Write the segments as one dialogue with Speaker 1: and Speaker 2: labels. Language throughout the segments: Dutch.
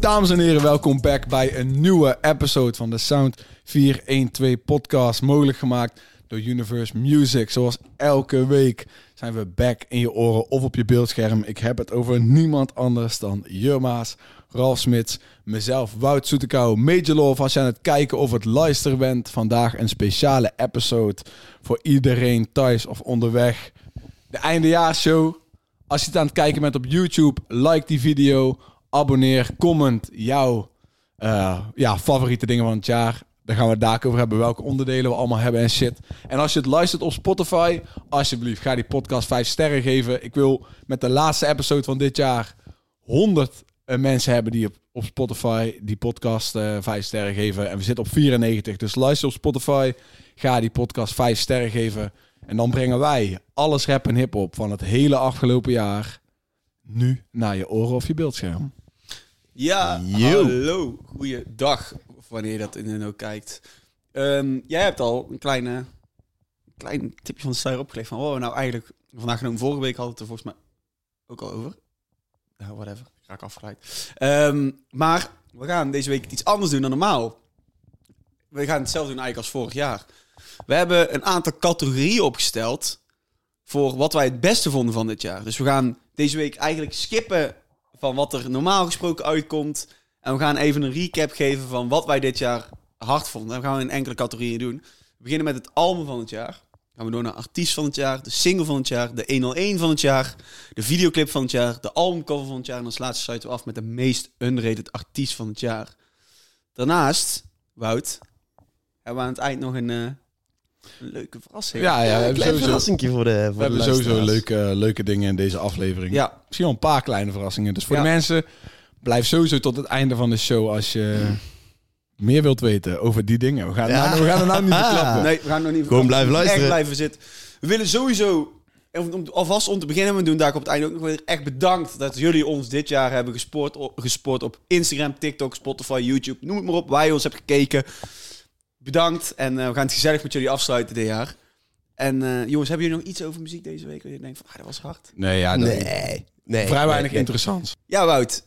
Speaker 1: dames en heren, welkom back bij een nieuwe episode van de Sound 412 podcast. Mogelijk gemaakt door Universe Music. Zoals elke week zijn we back in je oren of op je beeldscherm. Ik heb het over niemand anders dan Jurma's, Ralf Smits, mezelf, Wout Soetekouw, Major Love. Als je aan het kijken of het luisteren bent, vandaag een speciale episode voor iedereen thuis of onderweg. De eindejaarsshow. Als je het aan het kijken bent op YouTube, like die video, abonneer, comment jouw eh, ja, favoriete dingen van het jaar. Dan gaan we het daar ook over hebben, welke onderdelen we allemaal hebben en shit. En als je het luistert op Spotify, alsjeblieft, ga die podcast 5 sterren geven. Ik wil met de laatste episode van dit jaar 100 eh, mensen hebben die op, op Spotify die podcast eh 5 sterren geven. En we zitten op 94, dus luister op Spotify, ga die podcast 5 sterren geven. En dan brengen wij alles rap en hip-hop van het hele afgelopen jaar nu naar je oren of je beeldscherm.
Speaker 2: Ja,
Speaker 1: Yo.
Speaker 2: hallo. Goeiedag, of wanneer je dat in en ook kijkt. Ehm, jij hebt al een kleine, klein tipje van de sluier opgelegd van wat we nou eigenlijk vandaag genomen. Vorige week hadden we het er volgens mij ook al over. Nou, whatever. Ik raak afgeleid. Ehm, maar we gaan deze week iets anders doen dan normaal. We gaan hetzelfde doen eigenlijk als vorig jaar. We hebben een aantal categorieën opgesteld voor wat wij het beste vonden van dit jaar. Dus we gaan deze week eigenlijk skippen van wat er normaal gesproken uitkomt. En we gaan even een recap geven van wat wij dit jaar hard vonden. Dat gaan we in enkele categorieën doen. We beginnen met het album van het jaar. Dan gaan we door naar artiest van het jaar, de single van het jaar, de 101 van het jaar, de videoclip van het jaar, de albumcover van het jaar. En als laatste sluiten we af met de meest underrated artiest van het jaar. Daarnaast, Wout, hebben we aan het eind nog een eh, een leuke verrassing.
Speaker 1: Ja, ja, we
Speaker 3: een
Speaker 1: hebben
Speaker 3: klein
Speaker 1: sowieso,
Speaker 3: verrassingje voor de
Speaker 1: we hebben sowieso leuke, eh, leuke dingen in deze aflevering.
Speaker 2: ja.
Speaker 1: Misschien wel een paar kleine verrassingen. Dus voor
Speaker 2: Ja.
Speaker 1: de mensen, blijf sowieso tot het einde van de show als je meer wilt weten over die dingen. We gaan,
Speaker 3: Mm. Ja.
Speaker 1: nou, we gaan er nou niet verklappen.
Speaker 2: Nee, we gaan nog niet
Speaker 3: Gewoon blijven
Speaker 2: We moeten
Speaker 3: luisteren.
Speaker 2: Echt blijven zitten. We willen sowieso, om, om- alvast om te beginnen, we doen daar op het einde ook nog weer echt bedankt dat jullie ons dit jaar hebben gespoord op, gespoord op Instagram, TikTok, Spotify, YouTube, noem het maar op, waar je ons hebt gekeken. Bedankt en eh, we gaan het gezellig met jullie afsluiten dit jaar. En eh, jongens, hebben jullie nog iets over muziek deze week? Dat je denkt van, ah, dat was hard.
Speaker 1: Nee, ja, dat-
Speaker 3: Nee, nee.
Speaker 1: vrij weinig
Speaker 3: nee, nee.
Speaker 1: interessants.
Speaker 2: Ja, Wout.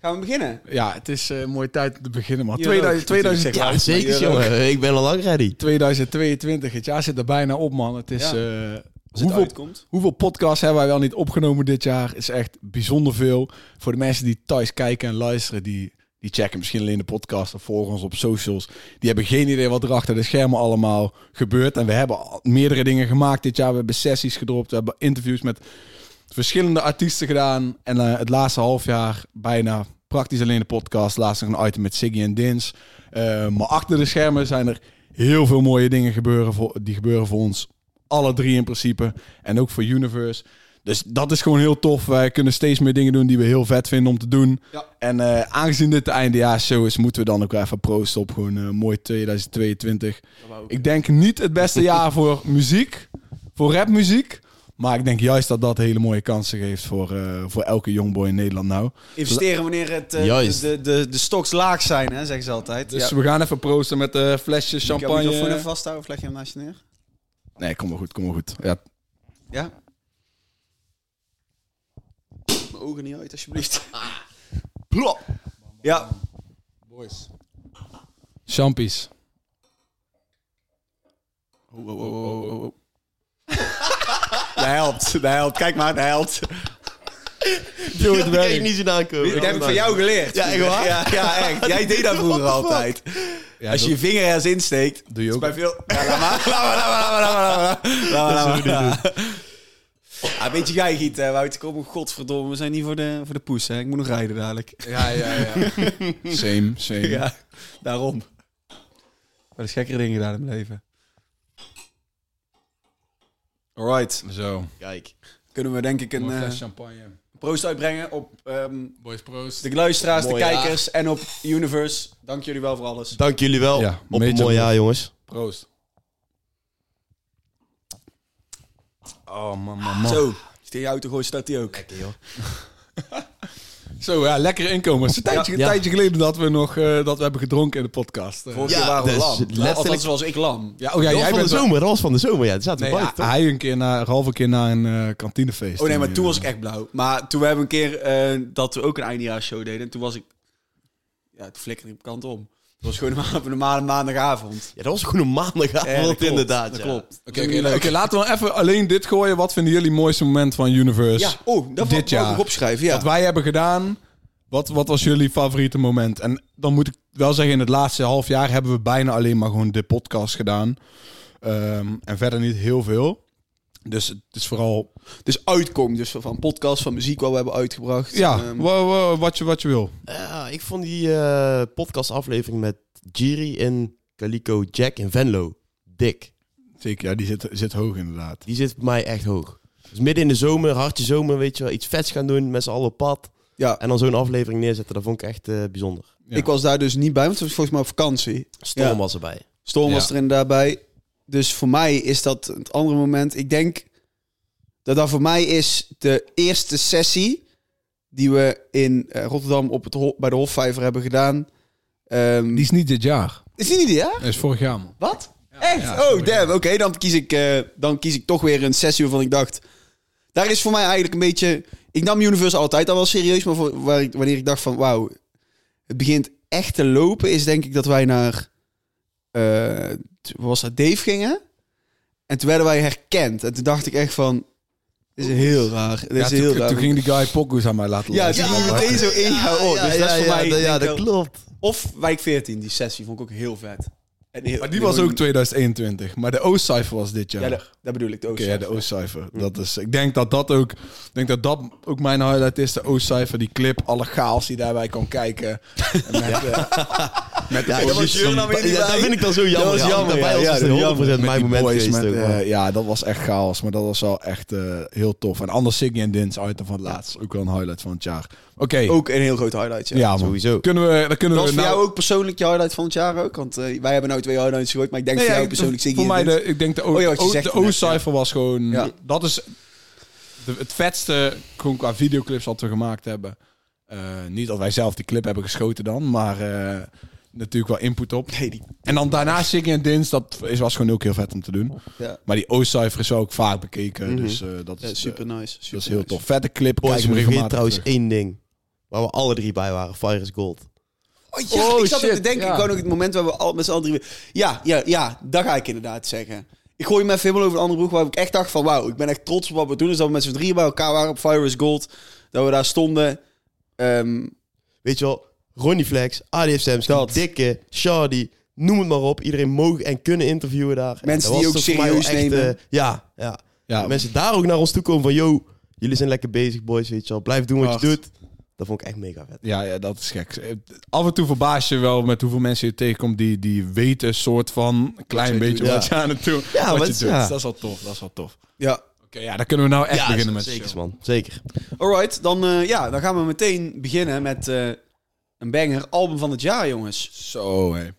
Speaker 2: Gaan we beginnen?
Speaker 1: Ja, het is eh mooie tijd om te beginnen, man.
Speaker 2: Ja,
Speaker 1: 2000,
Speaker 2: ook, natuurlijk, zeg
Speaker 1: 2000,
Speaker 2: maar.
Speaker 3: Ja, zeker jongen. Ik ben al lang ready.
Speaker 1: 2022, het jaar zit er bijna op, man. Het is...
Speaker 2: Ja.
Speaker 1: eh,
Speaker 2: Als het
Speaker 1: hoeveel
Speaker 2: uitkomt.
Speaker 1: Hoeveel podcasts hebben wij wel niet opgenomen dit jaar? Is echt bijzonder veel. Voor de mensen die thuis kijken en luisteren, die, die checken misschien alleen de podcast of volgen ons op socials. Die hebben geen idee wat er achter de schermen allemaal gebeurt. En we hebben al meerdere dingen gemaakt dit jaar. We hebben sessies gedropt, we hebben interviews met verschillende artiesten gedaan. En eh, het laatste half jaar bijna praktisch alleen de podcast. Laatst nog een item met Siggy en Dins. Eh, maar achter de schermen zijn er heel veel mooie dingen gebeuren voor, die gebeuren voor ons. Alle drie in principe. En ook voor Universe. Dus dat is gewoon heel tof. Wij kunnen steeds meer dingen doen die we heel vet vinden om te doen.
Speaker 2: Ja.
Speaker 1: En eh, aangezien dit de eindejaarsshow is, moeten we dan ook wel even proosten op gewoon eh, mooi 2022. Ik denk niet het beste jaar voor muziek, voor rapmuziek. Maar ik denk juist dat dat hele mooie kansen geeft voor, eh, voor elke jongboy in Nederland nou.
Speaker 2: Investeren wanneer het, eh,
Speaker 3: Juist.
Speaker 2: de, de, de stocks laag zijn, hè, zeggen ze altijd.
Speaker 1: Dus
Speaker 2: ja.
Speaker 1: we gaan even proosten met eh flesjes
Speaker 2: Ik heb hem microfoon even
Speaker 1: champagne.
Speaker 2: vasthouden of leg je hem naast je neer?
Speaker 1: Nee, kom maar goed, kom maar goed. Ja,
Speaker 2: Ja. Mijn ogen niet uit, alsjeblieft. Plop. Ah. Ja.
Speaker 1: Boys. Champies.
Speaker 2: Dat helpt, dat helpt. Kijk maar, dat helpt.
Speaker 3: Yo,
Speaker 1: het
Speaker 3: het
Speaker 1: werkt.
Speaker 3: niet zien aankomen.
Speaker 2: Dat heb ik van jou geleerd.
Speaker 3: Ja, echt waar?
Speaker 2: Ja, ja, echt. Jij deed dat vroeger
Speaker 3: What the fuck?
Speaker 2: altijd.
Speaker 1: Ja,
Speaker 2: Als je je vinger ergens insteekt,
Speaker 1: doe je
Speaker 2: is
Speaker 1: ook.
Speaker 2: bij veel... Ja, laat maar, laat maar, laat maar, laat maar, laat maar. Laat maar, laat maar. Ja, Ah, een beetje geigiet, hè, Wout. Kom, godverdomme. We zijn niet voor de, voor de poes, hè. Ik moet nog rijden dadelijk.
Speaker 1: Ja, ja, ja. Same, same.
Speaker 2: Ja, daarom. Maar is gekkere dingen gedaan in mijn leven. Alright.
Speaker 1: Zo.
Speaker 3: Kijk.
Speaker 2: Kunnen we denk ik een
Speaker 1: Mooi
Speaker 2: eh,
Speaker 1: fles champagne.
Speaker 2: proost uitbrengen op ehm,
Speaker 1: Boys, proost.
Speaker 2: de luisteraars,
Speaker 3: Mooi
Speaker 2: de kijkers en op Universe. Dank jullie wel voor alles.
Speaker 3: Dank jullie wel.
Speaker 1: Ja,
Speaker 3: Op
Speaker 1: major
Speaker 3: een
Speaker 1: love.
Speaker 3: mooi jaar, jongens.
Speaker 1: Proost. Oh, man, man, man. Zo,
Speaker 2: Zo, als je tegen je auto gooit, staat die ook. Lekker joh.
Speaker 1: ja, lekker inkomen. Het is een tijdje,
Speaker 3: Ja.
Speaker 1: tijdje geleden dat we nog eh, dat we hebben gedronken in de podcast. Eh,
Speaker 2: Vorige
Speaker 3: Ja,
Speaker 2: keer waren we
Speaker 3: dus
Speaker 2: lam.
Speaker 3: letterlijk-
Speaker 2: Althans was ik lam.
Speaker 1: ja, oh ja,
Speaker 3: Dat was
Speaker 1: jij
Speaker 3: van de
Speaker 1: bent wel-
Speaker 3: zomer. Dat was van de zomer, ja. Het zaten
Speaker 1: Nee,
Speaker 3: we buiten,
Speaker 1: ja,
Speaker 3: toch?
Speaker 1: hij een keer naar, half een keer naar een eh, kantinefeest.
Speaker 2: Oh nee, maar
Speaker 1: En,
Speaker 2: toen
Speaker 1: eh,
Speaker 2: was ik echt blauw. Maar toen we hebben een keer eh, dat we ook een eindejaarsshow deden. En toen was ik ja, het flikkerde op kant om. Het was gewoon een- op een normale maandagavond.
Speaker 3: Ja, dat was gewoon een maandagavond
Speaker 2: Ja, dat klopt,
Speaker 3: inderdaad.
Speaker 2: Dat
Speaker 3: ja.
Speaker 2: klopt.
Speaker 1: Oké, oké, oké, laten we nou even alleen dit gooien. Wat vinden jullie het mooiste moment van Universe?
Speaker 2: Ja, oh, dat
Speaker 1: Dus Dit
Speaker 2: dit jaar.
Speaker 1: jaar.
Speaker 2: ik opschrijven. Ja.
Speaker 1: Wat wij hebben gedaan. Wat, wat was jullie favoriete moment? En dan moet ik wel zeggen, in het laatste half jaar hebben we bijna alleen maar gewoon de podcast gedaan. Ehm, en verder niet heel veel. Dus het is vooral...
Speaker 2: Dus uitkom, dus van podcast, van muziek wat we hebben uitgebracht.
Speaker 1: Ja,
Speaker 2: Ehm,
Speaker 1: wa- wa- wat, je, wat je wil.
Speaker 3: Ja, ik vond die eh, podcastaflevering met Jiri en Calico Jack in Venlo dik.
Speaker 1: Zeker, ja, die zit, zit hoog inderdaad.
Speaker 3: Die zit bij mij echt hoog. Dus midden in de zomer, hartje zomer, weet je wel, iets vets gaan doen, met z'n allen op pad.
Speaker 2: ja.
Speaker 3: En dan zo'n aflevering neerzetten, dat vond ik echt eh, bijzonder.
Speaker 1: Ja.
Speaker 2: Ik was daar dus niet bij, want het was volgens mij op vakantie.
Speaker 3: Storm
Speaker 2: Ja.
Speaker 3: was erbij.
Speaker 2: Storm was
Speaker 1: Ja.
Speaker 2: er inderdaad bij. Dus voor mij is dat het andere moment. Ik denk dat dat voor mij is de eerste sessie die we in eh, Rotterdam op het, ho- bij de Hofvijver hebben gedaan. Ehm,
Speaker 1: Die is niet dit jaar.
Speaker 2: Is die niet, ja?
Speaker 1: Dat is vorig jaar, man.
Speaker 2: Wat? Echt?
Speaker 1: Ja,
Speaker 2: oh,
Speaker 1: sorry.
Speaker 2: damn. Oké, dan, kies ik, eh, dan kies ik toch weer een sessie waarvan ik dacht... Daar is voor mij eigenlijk een beetje... Ik nam Universe altijd al wel serieus, maar voor, waar ik, wanneer ik dacht van... Wauw, het begint echt te lopen, is denk ik dat wij naar... eh, t- was dat Dave gingen? En toen werden wij herkend. En toen dacht ik echt van... Dit is heel raar. Dit
Speaker 1: Ja,
Speaker 2: is
Speaker 1: toen,
Speaker 2: heel raar.
Speaker 1: toen ging die guy pokus aan mij laten
Speaker 2: ja, toen
Speaker 1: luisteren.
Speaker 2: ging meteen zo in jouw oor. Dus dat is voor
Speaker 3: Ah, ja,
Speaker 2: mij...
Speaker 3: Oh, dat- ja,
Speaker 2: denk ik
Speaker 3: dat
Speaker 2: wel-
Speaker 3: klopt.
Speaker 2: of Wijk 14, die sessie vond ik ook heel vet. En heel-
Speaker 1: Maar die was
Speaker 2: gewoon-
Speaker 1: ook 2021. Maar de Oostcijfer was dit jaar.
Speaker 2: Ja, dat, dat bedoel ik. de
Speaker 1: Oké,
Speaker 2: Oostzaal.
Speaker 1: ja, de Oostcijfer. Dat is, ik denk dat dat ook, ik denk dat dat ook mijn highlight is. De Oostcijfer, die clip, alle chaos die daarbij kan kijken. En Met, eh, met de
Speaker 3: Ja,
Speaker 1: boys,
Speaker 3: dat was
Speaker 2: Jurgen dan weer niet
Speaker 3: Ja, dat
Speaker 2: bij.
Speaker 3: vind ik dan zo jammer.
Speaker 2: was
Speaker 3: ja.
Speaker 2: jammer,
Speaker 3: Daarbij
Speaker 2: ja,
Speaker 3: was
Speaker 2: ja,
Speaker 3: het
Speaker 2: dat is
Speaker 1: dus
Speaker 3: 100%
Speaker 1: met
Speaker 3: mijn
Speaker 1: die
Speaker 3: moment
Speaker 1: boys,
Speaker 3: geweest
Speaker 1: met,
Speaker 3: ook, man.
Speaker 1: eh, ja, dat was echt chaos, maar dat was wel echt eh, heel tof. En anders Siggy en Dins uit van het laatst. Ook wel een highlight van het jaar. Oké,
Speaker 2: Ook een heel groot highlight, ja.
Speaker 1: ja man.
Speaker 3: Sowieso.
Speaker 1: Kunnen we, dan kunnen
Speaker 2: Dat was
Speaker 1: we
Speaker 2: voor
Speaker 1: nou-
Speaker 2: jou ook persoonlijk je highlight van het jaar ook? Want eh, wij hebben nou twee highlights gehoord, maar ik denk
Speaker 1: Nee,
Speaker 2: voor jou
Speaker 1: ja,
Speaker 2: persoonlijk Ziggy
Speaker 1: Voor mij,
Speaker 2: en Dins.
Speaker 1: de, ik denk de, o,
Speaker 2: Oh ja, wat je
Speaker 1: o-
Speaker 2: zegt
Speaker 1: de
Speaker 2: net,
Speaker 1: O-cijfer was gewoon...
Speaker 2: Ja.
Speaker 1: Dat is de- het vetste gewoon qua videoclips dat we gemaakt hebben. Eh, niet dat wij zelf die clip hebben geschoten dan, maar eh, natuurlijk wel input op.
Speaker 2: Nee, die...
Speaker 1: En dan daarna Siggy en Dins, dat is, was gewoon ook heel vet om te doen.
Speaker 2: Ja,
Speaker 1: Maar die O-cijfer is wel ook vaak bekeken,
Speaker 3: Mhm.
Speaker 1: dus eh, dat, is,
Speaker 2: ja,
Speaker 1: eh,
Speaker 2: super nice. Super
Speaker 1: dat is heel
Speaker 2: nice.
Speaker 1: tof. Vette clip,
Speaker 3: Boys,
Speaker 1: kijk
Speaker 3: we
Speaker 1: hem regelmatig
Speaker 3: vergeten trouwens
Speaker 1: terug.
Speaker 3: één ding. Waar we alle drie bij waren. Fire is Gold.
Speaker 2: Oh ja,
Speaker 1: Oh,
Speaker 2: ik zat ook te
Speaker 1: shit,
Speaker 2: denken,
Speaker 1: ja.
Speaker 2: gewoon ook het moment waar we al met z'n allen drie... Ja, ja, ja, dat ga ik inderdaad zeggen. Ik gooi me even helemaal over een andere broek, waar ik echt dacht van... Wauw, ik ben echt trots op wat we doen. Dus dat we met z'n drieën bij elkaar waren op Fire is Gold. Dat we daar stonden. Ehm,
Speaker 3: Weet je wel, Ronnie Flex, ADF Sam's,
Speaker 2: Dat.
Speaker 3: Dikke, Shardy, noem het maar op. Iedereen mogen en kunnen interviewen daar.
Speaker 2: Mensen
Speaker 3: En dat
Speaker 2: die
Speaker 3: was
Speaker 2: ook
Speaker 3: toch voor mij wel
Speaker 2: serieus
Speaker 3: echt,
Speaker 2: nemen.
Speaker 3: eh, ja, ja.
Speaker 1: Ja,
Speaker 3: Mensen daar ook naar ons toe komen van, yo, jullie zijn lekker bezig, boys, weet je wel. Blijf doen wat je
Speaker 1: Hard.
Speaker 3: doet. Dat vond ik echt mega vet.
Speaker 1: Ja, ja, dat is gek. Af en toe verbaas je wel met hoeveel mensen je tegenkomt die, die weten een soort van een klein
Speaker 2: je
Speaker 1: beetje
Speaker 3: doet,
Speaker 1: wat je aan het doen
Speaker 3: Ja,
Speaker 1: wat
Speaker 3: wat-
Speaker 1: je doet.
Speaker 3: ja.
Speaker 1: Dus Dat is wel tof, dat is wel tof. Oké,
Speaker 2: ja,
Speaker 1: ja, dan kunnen we nou echt
Speaker 3: ja,
Speaker 1: beginnen met de
Speaker 3: zeker,
Speaker 1: show.
Speaker 3: man. Zeker.
Speaker 2: Alright, dan, eh, ja, dan gaan we meteen beginnen met eh, een banger. Album van het jaar, jongens.
Speaker 1: Zo, hé.
Speaker 3: Dat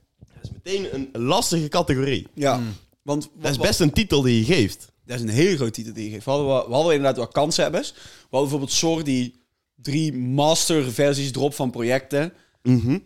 Speaker 3: is meteen een lastige categorie.
Speaker 2: Ja, Hmm. want
Speaker 3: Dat is best een titel die je geeft.
Speaker 2: dat is een hele grote titel die je geeft. We hadden, wel- we hadden inderdaad wel kanshebbers. We hadden bijvoorbeeld Sor die drie master versies drop van projecten.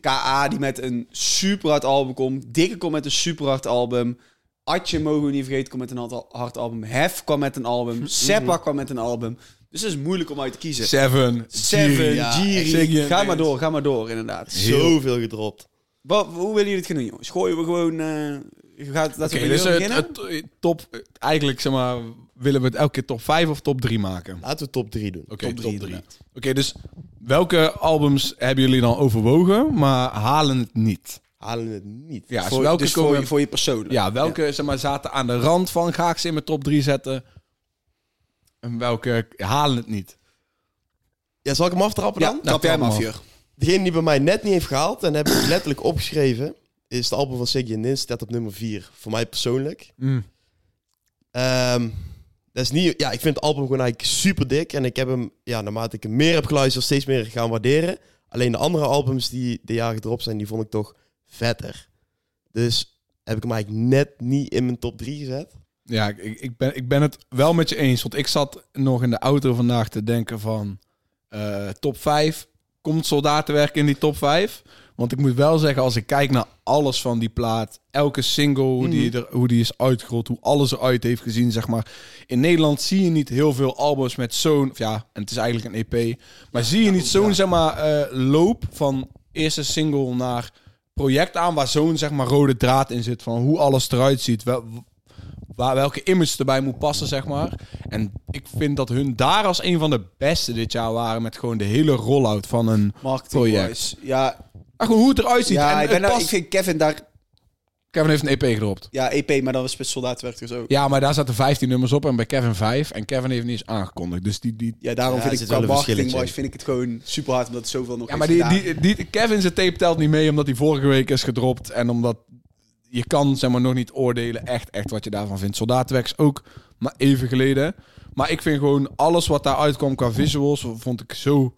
Speaker 2: KA die met een super hard album komt. Dikke komt met een super hard album. Atje mogen we niet vergeten komt met een hard- hard album. Hef kwam met een album. Seppa kwam met een album. Dus het is moeilijk om uit te kiezen.
Speaker 1: Seven, Jiri,
Speaker 2: Seven,
Speaker 1: ja,
Speaker 2: Jiri.
Speaker 1: Ziggy en
Speaker 2: Ga maar
Speaker 1: Dins.
Speaker 2: door, ga maar door inderdaad.
Speaker 1: Heel.
Speaker 3: Zoveel gedropt.
Speaker 2: Wat, hoe willen jullie het gaan doen, jongens? Gooien we gewoon... eh gaat, dat
Speaker 1: Oké,
Speaker 2: we
Speaker 1: dus
Speaker 2: dus
Speaker 1: het,
Speaker 2: beginnen?
Speaker 1: het- top, eigenlijk zeg maar, willen we het elke keer top 5 of top 3 maken?
Speaker 3: Laten we top 3 doen.
Speaker 1: Oké, top
Speaker 2: Top drie
Speaker 1: 3. Oké,
Speaker 2: inderdaad.
Speaker 1: dus welke albums hebben jullie dan overwogen, maar halen het niet?
Speaker 3: Halen het niet.
Speaker 1: Ja, dus
Speaker 2: voor,
Speaker 1: welke
Speaker 2: dus
Speaker 1: komen
Speaker 2: voor, je, voor je persoonlijk.
Speaker 1: Ja, welke Zeg maar, zaten aan de rand van ga ik ze in mijn top 3 zetten? En welke halen het niet?
Speaker 3: Ja, zal ik hem aftrappen
Speaker 2: Ja,
Speaker 3: dan?
Speaker 2: trap jij hem af,
Speaker 1: af.
Speaker 2: Jur.
Speaker 3: Degene die bij mij net niet heeft gehaald, en heb ik letterlijk opgeschreven, is het album van Siggy en Nins, staat op nummer 4. Voor mij persoonlijk.
Speaker 1: Mm.
Speaker 3: Ehm, dat is niet, ja, ik vind het album gewoon eigenlijk super dik. En ik heb hem, ja, naarmate ik hem meer heb geluisterd, steeds meer gaan waarderen. Alleen de andere albums die de jaar gedropt zijn, die vond ik toch vetter. Dus heb ik hem eigenlijk net niet in mijn top 3 gezet.
Speaker 1: Ja, ik, ik, ben, ik ben het wel met je eens. Want ik zat nog in de auto vandaag te denken van... eh, top 5, komt soldatenwerk in die top 5? Want ik moet wel zeggen, als ik kijk naar alles van die plaat... elke single, hoe, die, er, hoe die is uitgerold, hoe alles eruit heeft gezien, zeg maar... In Nederland zie je niet heel veel albums E met zo'n... of Ja, en het is eigenlijk een EP. Maar zie je niet zo'n, zeg maar, eh, loop van eerste single naar project aan waar zo'n zeg maar rode draad in zit van hoe alles eruit ziet, wel, waar welke image erbij moet passen zeg maar. En ik vind dat hun daar als een van de beste dit jaar waren met gewoon de hele rollout van een
Speaker 2: Marketing-wise. Ja,
Speaker 1: ah, gewoon hoe het eruit ziet en
Speaker 2: ja ik,
Speaker 1: het
Speaker 2: ben nou,
Speaker 1: past.
Speaker 2: ik vind Kevin daar...
Speaker 1: Kevin heeft een EP gedropt.
Speaker 2: Ja, EP, maar dan was met soldaatwerk dus ook.
Speaker 1: Ja, maar daar zaten 15 nummers op en bij Kevin 5 en Kevin heeft niet eens aangekondigd. Dus die, die
Speaker 2: Ja, daarom
Speaker 3: Ja, er
Speaker 2: vind ik
Speaker 3: zit
Speaker 2: qua
Speaker 3: wel een verschilletje
Speaker 2: marketing-wise vind ik het gewoon super hard, omdat zoveel nog
Speaker 1: Ja,
Speaker 2: is
Speaker 1: maar die,
Speaker 2: gedaan.
Speaker 1: die, die, Kevin zijn tape telt niet mee omdat hij vorige week is gedropt. En omdat je kan zeg maar, nog niet oordelen echt, echt wat je daarvan vindt. Soldaatwerks ook, maar even geleden. Maar ik vind gewoon alles wat daar uitkwam qua visuals, vond ik zo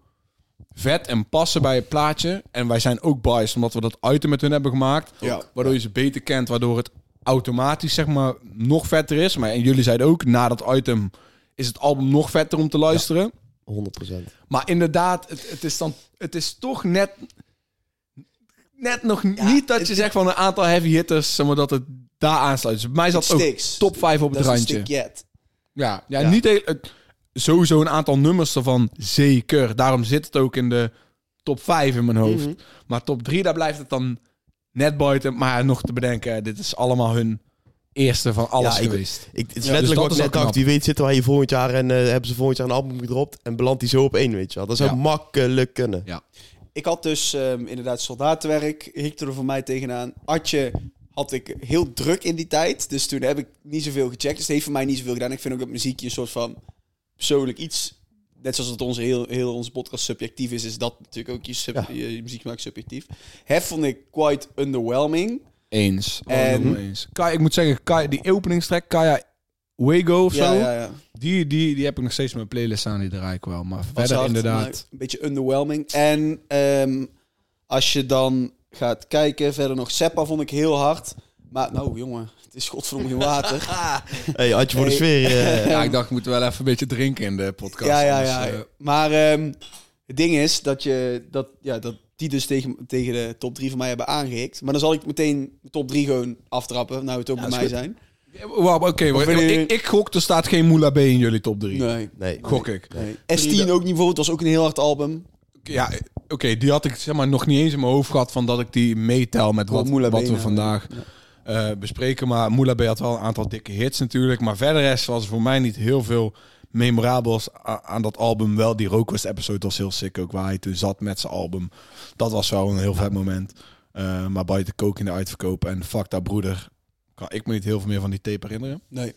Speaker 1: vet en passen bij het plaatje. En wij zijn ook biased omdat we dat item met hun hebben gemaakt.
Speaker 2: Ja.
Speaker 1: Waardoor je ze beter kent, waardoor het automatisch zeg maar nog vetter is. Maar en jullie zeiden ook, na dat item is het album nog vetter om te luisteren.
Speaker 3: 100%.
Speaker 1: Maar inderdaad, het, het, is, dan, het is toch net. Net nog niet dat je zegt van een aantal heavy hitters, zeg maar dat het daar aansluit. Dus bij mij zat
Speaker 2: Het
Speaker 1: ook
Speaker 2: stiks.
Speaker 1: top 5 op het
Speaker 2: dat
Speaker 1: randje.
Speaker 2: is een yet.
Speaker 1: Ja, ja,
Speaker 2: Ja.
Speaker 1: niet heel, het- sowieso een aantal nummers ervan, zeker. Daarom zit het ook in de top 5 in mijn hoofd.
Speaker 2: Mhm.
Speaker 1: Maar top 3, daar blijft het dan net buiten. Maar nog te bedenken, dit is allemaal hun eerste van alles
Speaker 3: Ja, ik-
Speaker 1: geweest.
Speaker 3: Ik, het is
Speaker 1: Ja,
Speaker 3: letterlijk
Speaker 1: dus dat
Speaker 3: wat
Speaker 1: is
Speaker 3: ik
Speaker 1: wel
Speaker 3: net dacht.
Speaker 1: knap.
Speaker 3: Wie weet zitten wij hier volgend jaar en eh, hebben ze volgend jaar een album gedropt en belandt die zo op één, weet je wel. Dat zou
Speaker 1: Ja.
Speaker 3: makkelijk kunnen.
Speaker 2: Ik had dus ehm, inderdaad soldatenwerk, hikte er voor mij tegenaan. Atje had ik heel druk in die tijd, dus toen heb ik niet zoveel gecheckt. Dus het heeft voor mij niet zoveel gedaan. Ik vind ook dat muziekje een soort van persoonlijk iets... Net zoals het onze heel, heel onze podcast subjectief is, is dat natuurlijk ook je, sub,
Speaker 3: Ja.
Speaker 2: je, je muzieksmaak subjectief. Hef vond ik quite underwhelming.
Speaker 1: Eens.
Speaker 2: En-
Speaker 1: Allemaal eens. Kai, ik moet zeggen, Kai, die openingstrek, Kaya Wego of
Speaker 2: Ja,
Speaker 1: zo.
Speaker 2: ja, ja.
Speaker 1: Die, die, die heb ik nog steeds in mijn playlist staan, die draai ik wel. Maar
Speaker 2: Was
Speaker 1: verder
Speaker 2: hard,
Speaker 1: inderdaad.
Speaker 2: maar Een beetje underwhelming. En ehm, als je dan gaat kijken, verder nog Seppa vond ik heel hard. Maar nou jongen, het is godverdomme geen water.
Speaker 3: hey, had je voor de
Speaker 2: Hey.
Speaker 3: sfeer... eh,
Speaker 1: Ja, ik dacht, ik moet wel even een beetje drinken in de podcast.
Speaker 2: ja, ja,
Speaker 1: anders,
Speaker 2: ja.
Speaker 1: eh,
Speaker 2: Maar ehm, het ding is dat, je, dat, ja, dat die dus tegen, tegen de top 3 van mij hebben aangehikt. Maar dan zal ik meteen de top 3 gewoon aftrappen, nou het ook
Speaker 1: Ja,
Speaker 2: bij
Speaker 1: is
Speaker 2: mij
Speaker 1: goed.
Speaker 2: zijn.
Speaker 1: eh, wauw, Oké, maar
Speaker 2: willen jullie-
Speaker 1: ik, ik gok, er staat geen Moula B in jullie top 3.
Speaker 2: Nee.
Speaker 3: nee.
Speaker 1: Gok ik.
Speaker 2: nee. S10 ook niet, het was ook een heel hard album.
Speaker 1: Ja, oké, die had ik zeg maar nog niet eens in mijn hoofd gehad van dat ik die meetel met
Speaker 2: Oh,
Speaker 1: wat,
Speaker 2: Moula B
Speaker 1: wat we
Speaker 2: nou.
Speaker 1: vandaag eh, bespreken. Maar Moula B had wel een aantal dikke hits natuurlijk. Maar verder rest was er voor mij niet heel veel memorabels a- aan dat album. Wel, die Rookworst episode was heel sick ook, waar hij toen zat met zijn album. Dat was wel een heel vet moment. Eh, maar buiten kook in de uitverkoop en fuck dat broeder, kan ik me niet heel veel meer van die tape herinneren.
Speaker 2: Nee.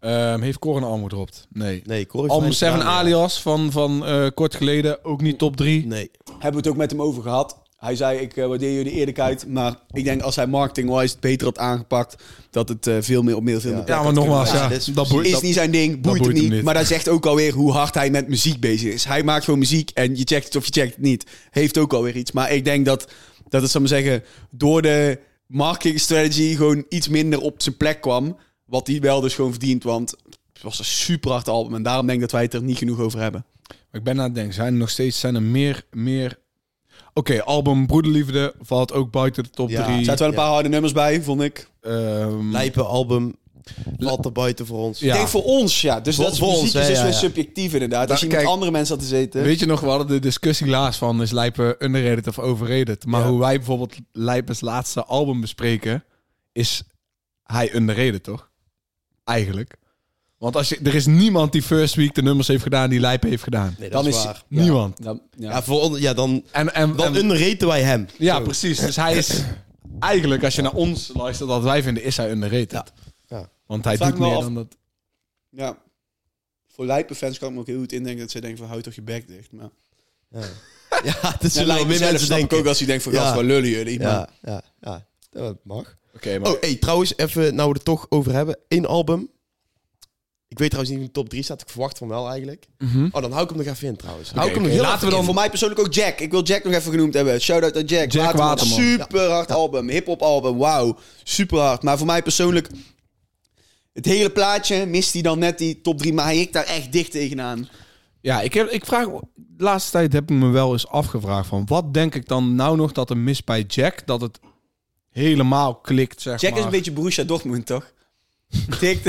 Speaker 1: Ehm, heeft Cor een album gedropt? Nee.
Speaker 3: Nee, Cor heeft
Speaker 1: Album
Speaker 3: mij
Speaker 1: 7
Speaker 3: gedaan, ja.
Speaker 1: Alias van, van eh, kort geleden, ook niet top 3.
Speaker 3: Nee.
Speaker 2: Hebben we het ook met hem over gehad. Hij zei, ik eh, waardeer jullie eerlijkheid. Maar ik denk als hij marketing-wise het beter had aangepakt... dat het eh, veel meer op meer, veel meer plek
Speaker 1: Ja, maar
Speaker 2: had
Speaker 1: nogmaals,
Speaker 2: kunnen
Speaker 1: ja,
Speaker 3: Ja,
Speaker 1: dat
Speaker 3: dit
Speaker 1: boeit-
Speaker 3: is
Speaker 2: zijn. Is
Speaker 1: dat-
Speaker 2: niet zijn ding, boeit,
Speaker 1: boeit
Speaker 2: hem
Speaker 1: hem
Speaker 2: niet.
Speaker 1: niet.
Speaker 2: Maar dat zegt ook alweer hoe hard hij met muziek bezig is. Hij maakt gewoon muziek en je checkt het of je checkt het niet. Heeft ook alweer iets. Maar ik denk dat, dat het, zal ik maar zeggen... door de marketing strategy gewoon iets minder op zijn plek kwam. Wat hij wel dus gewoon verdient, want... Het was een super hard album en daarom denk ik dat wij het er niet genoeg over hebben.
Speaker 1: Maar ik ben aan het denken, zijn er nog steeds zijn er meer... meer... Oké, album Broederliefde valt ook buiten de top
Speaker 3: Ja.
Speaker 1: 3.
Speaker 2: Er zaten wel een paar harde nummers bij, vond ik.
Speaker 3: Lijpe album. Valt er buiten voor ons.
Speaker 1: Ja.
Speaker 2: Ik denk voor ons, ja. Dus
Speaker 3: Voor-
Speaker 2: dat is
Speaker 3: voor
Speaker 2: muziek
Speaker 3: ons,
Speaker 2: is
Speaker 3: hè,
Speaker 2: dus
Speaker 3: ja,
Speaker 2: weer
Speaker 3: ja.
Speaker 2: subjectief inderdaad. Als je
Speaker 1: Nou,
Speaker 2: met
Speaker 1: kijk,
Speaker 2: andere mensen had te zitten.
Speaker 1: Weet je nog, we hadden de discussie laatst van... is Lijpen underrated of overrated? Maar
Speaker 3: Ja.
Speaker 1: hoe wij bijvoorbeeld Lijpens laatste album bespreken... is hij underrated, toch? Eigenlijk. Want als je, er is niemand die first week de nummers heeft gedaan... die Lijpen heeft gedaan.
Speaker 3: Nee, dat
Speaker 2: dan
Speaker 3: is
Speaker 2: is-
Speaker 3: waar.
Speaker 1: Niemand.
Speaker 2: Dan, ja.
Speaker 3: Ja, voor, on- ja dan,
Speaker 1: En, en,
Speaker 3: dan
Speaker 1: en-
Speaker 3: underraten wij hem.
Speaker 1: ja, precies. Dus hij is... Eigenlijk, als je naar ons luistert, wat wij vinden, is hij underrated.
Speaker 3: Ja.
Speaker 1: Want hij
Speaker 2: Vraag
Speaker 1: doet
Speaker 2: me
Speaker 1: meer
Speaker 2: af-
Speaker 1: dan dat...
Speaker 2: ja. Voor Lijpenfans kan ik me ook heel goed indenken dat ze denken van houd toch je bek dicht. Maar...
Speaker 3: Ja, ja dat
Speaker 2: Ja,
Speaker 3: zullen wel meer mensen
Speaker 2: snap ik
Speaker 3: denken.
Speaker 2: ook als die denkt van
Speaker 3: Ja.
Speaker 2: gast, waar lullen jullie? Maar-
Speaker 3: Ja, ja, ja. Dat mag.
Speaker 1: Oké,
Speaker 3: Oh, hey, trouwens, even nou we het er toch over hebben. Eén album. Ik weet trouwens niet wie in de top 3 staat. Ik verwacht van wel eigenlijk. Oh, dan hou ik hem nog even in trouwens. hou ik hem
Speaker 1: oké.
Speaker 3: nog heel
Speaker 1: Laten we
Speaker 2: En
Speaker 1: dan-
Speaker 2: voor mij persoonlijk ook Jack. Ik wil Jack nog even genoemd hebben. Shout-out aan Jack.
Speaker 1: Jack Waterman.
Speaker 2: Super hard album. Hip-hop album. Wauw. Super hard. Maar voor mij persoonlijk... Het hele plaatje mist hij dan net die top 3. Maar hij hikt daar echt dicht tegenaan.
Speaker 1: Ja, ik, heb, ik vraag... De laatste tijd heb ik me wel eens afgevraagd van... Wat denk ik dan nou nog dat er mis bij Jack? Dat het helemaal klikt, zeg
Speaker 2: Jack
Speaker 1: maar.
Speaker 2: is een beetje Borussia Dortmund, toch? het, hikt,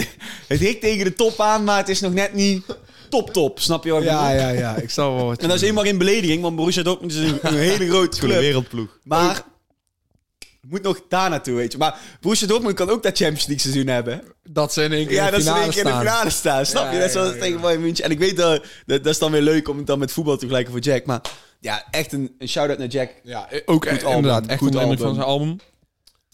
Speaker 2: het hikt tegen de top aan, maar het is nog net niet... top top. Snap je wat ik
Speaker 1: Ja,
Speaker 2: bedoel?
Speaker 1: ja, ja. Ik zal wel wat
Speaker 2: En dat is helemaal geen belediging, want Borussia Dortmund is een, een hele grote
Speaker 3: Gewoon een
Speaker 2: club.
Speaker 3: wereldploeg.
Speaker 2: Maar het moet nog daar naartoe, weet je. Maar Borussia Dortmund kan ook dat Champions League seizoen hebben.
Speaker 1: Dat ze in één keer
Speaker 2: Ja,
Speaker 1: in de
Speaker 2: dat ze in
Speaker 1: finale
Speaker 2: één keer in de
Speaker 1: staan.
Speaker 2: finale staan. Snap
Speaker 1: Ja,
Speaker 2: je? Dat is
Speaker 1: ja,
Speaker 2: wel
Speaker 1: ja.
Speaker 2: tegen Bayern München. En ik weet dat, dat, dat is dan weer leuk om het dan met voetbal te vergelijken voor Jack. Maar ja, echt een, een shout-out naar Jack.
Speaker 1: Ja, eh, ook
Speaker 2: Goed
Speaker 1: eh, inderdaad.
Speaker 2: album,
Speaker 1: Echt
Speaker 2: goed
Speaker 1: goed
Speaker 2: album.
Speaker 1: van zijn album.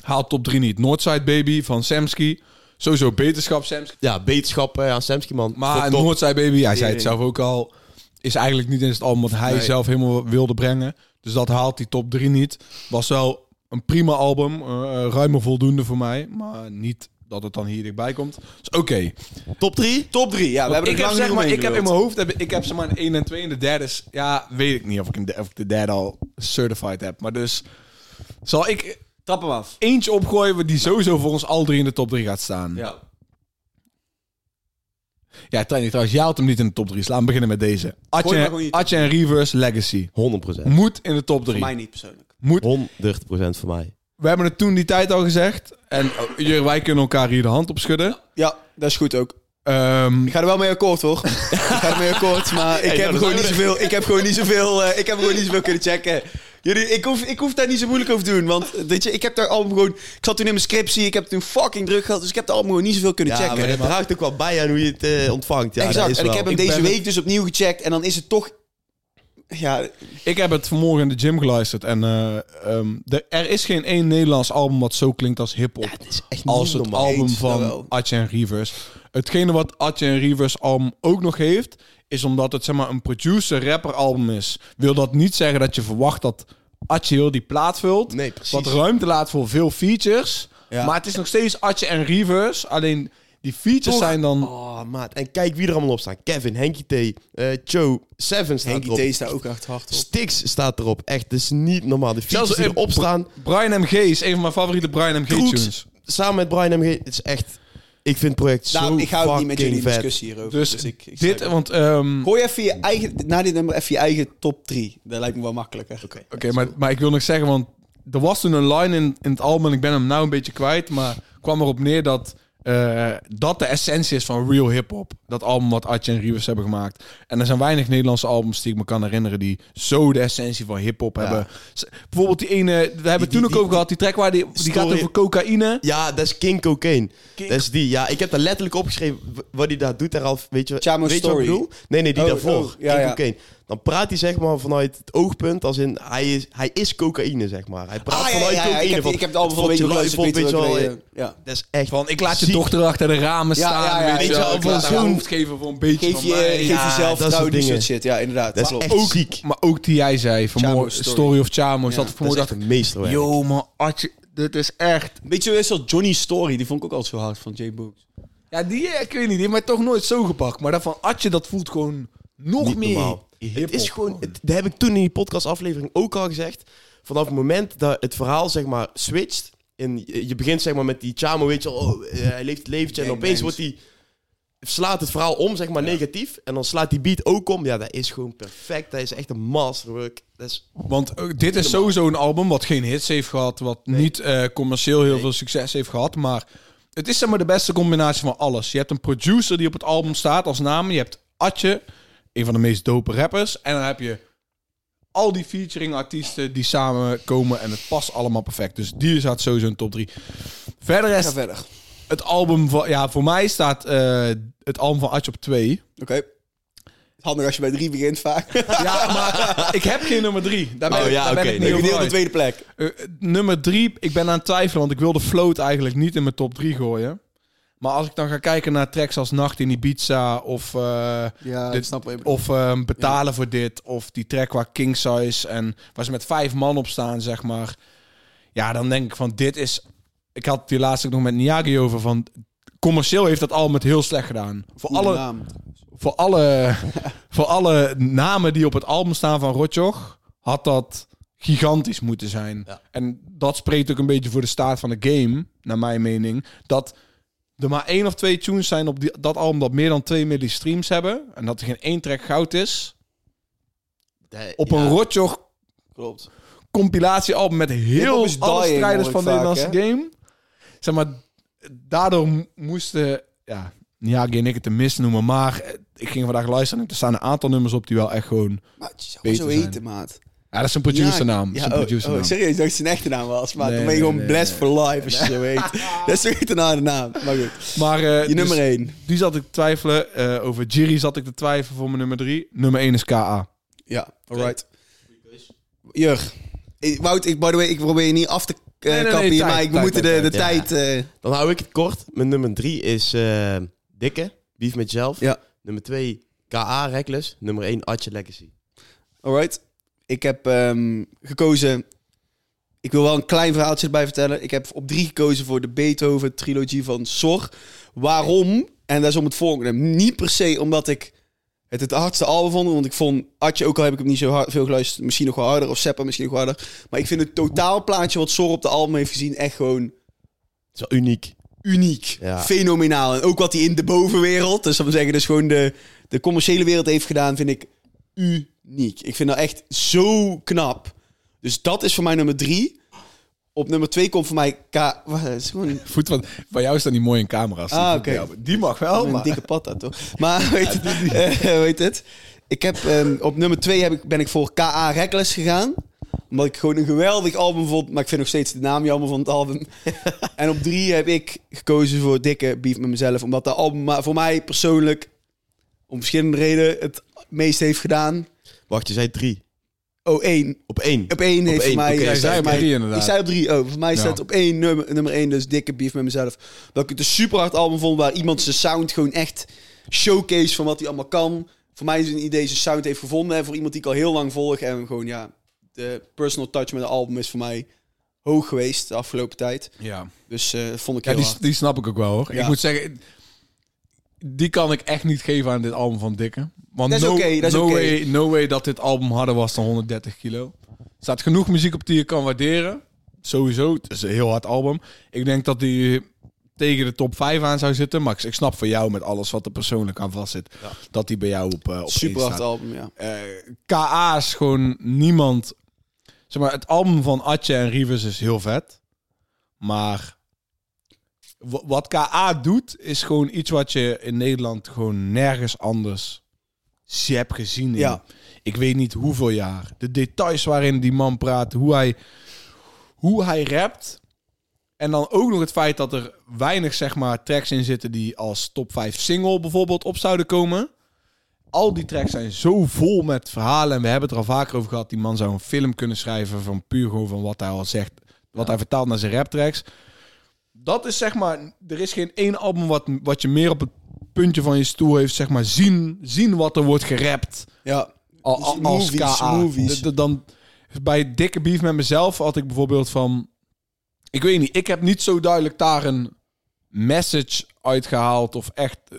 Speaker 1: Haalt top 3 niet. Northside Baby van Samsky. Sowieso beterschap Samsky.
Speaker 3: Ja, wetenschappen aan Semski, man.
Speaker 1: Maar
Speaker 3: Top, top.
Speaker 1: Northside Baby, hij zei het
Speaker 2: Tering.
Speaker 1: zelf ook al, is eigenlijk niet in het album wat hij
Speaker 3: Nee.
Speaker 1: zelf helemaal wilde brengen. Dus dat haalt die top 3 niet. Was wel een prima album. eh, eh, ruim voldoende voor mij. Maar niet dat het dan hier dichtbij komt. Dus oké.
Speaker 3: top 3.
Speaker 2: Top drie, ja. We hebben
Speaker 1: Ik
Speaker 2: er
Speaker 1: heb,
Speaker 2: lang
Speaker 1: zeg
Speaker 2: niet
Speaker 1: maar,
Speaker 2: omheen
Speaker 1: ik heb in
Speaker 2: gewild.
Speaker 1: mijn hoofd, heb, ik heb zeg maar een 1 en 2 en de derde is, ja, weet ik niet of ik, een de- of ik de derde al certified heb. Maar dus, zal ik
Speaker 2: Trap hem af.
Speaker 1: eentje opgooien die sowieso voor ons al drie in de top 3 gaat staan. Ja,
Speaker 2: Ja.
Speaker 1: ja Tiny, trouwens, jij had hem niet in de top 3. Laten we beginnen met deze.
Speaker 2: Gooi maar gewoon
Speaker 1: Atje
Speaker 2: in je top
Speaker 1: Atje en Reverse Legacy.
Speaker 3: 100%.
Speaker 1: Moet in de top
Speaker 2: Voor
Speaker 1: 3.
Speaker 2: mij niet persoonlijk.
Speaker 3: 100% voor mij.
Speaker 1: We hebben het toen die tijd al gezegd. En oh, Jur, wij kunnen elkaar hier de hand op schudden.
Speaker 2: Ja, dat is goed ook.
Speaker 1: Ehm,
Speaker 2: Ik ga er wel mee akkoord, hoor. ik ga er mee akkoord, maar ik, heb
Speaker 3: nou, dat is
Speaker 2: gewoon niet
Speaker 3: nodig.
Speaker 2: zoveel, ik heb gewoon niet zoveel... eh, ik heb gewoon niet zoveel kunnen checken. Jullie, ik hoef, ik hoef daar niet zo moeilijk over te doen, want eh, weet je, ik heb daar allemaal gewoon... Ik zat toen in mijn scriptie, ik heb toen fucking druk gehad, dus ik heb daar allemaal gewoon niet zoveel kunnen
Speaker 3: Ja,
Speaker 2: checken.
Speaker 3: maar dat draagt ook wel bij aan hoe je het eh, ontvangt. Ja, dat
Speaker 2: exact,
Speaker 3: is
Speaker 2: en ik
Speaker 3: wel.
Speaker 2: heb hem
Speaker 1: Ik
Speaker 2: deze
Speaker 1: ben-
Speaker 2: week dus opnieuw gecheckt en dan is het toch... Ja,
Speaker 1: Ik heb het vanmorgen in de gym geluisterd. En eh, ehm, de- er is geen één Nederlands album wat zo klinkt als hip-hop.
Speaker 2: het is echt
Speaker 1: als het
Speaker 3: normaal.
Speaker 1: album
Speaker 2: Eens,
Speaker 1: van
Speaker 2: jawel.
Speaker 1: Atje en Rivers. Hetgene wat Atje en Rivers album ook nog heeft, is omdat het zeg maar een producer-rapper album is. Wil dat niet zeggen dat je verwacht dat Atje heel die plaat vult.
Speaker 3: Nee, precies.
Speaker 1: Wat ruimte laat voor veel features.
Speaker 2: Ja.
Speaker 1: Maar het is nog steeds Atje en Rivers. Alleen die features
Speaker 3: Toch?
Speaker 1: zijn dan...
Speaker 3: Oh, maat. En kijk wie er allemaal op staan. Kevin, Henky T, eh, Cho, Seven staat erop.
Speaker 2: Henkie T staat ook echt hard op.
Speaker 3: Stix staat erop. Echt, dat is niet normaal. De features die
Speaker 1: eh,
Speaker 3: erop staan,
Speaker 1: Brian M.G. is een van mijn favoriete Brian M.G.-tunes.
Speaker 3: Kroeks, samen met Brian MG. Het is echt... Ik vind het project zo
Speaker 2: Nou, ik ga ook niet met jullie in
Speaker 3: fucking vet.
Speaker 2: discussie hierover.
Speaker 1: Dus,
Speaker 2: Dus, ik, ik
Speaker 1: dit,
Speaker 2: sluit-
Speaker 1: want... ehm,
Speaker 2: Gooi even je eigen, na dit nummer even je eigen top 3. Dat lijkt me wel makkelijker. Oké.
Speaker 1: Oké, maar, maar ik wil nog zeggen, want er was toen een line in, in het album en ik ben hem nou een beetje kwijt, maar kwam erop neer dat eh, dat de essentie is van real hip-hop. Dat album wat Atje en Rivers hebben gemaakt. En er zijn weinig Nederlandse albums die ik me kan herinneren die zo de essentie van hip-hop hebben. Z- Bijvoorbeeld die ene, we hebben het toen ook
Speaker 3: die-
Speaker 1: over gehad, die track waar die, die
Speaker 3: Story-
Speaker 1: gaat over cocaïne.
Speaker 3: Ja, dat is King Cocaine.
Speaker 1: King-
Speaker 3: Dat is die. Ja, ik heb daar letterlijk opgeschreven w- wat hij daar doet. Daar al, weet je,
Speaker 2: Chamo's
Speaker 3: weet je wat ik
Speaker 2: Story.
Speaker 3: bedoel? Nee, nee, die
Speaker 2: Oh,
Speaker 3: daarvoor.
Speaker 2: oh, ja,
Speaker 3: King
Speaker 2: ja.
Speaker 3: Cocaine. Dan praat hij zeg maar vanuit het oogpunt als in hij is, hij is cocaïne, zeg maar. Hij praat
Speaker 2: Ah, ja, ja,
Speaker 3: vanuit
Speaker 2: ja, ja,
Speaker 3: cocaïne.
Speaker 2: Ik heb,
Speaker 3: van,
Speaker 2: ik heb het album van een
Speaker 3: wat
Speaker 2: beetje
Speaker 3: lui
Speaker 2: geluisterd.
Speaker 3: vond,
Speaker 2: weet je wel,
Speaker 3: eh,
Speaker 2: eh, Ja.
Speaker 3: Dat is echt
Speaker 1: Van ik laat je
Speaker 3: ziek.
Speaker 1: dochter achter de ramen
Speaker 2: Ja,
Speaker 1: staan.
Speaker 2: ja, ja,
Speaker 1: weet je wel,
Speaker 2: ik laat
Speaker 1: van
Speaker 2: haar
Speaker 1: zo'n
Speaker 2: hoofd
Speaker 1: geven voor een beetje
Speaker 2: Geef je, geef
Speaker 3: Ja,
Speaker 2: jezelf
Speaker 3: dat
Speaker 2: vertrouwen,
Speaker 3: soort
Speaker 2: die eh, soort
Speaker 3: dingen.
Speaker 2: shit. Ja, inderdaad.
Speaker 3: Dat is
Speaker 2: klopt.
Speaker 3: echt
Speaker 1: ook,
Speaker 3: ziek.
Speaker 1: Maar ook die jij zei, vanmorgen,
Speaker 2: Chamo's
Speaker 1: story.
Speaker 2: Story.
Speaker 1: of Chamo,
Speaker 2: Ja,
Speaker 1: zat
Speaker 2: dat
Speaker 3: Dat is
Speaker 1: vanmorgen
Speaker 3: echt
Speaker 1: dacht ik,
Speaker 3: een meesterwerk.
Speaker 1: yo man, Atje, dit is echt
Speaker 2: Weet je, wel, is dat Johnny Story, die vond ik ook altijd zo hard van J. Books.
Speaker 1: Ja, die, eh, ik weet niet, die heeft mij toch nooit zo gepakt. Maar dat van Atje, dat voelt gewoon nog
Speaker 3: Niet
Speaker 1: meer.
Speaker 3: normaal.
Speaker 1: hiphop.
Speaker 3: Het is gewoon, het- dat heb ik toen in die podcastaflevering ook al gezegd. Vanaf het moment dat het verhaal zeg maar switcht. En je je begint zeg maar met die Chamo, weet je wel, oh, eh, hij leeft het leventje. En
Speaker 2: Gangbangs.
Speaker 3: opeens wordt die, slaat het verhaal om, zeg maar negatief. En dan slaat die beat ook om. Ja, dat is gewoon perfect. Dat is echt een masterwork. Dat is,
Speaker 1: Want eh, dit is sowieso een album wat geen hits heeft gehad. Wat niet eh, commercieel heel veel succes heeft gehad. Maar het is zeg maar de beste combinatie van alles. Je hebt een producer die op het album staat als naam. Je hebt Atje, een van de meest dope rappers. En dan heb je al die featuring artiesten die samenkomen. En het past allemaal perfect. Dus die staat sowieso in top 3. Verder
Speaker 2: Ga
Speaker 1: is
Speaker 2: verder. Oké.
Speaker 1: het album van... Ja, voor mij staat eh, het album van Atje op 2.
Speaker 2: Handig als je bij drie begint vaak.
Speaker 1: Ja, maar ik heb geen nummer drie. Daar ben,
Speaker 3: Oh
Speaker 1: ik-
Speaker 3: ja,
Speaker 1: daar ben
Speaker 3: oké,
Speaker 1: ik
Speaker 3: nee.
Speaker 1: niet
Speaker 2: Ik
Speaker 1: over
Speaker 2: deel de
Speaker 1: uit.
Speaker 2: tweede plek.
Speaker 1: Eh, eh, nummer drie, ik ben aan het twijfelen, want ik wil de float eigenlijk niet in mijn top drie gooien. Maar als ik dan ga kijken naar tracks als Nacht in Ibiza of, eh,
Speaker 2: Ja,
Speaker 1: Dit-
Speaker 2: snap ik.
Speaker 1: of eh, Betalen voor dit, of die track waar King Size en waar ze met vijf man op staan, zeg maar. Ja, dan denk ik van dit is... Ik had het hier laatst ook nog met Niagi over van... Commercieel heeft dat al met heel slecht gedaan. Voor alle, voor alle, voor alle namen die op het album staan van Rotjoch, had dat gigantisch moeten zijn.
Speaker 3: Ja.
Speaker 1: En dat spreekt ook een beetje voor de staat van de game, naar mijn mening. Dat er maar één of twee tunes zijn op die, dat album dat meer dan 2 miljoen streams hebben. En dat er geen één track goud is. Op een Rotjoch
Speaker 2: Klopt.
Speaker 1: compilatiealbum met heel
Speaker 2: Hip-hop is
Speaker 1: alle
Speaker 2: dying,
Speaker 1: strijders
Speaker 2: hoor
Speaker 1: van
Speaker 2: ik
Speaker 1: de
Speaker 2: vaak,
Speaker 1: Nederlandse game. Zeg maar, daardoor m- moesten... Ja, ja, ik en ik het te mis noemen, maar eh, ik ging vandaag luisteren en er staan een aantal nummers op die wel echt gewoon...
Speaker 2: Maar het zou
Speaker 1: Beter
Speaker 2: zo
Speaker 1: zijn.
Speaker 2: heten, maat.
Speaker 1: Ja, dat is een producernaam. dat
Speaker 2: Ja,
Speaker 1: is
Speaker 2: ja,
Speaker 1: een
Speaker 2: oh,
Speaker 1: producernaam.
Speaker 2: oh, serieus, ik dacht dat zijn echte naam was. Maar
Speaker 1: Nee,
Speaker 2: dan ben je
Speaker 1: nee,
Speaker 2: gewoon
Speaker 1: nee,
Speaker 2: blessed for life als je zo heet. dat is toch niet een harde naam. Maar goed,
Speaker 1: Maar eh,
Speaker 2: je
Speaker 1: dus
Speaker 2: nummer 1.
Speaker 1: die zat ik te twijfelen. eh, over Jiri zat ik te twijfelen voor mijn nummer 3. Nummer 1 is KA.
Speaker 2: Ja, alright. Jurg. Ik- Wout, ik, by the way, ik probeer je niet af te eh,
Speaker 1: nee,
Speaker 2: kappen
Speaker 1: nee,
Speaker 2: hier,
Speaker 1: tijd,
Speaker 2: maar ik, we
Speaker 1: tijd,
Speaker 2: moeten
Speaker 1: tijd,
Speaker 2: de, de
Speaker 3: tijd.
Speaker 2: tijd... eh,
Speaker 3: Dan hou ik het kort. Mijn nummer drie is eh, Dikke, Beef met Zelf.
Speaker 2: Ja.
Speaker 3: Nummer twee, K.A. Reckless. Nummer één, Atje Legacy.
Speaker 2: eh, Alright. Ik heb ehm, gekozen. Ik wil wel een klein verhaaltje erbij vertellen. Ik heb op drie gekozen voor de Beethoven-trilogie van Sor. Waarom? En dat is om het volgende. Niet per se omdat ik het het hardste album vond. Want ik vond Atje, ook al heb ik hem niet zo hard, veel geluisterd, misschien nog wel harder. Of Seppa misschien nog wel harder. Maar ik vind het totaalplaatje wat Sor op de album heeft gezien echt gewoon
Speaker 3: Dat is wel uniek.
Speaker 2: uniek.
Speaker 3: Ja.
Speaker 2: Fenomenaal. En ook wat hij in de bovenwereld, dus dat wil zeggen, dus gewoon de, de commerciële wereld heeft gedaan, vind ik uniek. Ik vind dat echt zo knap. Dus dat is voor mij nummer drie. Op nummer twee komt voor mij K. Wat, het is gewoon
Speaker 1: Voet, want bij jou staat niet mooi in camera's.
Speaker 2: Ah,
Speaker 1: Die-
Speaker 2: oké.
Speaker 1: ja, Die mag wel,
Speaker 2: een
Speaker 1: Oh, maar...
Speaker 2: dikke pad daar, toch? Maar weet, eh, weet het? Ik heb, ehm, op nummer twee heb ik, ben ik voor K.A. Reckless gegaan. Omdat ik gewoon een geweldig album vond. Maar ik vind nog steeds de naam jammer van het album. en op drie heb ik gekozen voor Dikke Beef met mezelf. Omdat dat album maar voor mij persoonlijk, om verschillende redenen, het meest heeft gedaan.
Speaker 3: Wacht, je zei drie.
Speaker 2: Oh, één.
Speaker 3: Op één.
Speaker 2: Op één heeft
Speaker 3: één,
Speaker 2: voor mij...
Speaker 3: oké.
Speaker 1: Jij
Speaker 2: staat
Speaker 1: zei op
Speaker 2: voor mij-
Speaker 1: drie inderdaad.
Speaker 2: Ik zei op drie. Oh, voor mij
Speaker 1: Ja.
Speaker 2: staat op één nummer, nummer één dus Dikke Beef met mezelf. Dat ik het een super hard album vond waar iemand zijn sound gewoon echt showcase van wat hij allemaal kan. Voor mij is het een idee zijn sound heeft gevonden. En voor iemand die ik al heel lang volg en gewoon ja, de personal touch met het album is voor mij hoog geweest de afgelopen tijd.
Speaker 1: Ja.
Speaker 2: Dus eh, dat vond ik
Speaker 1: Ja,
Speaker 2: heel
Speaker 1: die,
Speaker 2: hard.
Speaker 1: die snap ik ook wel hoor.
Speaker 2: Ja.
Speaker 1: Ik moet zeggen, die kan ik echt niet geven aan dit album van Dikke. Want
Speaker 2: Dat is
Speaker 1: no,
Speaker 2: oké, dat is
Speaker 1: no,
Speaker 2: oké.
Speaker 1: way, no way dat dit album harder was dan 130 kilo. Er staat genoeg muziek op die je kan waarderen. Sowieso, het is een heel hard album. Ik denk dat die tegen de top 5 aan zou zitten. Max, ik snap van jou met alles wat er persoonlijk aan vast zit, dat die bij jou op, eh, op één
Speaker 2: Super hard
Speaker 1: staat.
Speaker 2: album, ja.
Speaker 1: Eh, KA is gewoon niemand. Zeg maar, het album van Atje en Rivers is heel vet. Maar wa- wat KA doet, is gewoon iets wat je in Nederland gewoon nergens anders ze- hebt gezien. in,
Speaker 2: Ja.
Speaker 1: Ik weet niet hoeveel jaar. De details waarin die man praat, hoe hij, hoe hij rapt. En dan ook nog het feit dat er weinig zeg maar, tracks in zitten die als top 5 single bijvoorbeeld op zouden komen. Al die tracks zijn zo vol met verhalen. En we hebben het er al vaker over gehad. Die man zou een film kunnen schrijven van puur gewoon van wat hij al zegt. Wat hij vertaalt naar zijn raptracks. Dat is zeg maar... Er is geen één album wat, wat je meer op het puntje van je stoel heeft. Zeg maar zien, zien wat er wordt gerapt.
Speaker 2: Ja,
Speaker 1: Al- al- als
Speaker 2: Dus Movies,
Speaker 1: KA.
Speaker 2: movies.
Speaker 1: D- d- Dan, bij dikke beef met mezelf had ik bijvoorbeeld van... Ik weet niet, ik heb niet zo duidelijk daar een message uitgehaald. Of echt... eh,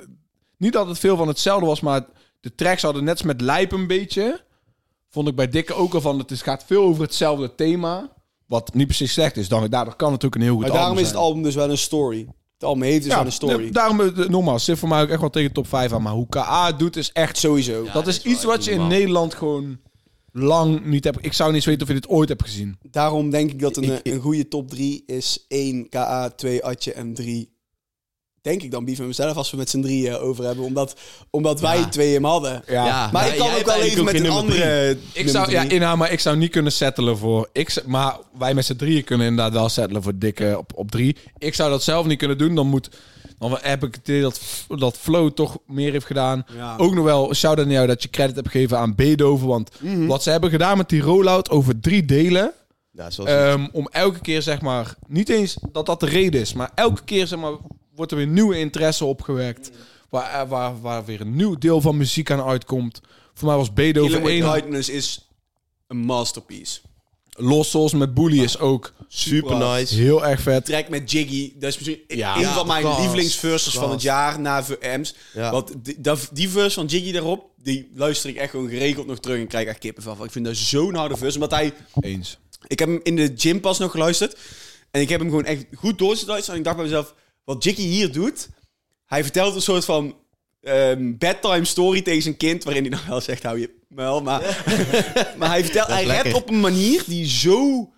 Speaker 1: Niet dat het veel van hetzelfde was, maar de tracks hadden net als met Lijp een beetje. Vond ik bij Dikke ook al van, het is- gaat veel over hetzelfde thema. Wat niet precies slecht is. Dan, daardoor kan het ook een heel goed
Speaker 2: maar daarom
Speaker 1: album
Speaker 2: is het
Speaker 1: zijn.
Speaker 2: album dus wel een story. Het album heeft dus wel een story.
Speaker 1: d- Daarom, eh, nogmaals, zit voor mij ook echt wel tegen de top 5 aan. Maar hoe KA het doet is echt
Speaker 2: Sowieso.
Speaker 1: dat is iets wat je in Nederland gewoon lang niet hebt. Ik zou niet eens weten of je dit ooit hebt gezien.
Speaker 2: Daarom denk ik dat een, eh, een goede top 3 is 1 KA, 2 Atje en 3. Denk ik dan Bief en mezelf als we met z'n drieën over hebben. Omdat, omdat wij twee hem hadden.
Speaker 3: Ja.
Speaker 2: Maar
Speaker 3: Ja,
Speaker 2: ik kan
Speaker 3: jij
Speaker 2: ook wel
Speaker 3: hebt
Speaker 2: even met een
Speaker 3: eigenlijk ook geen nummer
Speaker 2: andere.
Speaker 1: Ik zou, ja,
Speaker 2: nummer
Speaker 1: inhoud, maar ik zou niet kunnen settelen voor. Ik, z- maar wij met z'n drieën kunnen inderdaad wel settelen voor dikke op, op drie. Ik zou dat zelf niet kunnen doen. Dan moet. Dan heb ik het idee dat, f- dat Flow toch meer heeft gedaan.
Speaker 2: Ja.
Speaker 1: Ook nog wel, shout out naar jou dat je credit hebt gegeven aan Beethoven. Want wat ze hebben gedaan met die rollout over drie delen.
Speaker 3: Nou, zoals
Speaker 1: Ehm, om elke keer, zeg maar, niet eens dat dat de reden is, maar elke keer, zeg maar, wordt er weer nieuwe interesse opgewekt. Waar, eh, waar, waar weer een nieuw deel van muziek aan uitkomt. Voor mij was
Speaker 2: drie.
Speaker 1: Beethoven
Speaker 2: Killing With
Speaker 1: 1.
Speaker 2: Kindness is een masterpiece.
Speaker 1: Los Souls met Bully is ook
Speaker 3: super nice.
Speaker 1: heel erg vet.
Speaker 2: Track met Jiggy. Dat is misschien
Speaker 1: Ja.
Speaker 2: een
Speaker 1: Ja,
Speaker 2: van mijn
Speaker 3: klas,
Speaker 2: lievelingsverses van
Speaker 3: klas.
Speaker 2: het jaar na VM's.
Speaker 3: Ja.
Speaker 2: Want die, dat- die verse van Jiggy daarop, die luister ik echt gewoon geregeld nog terug en krijg echt kippenvel. van. Ik vind dat zo'n harde verse. Omdat hij
Speaker 1: Eens.
Speaker 2: Ik heb hem in de gym pas nog geluisterd. En ik heb hem gewoon echt goed doorgeluisterd. En ik dacht bij mezelf, wat Jicky hier doet... Hij vertelt een soort van ehm, bedtime story tegen zijn kind... waarin hij dan wel zegt, hou je muil. Maar, maar hij, vertelt, hij
Speaker 3: lekker.
Speaker 2: redt op een manier die zo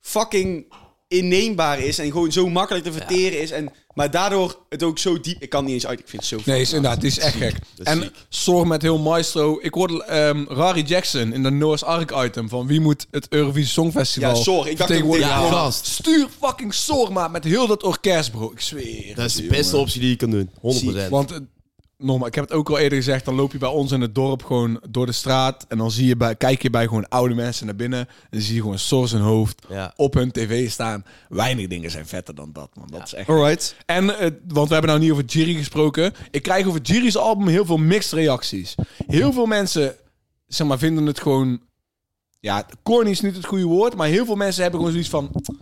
Speaker 2: fucking inneembaar is en gewoon zo makkelijk te verteren is. En, maar daardoor het ook zo diep... Ik kan niet eens uit, ik vind het zo...
Speaker 1: Nee, is inderdaad, het is echt gek.
Speaker 3: Dat is
Speaker 1: En
Speaker 3: ziek.
Speaker 1: zorg met heel maestro. Ik hoorde ehm Rari Jackson in de Noah's Ark item van wie moet het Eurovisie Songfestival.
Speaker 2: Ja, Zorg. Ik dacht ook
Speaker 1: vertegenwoordigen.
Speaker 2: tegen-
Speaker 1: Gewoon
Speaker 3: Ja, gast.
Speaker 1: Stuur fucking Zorg maar met heel dat orkest, bro. Ik zweer.
Speaker 3: Dat is de
Speaker 1: Jongen.
Speaker 3: beste optie die je kan doen. 100%.
Speaker 1: Want, eh, nogmaals, ik heb het ook al eerder gezegd, dan loop je bij ons in het dorp gewoon door de straat. En dan zie je bij, kijk je bij gewoon oude mensen naar binnen. En dan zie je gewoon Source hun hoofd
Speaker 3: Ja.
Speaker 1: op hun tv staan. Weinig dingen zijn vetter dan dat, man. Dat is echt...
Speaker 3: Alright.
Speaker 1: En, eh, want we hebben nou niet over Jiri gesproken. Ik krijg over Jiri's album heel veel mixed reacties. Heel veel mensen, zeg maar, vinden het gewoon... Ja, corny is niet het goede woord, maar heel veel mensen hebben gewoon zoiets van...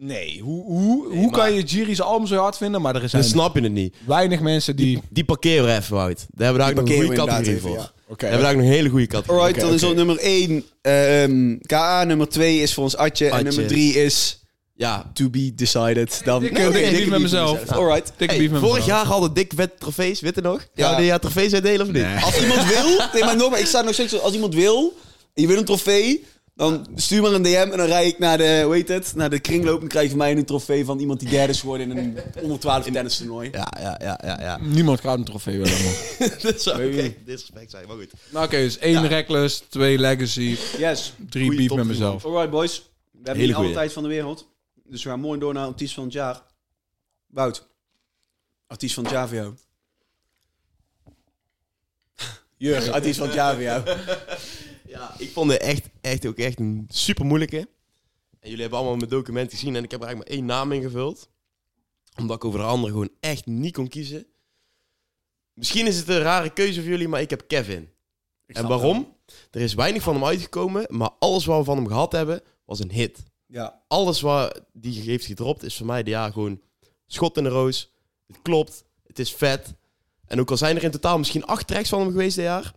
Speaker 1: Nee, hoe, hoe, hoe
Speaker 3: maar-
Speaker 1: kan je Jiri's album zo hard vinden? Maar er
Speaker 3: Dan
Speaker 1: zijn
Speaker 3: snap je het niet.
Speaker 1: weinig mensen die...
Speaker 3: Die parkeren we even, Wout. Daar hebben we daar ook nog
Speaker 2: parkeren
Speaker 3: een goede
Speaker 2: we
Speaker 3: categorie voor.
Speaker 2: inderdaad even,
Speaker 1: Oké,
Speaker 3: Daar hebben we daar ook nog een hele goede categorie
Speaker 2: Alright,
Speaker 1: Oké,
Speaker 2: dan is
Speaker 1: oké.
Speaker 2: op nummer 1 ehm KA, nummer 2 is voor ons Atje, en
Speaker 3: Atje.
Speaker 2: nummer 3 is
Speaker 3: Ja.
Speaker 2: To Be Decided. Dan
Speaker 1: dikke- dikke beef met mezelf.
Speaker 2: Alright.
Speaker 1: Dikke
Speaker 3: Hey,
Speaker 1: beef met
Speaker 3: vorig
Speaker 1: mezelf.
Speaker 3: jaar hadden dik wet trofees, weet je nog?
Speaker 2: Ja.
Speaker 3: Ja. die jaar trofees uitdelen of niet?
Speaker 2: Als iemand wil, nee maar nogmaals, ik sta nog steeds, als iemand wil, en je wil een trofee, dan stuur maar een DM en dan rijd ik naar de, hoe heet het, naar de kringloop en dan krijg je van mij een trofee van iemand die derde is geworden in een onder 12 tennis toernooi.
Speaker 3: Ja, ja, ja, ja. ja.
Speaker 1: Niemand gaat een trofee willen, man.
Speaker 3: dat zou ook echt disrespect zijn, maar goed.
Speaker 1: nou, oké, dus één Reckless, twee Legacy,
Speaker 2: Yes.
Speaker 1: drie
Speaker 3: Goeie
Speaker 1: beef
Speaker 3: top
Speaker 1: met
Speaker 3: drie,
Speaker 1: mezelf.
Speaker 2: Alright boys, we hebben
Speaker 3: Hele
Speaker 2: niet alle
Speaker 3: goeie.
Speaker 2: tijd van de wereld, dus we gaan mooi door naar artiest van het jaar. Wout, artiest van het jaar voor jou. Jurgen, artiest van het jaar voor jou.
Speaker 3: Ja, ik vond het echt, echt ook echt een super moeilijke. En jullie hebben allemaal mijn document gezien en ik heb er eigenlijk maar één naam ingevuld. Omdat ik over de andere gewoon echt niet kon kiezen. Misschien is het een rare keuze voor jullie, maar ik heb Kevin. En
Speaker 2: snap
Speaker 3: waarom? Er is weinig van hem uitgekomen, maar alles wat we van hem gehad hebben, was een hit.
Speaker 2: Ja,
Speaker 3: alles wat die heeft gedropt is voor mij de jaar gewoon schot in de roos. Het klopt, het is vet. En ook al zijn er in totaal misschien acht tracks van hem geweest dit jaar.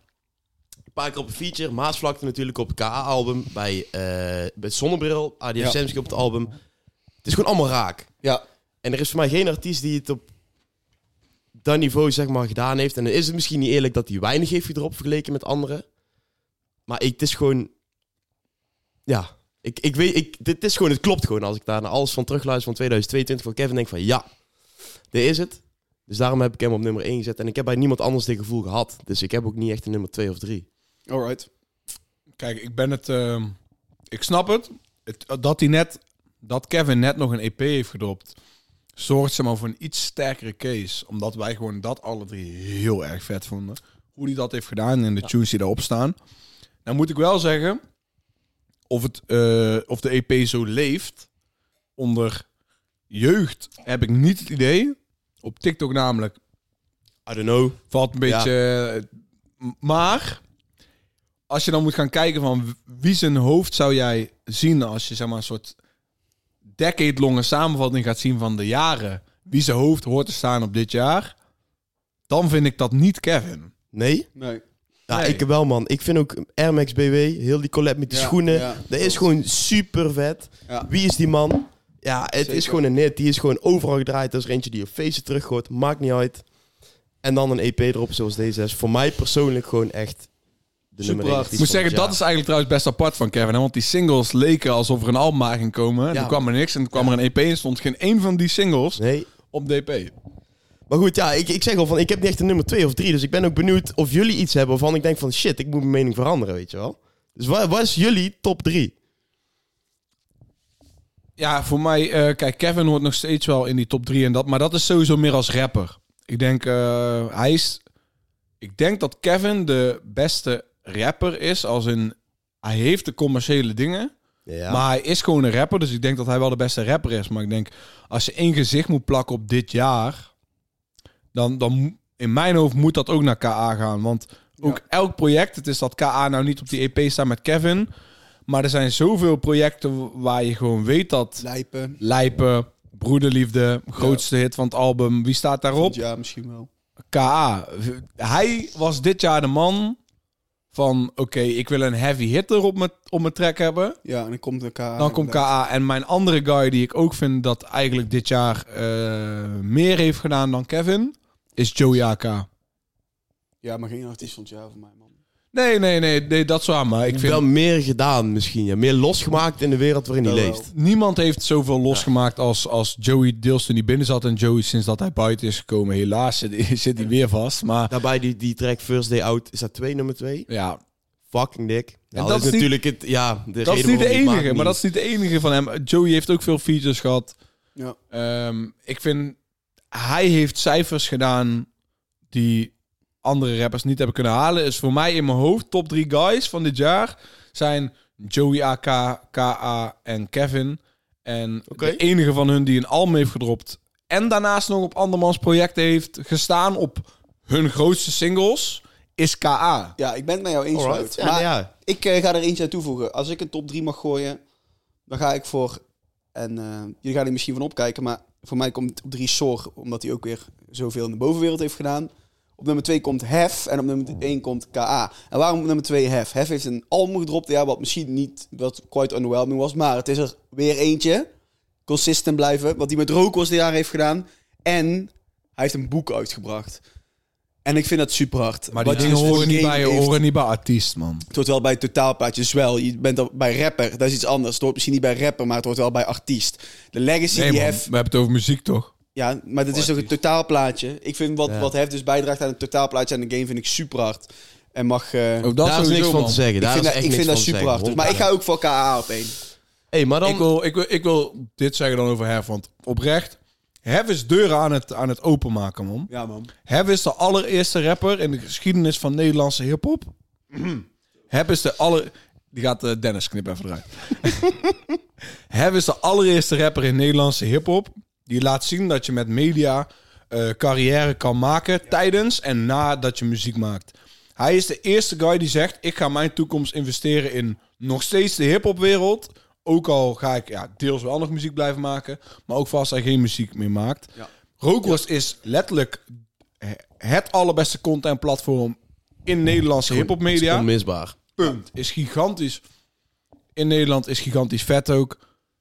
Speaker 3: Een paar keer op een feature, Maasvlakte natuurlijk op het KA-album, bij, eh bij Zonnebril, ADF
Speaker 2: Ja.
Speaker 3: Samsky op het album. Het is gewoon allemaal raak.
Speaker 2: ja.
Speaker 3: En er is voor mij geen artiest die het op dat niveau zeg maar gedaan heeft. En dan is het misschien niet eerlijk dat hij weinig heeft gedropt vergeleken met anderen. Maar ik, het is gewoon... Ja, ik, ik weet... Ik, dit is gewoon... Het klopt gewoon als ik daar naar alles van terugluister van 2022 van Kevin. denk van ja, dit is het. Dus daarom heb ik hem op nummer 1 gezet. En ik heb bij niemand anders dit gevoel gehad. Dus ik heb ook niet echt een nummer 2 of 3.
Speaker 2: alright.
Speaker 1: Kijk, ik ben het... ehm, ik snap het, het. Dat hij net... Dat Kevin net nog een EP heeft gedropt... zorgt ze maar voor een iets sterkere case. Omdat wij gewoon dat alle drie heel erg vet vonden. Hoe hij dat heeft gedaan en de tunes die daarop staan. Nou moet ik wel zeggen... Of, het, eh, of de EP zo leeft... onder jeugd heb ik niet het idee. Op TikTok namelijk
Speaker 3: I don't know.
Speaker 1: valt een
Speaker 3: Ja.
Speaker 1: beetje. eh, m- Maar als je dan moet gaan kijken van w- wie zijn hoofd zou jij zien als je zeg maar een soort decade-longe samenvatting gaat zien van de jaren, wie zijn hoofd hoort te staan op dit jaar, dan vind ik dat niet Kevin.
Speaker 3: Nee?
Speaker 2: Nee.
Speaker 3: Ja,
Speaker 1: Nee.
Speaker 3: ik wel man. Ik vind ook Air Max BW, heel die collab met die
Speaker 2: Ja,
Speaker 3: schoenen.
Speaker 2: ja.
Speaker 3: dat is gewoon super vet.
Speaker 2: Ja.
Speaker 3: Wie is die man? Ja, het
Speaker 2: Zeker.
Speaker 3: is gewoon een hit. Die is gewoon overal gedraaid. Er is er eentje die op feesten terughoort. Maakt niet uit. En dan een EP erop zoals deze is. Voor mij persoonlijk gewoon echt de
Speaker 2: Super
Speaker 3: nummer één
Speaker 2: hard.
Speaker 1: Ik
Speaker 3: artiest
Speaker 1: moet
Speaker 3: van
Speaker 1: zeggen,
Speaker 3: het
Speaker 1: dat is eigenlijk trouwens best apart van Kevin. Hè? Want die singles leken alsof er een album aan ging komen. En
Speaker 3: Ja.
Speaker 1: toen kwam er niks en toen kwam er een EP en stond geen één van die singles
Speaker 3: jaar. Nee.
Speaker 1: op DP.
Speaker 3: Maar goed, ja, ik, ik zeg al van, ik heb niet echt een nummer twee of drie. Dus ik ben ook benieuwd of jullie iets hebben waarvan ik denk van, shit, ik moet mijn mening veranderen, weet je wel. Dus wat, wat is jullie top drie?
Speaker 1: Ja, voor mij, eh, kijk, Kevin hoort nog steeds wel in die top 3 en dat, maar dat is sowieso meer als rapper. Ik denk, eh, hij is. Ik denk dat Kevin de beste rapper is, als in hij heeft de commerciële dingen,
Speaker 3: Ja.
Speaker 1: maar hij is gewoon een rapper, dus ik denk dat hij wel de beste rapper is. Maar ik denk, als je één gezicht moet plakken op dit jaar, dan, dan mo- in mijn hoofd moet dat ook naar KA gaan, want ook elk project, het is dat KA nou niet op die EP staat met Kevin, maar er zijn zoveel projecten waar je gewoon weet dat
Speaker 2: Lijpen.
Speaker 1: Lijpen, Broederliefde, grootste hit van het album. Wie staat daarop?
Speaker 2: Ja, misschien wel.
Speaker 1: K.A. Hij was dit jaar de man van... Oké, ik wil een heavy hitter op mijn, op mijn track hebben.
Speaker 2: Ja, en dan komt elkaar.
Speaker 1: Dan komt K.A. En mijn andere guy die ik ook vind dat eigenlijk dit jaar eh, meer heeft gedaan dan Kevin... is Joey A.K.
Speaker 2: Ja, maar geen artiest van het jaar voor mij, man.
Speaker 1: Nee, nee, nee, nee, dat is waar. Maar ik vind
Speaker 3: Wel meer gedaan misschien, ja. Meer losgemaakt in de wereld waarin hij
Speaker 2: Dat wel.
Speaker 3: leeft.
Speaker 1: Niemand heeft zoveel losgemaakt als, als Joey deels toen hij binnen zat. En Joey sinds dat hij buiten is gekomen. Helaas zit, zit hij weer vast. Maar
Speaker 3: Daarbij die, die track First Day Out, is dat twee nummer twee?
Speaker 1: ja,
Speaker 3: Fucking dik. Ja,
Speaker 1: En
Speaker 3: dat,
Speaker 1: dat
Speaker 3: is
Speaker 1: is niet-
Speaker 3: natuurlijk het, ja, de
Speaker 1: dat is
Speaker 3: reden
Speaker 1: niet de
Speaker 3: waarom ik maak
Speaker 1: enige. Maar
Speaker 3: niet.
Speaker 1: dat is niet de enige van hem. Joey heeft ook veel features gehad.
Speaker 2: Ja.
Speaker 1: Ehm, ik vind, hij heeft cijfers gedaan die andere rappers niet hebben kunnen halen. Is voor mij in mijn hoofd top drie guys van dit jaar zijn Joey AK, KA en Kevin. En
Speaker 3: Oké.
Speaker 1: de enige van hun die een album heeft gedropt en daarnaast nog op andermans projecten heeft gestaan op hun grootste singles is KA.
Speaker 2: Ja, ik ben het met jou eens.
Speaker 3: Alright.
Speaker 2: Wout.
Speaker 3: Ja,
Speaker 2: maar
Speaker 3: nou ja.
Speaker 2: ik eh, ga er eentje aan toevoegen. Als ik een top 3 mag gooien, dan ga ik voor... En eh, jullie gaan er misschien van opkijken, maar voor mij komt op 3 Sor, omdat hij ook weer zoveel in de bovenwereld heeft gedaan. Op nummer 2 komt Hef en op nummer 1 komt KA. En waarom op nummer 2 Hef? Hef heeft een album gedropt, ja, wat misschien niet wat quite underwhelming was, maar het is er weer eentje. Consistent blijven, wat hij met Rokos dit jaar heeft gedaan. En hij heeft een boek uitgebracht. En ik vind dat super hard.
Speaker 1: Maar die
Speaker 2: Wat je
Speaker 1: dingen
Speaker 2: dus voor
Speaker 1: horen niet
Speaker 2: game
Speaker 1: bij,
Speaker 2: heeft-
Speaker 1: horen niet bij artiest, man.
Speaker 2: het hoort wel bij totaalplaatje. Dus wel, je bent al bij rapper. Dat is iets anders. Het hoort misschien niet bij rapper, maar het hoort wel bij artiest. De legacy
Speaker 1: Nee,
Speaker 2: die
Speaker 1: man. We
Speaker 2: Hef...
Speaker 1: hebben het over muziek, toch?
Speaker 2: Ja, maar dat is toch een totaalplaatje. Ik vind wat,
Speaker 3: Ja.
Speaker 2: wat Hef dus bijdraagt aan het totaalplaatje aan de game, vind ik super hard. En mag... eh,
Speaker 1: Ook
Speaker 3: Oh, Daar
Speaker 1: Oh,
Speaker 3: is niks
Speaker 1: sowieso,
Speaker 3: van
Speaker 1: man.
Speaker 3: te zeggen.
Speaker 2: ik
Speaker 3: Daar
Speaker 2: vind
Speaker 3: is
Speaker 2: dat,
Speaker 3: echt
Speaker 2: ik vind
Speaker 3: niks
Speaker 2: dat
Speaker 3: van te
Speaker 2: super
Speaker 3: zeggen.
Speaker 2: hard. Maar ik ga ook voor KA op één.
Speaker 3: Hey, maar dan...
Speaker 1: Ik wil, ik, wil, ik wil dit zeggen dan over Hef, want oprecht... Hef is deuren aan het, aan het openmaken, man.
Speaker 2: Ja, man.
Speaker 1: Hef is de allereerste rapper in de geschiedenis van Nederlandse hiphop. Hef is de aller... Die gaat eh, Dennis knip even eruit. Hef is de allereerste rapper in Nederlandse hiphop. Die laat zien dat je met media eh, carrière kan maken tijdens en nadat je muziek maakt. Hij is de eerste guy die zegt: ik ga mijn toekomst investeren in nog steeds de hiphopwereld. Ook al ga ik ja, deels wel nog muziek blijven maken, maar ook vast hij geen muziek meer maakt.
Speaker 2: Ja.
Speaker 1: Rookworst is letterlijk eh, het allerbeste contentplatform in Nederlandse hiphop
Speaker 3: Het is
Speaker 1: media.
Speaker 3: onmisbaar.
Speaker 1: Punt. Is gigantisch. In Nederland is gigantisch vet ook.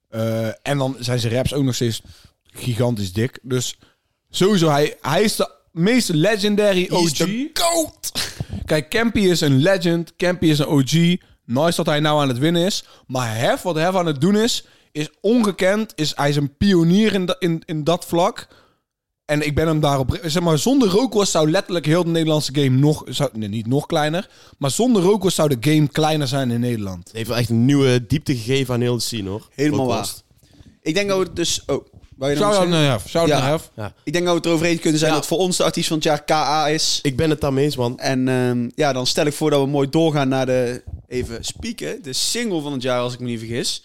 Speaker 1: Eh, en dan zijn zijn raps ook nog steeds gigantisch dik. Dus sowieso, hij, hij is de meest legendary
Speaker 2: Hij is
Speaker 1: OG. Kijk, Campy is een legend. Campy is een OG. Nice dat hij nou aan het winnen is. Maar Hef, wat Hef aan het doen is, is ongekend. Is, hij is een pionier in, da- in, in dat vlak. En ik ben hem daarop... Zeg maar, zonder Rookworst zou letterlijk heel de Nederlandse game nog... Zou, nee, niet nog kleiner. Maar zonder Rookworst zou de game kleiner zijn in Nederland.
Speaker 3: Het heeft wel echt een nieuwe diepte gegeven aan heel de scene, hoor.
Speaker 2: Helemaal
Speaker 3: Ook
Speaker 2: waar.
Speaker 3: was.
Speaker 2: Ik denk dat we het dus... Oh, wou
Speaker 1: Shout
Speaker 2: je nog iets
Speaker 1: out
Speaker 2: zeggen?
Speaker 1: naar Hef. Shout out
Speaker 2: Ja.
Speaker 1: naar Hef.
Speaker 2: Ik denk dat we het erover eens kunnen zijn
Speaker 3: Ja.
Speaker 2: dat voor ons de artiest van het jaar KA is.
Speaker 3: Ik ben het daarmee eens, man.
Speaker 2: En ehm, ja, dan stel ik voor dat we mooi doorgaan naar de, even spieken, de single van het jaar, als ik me niet vergis.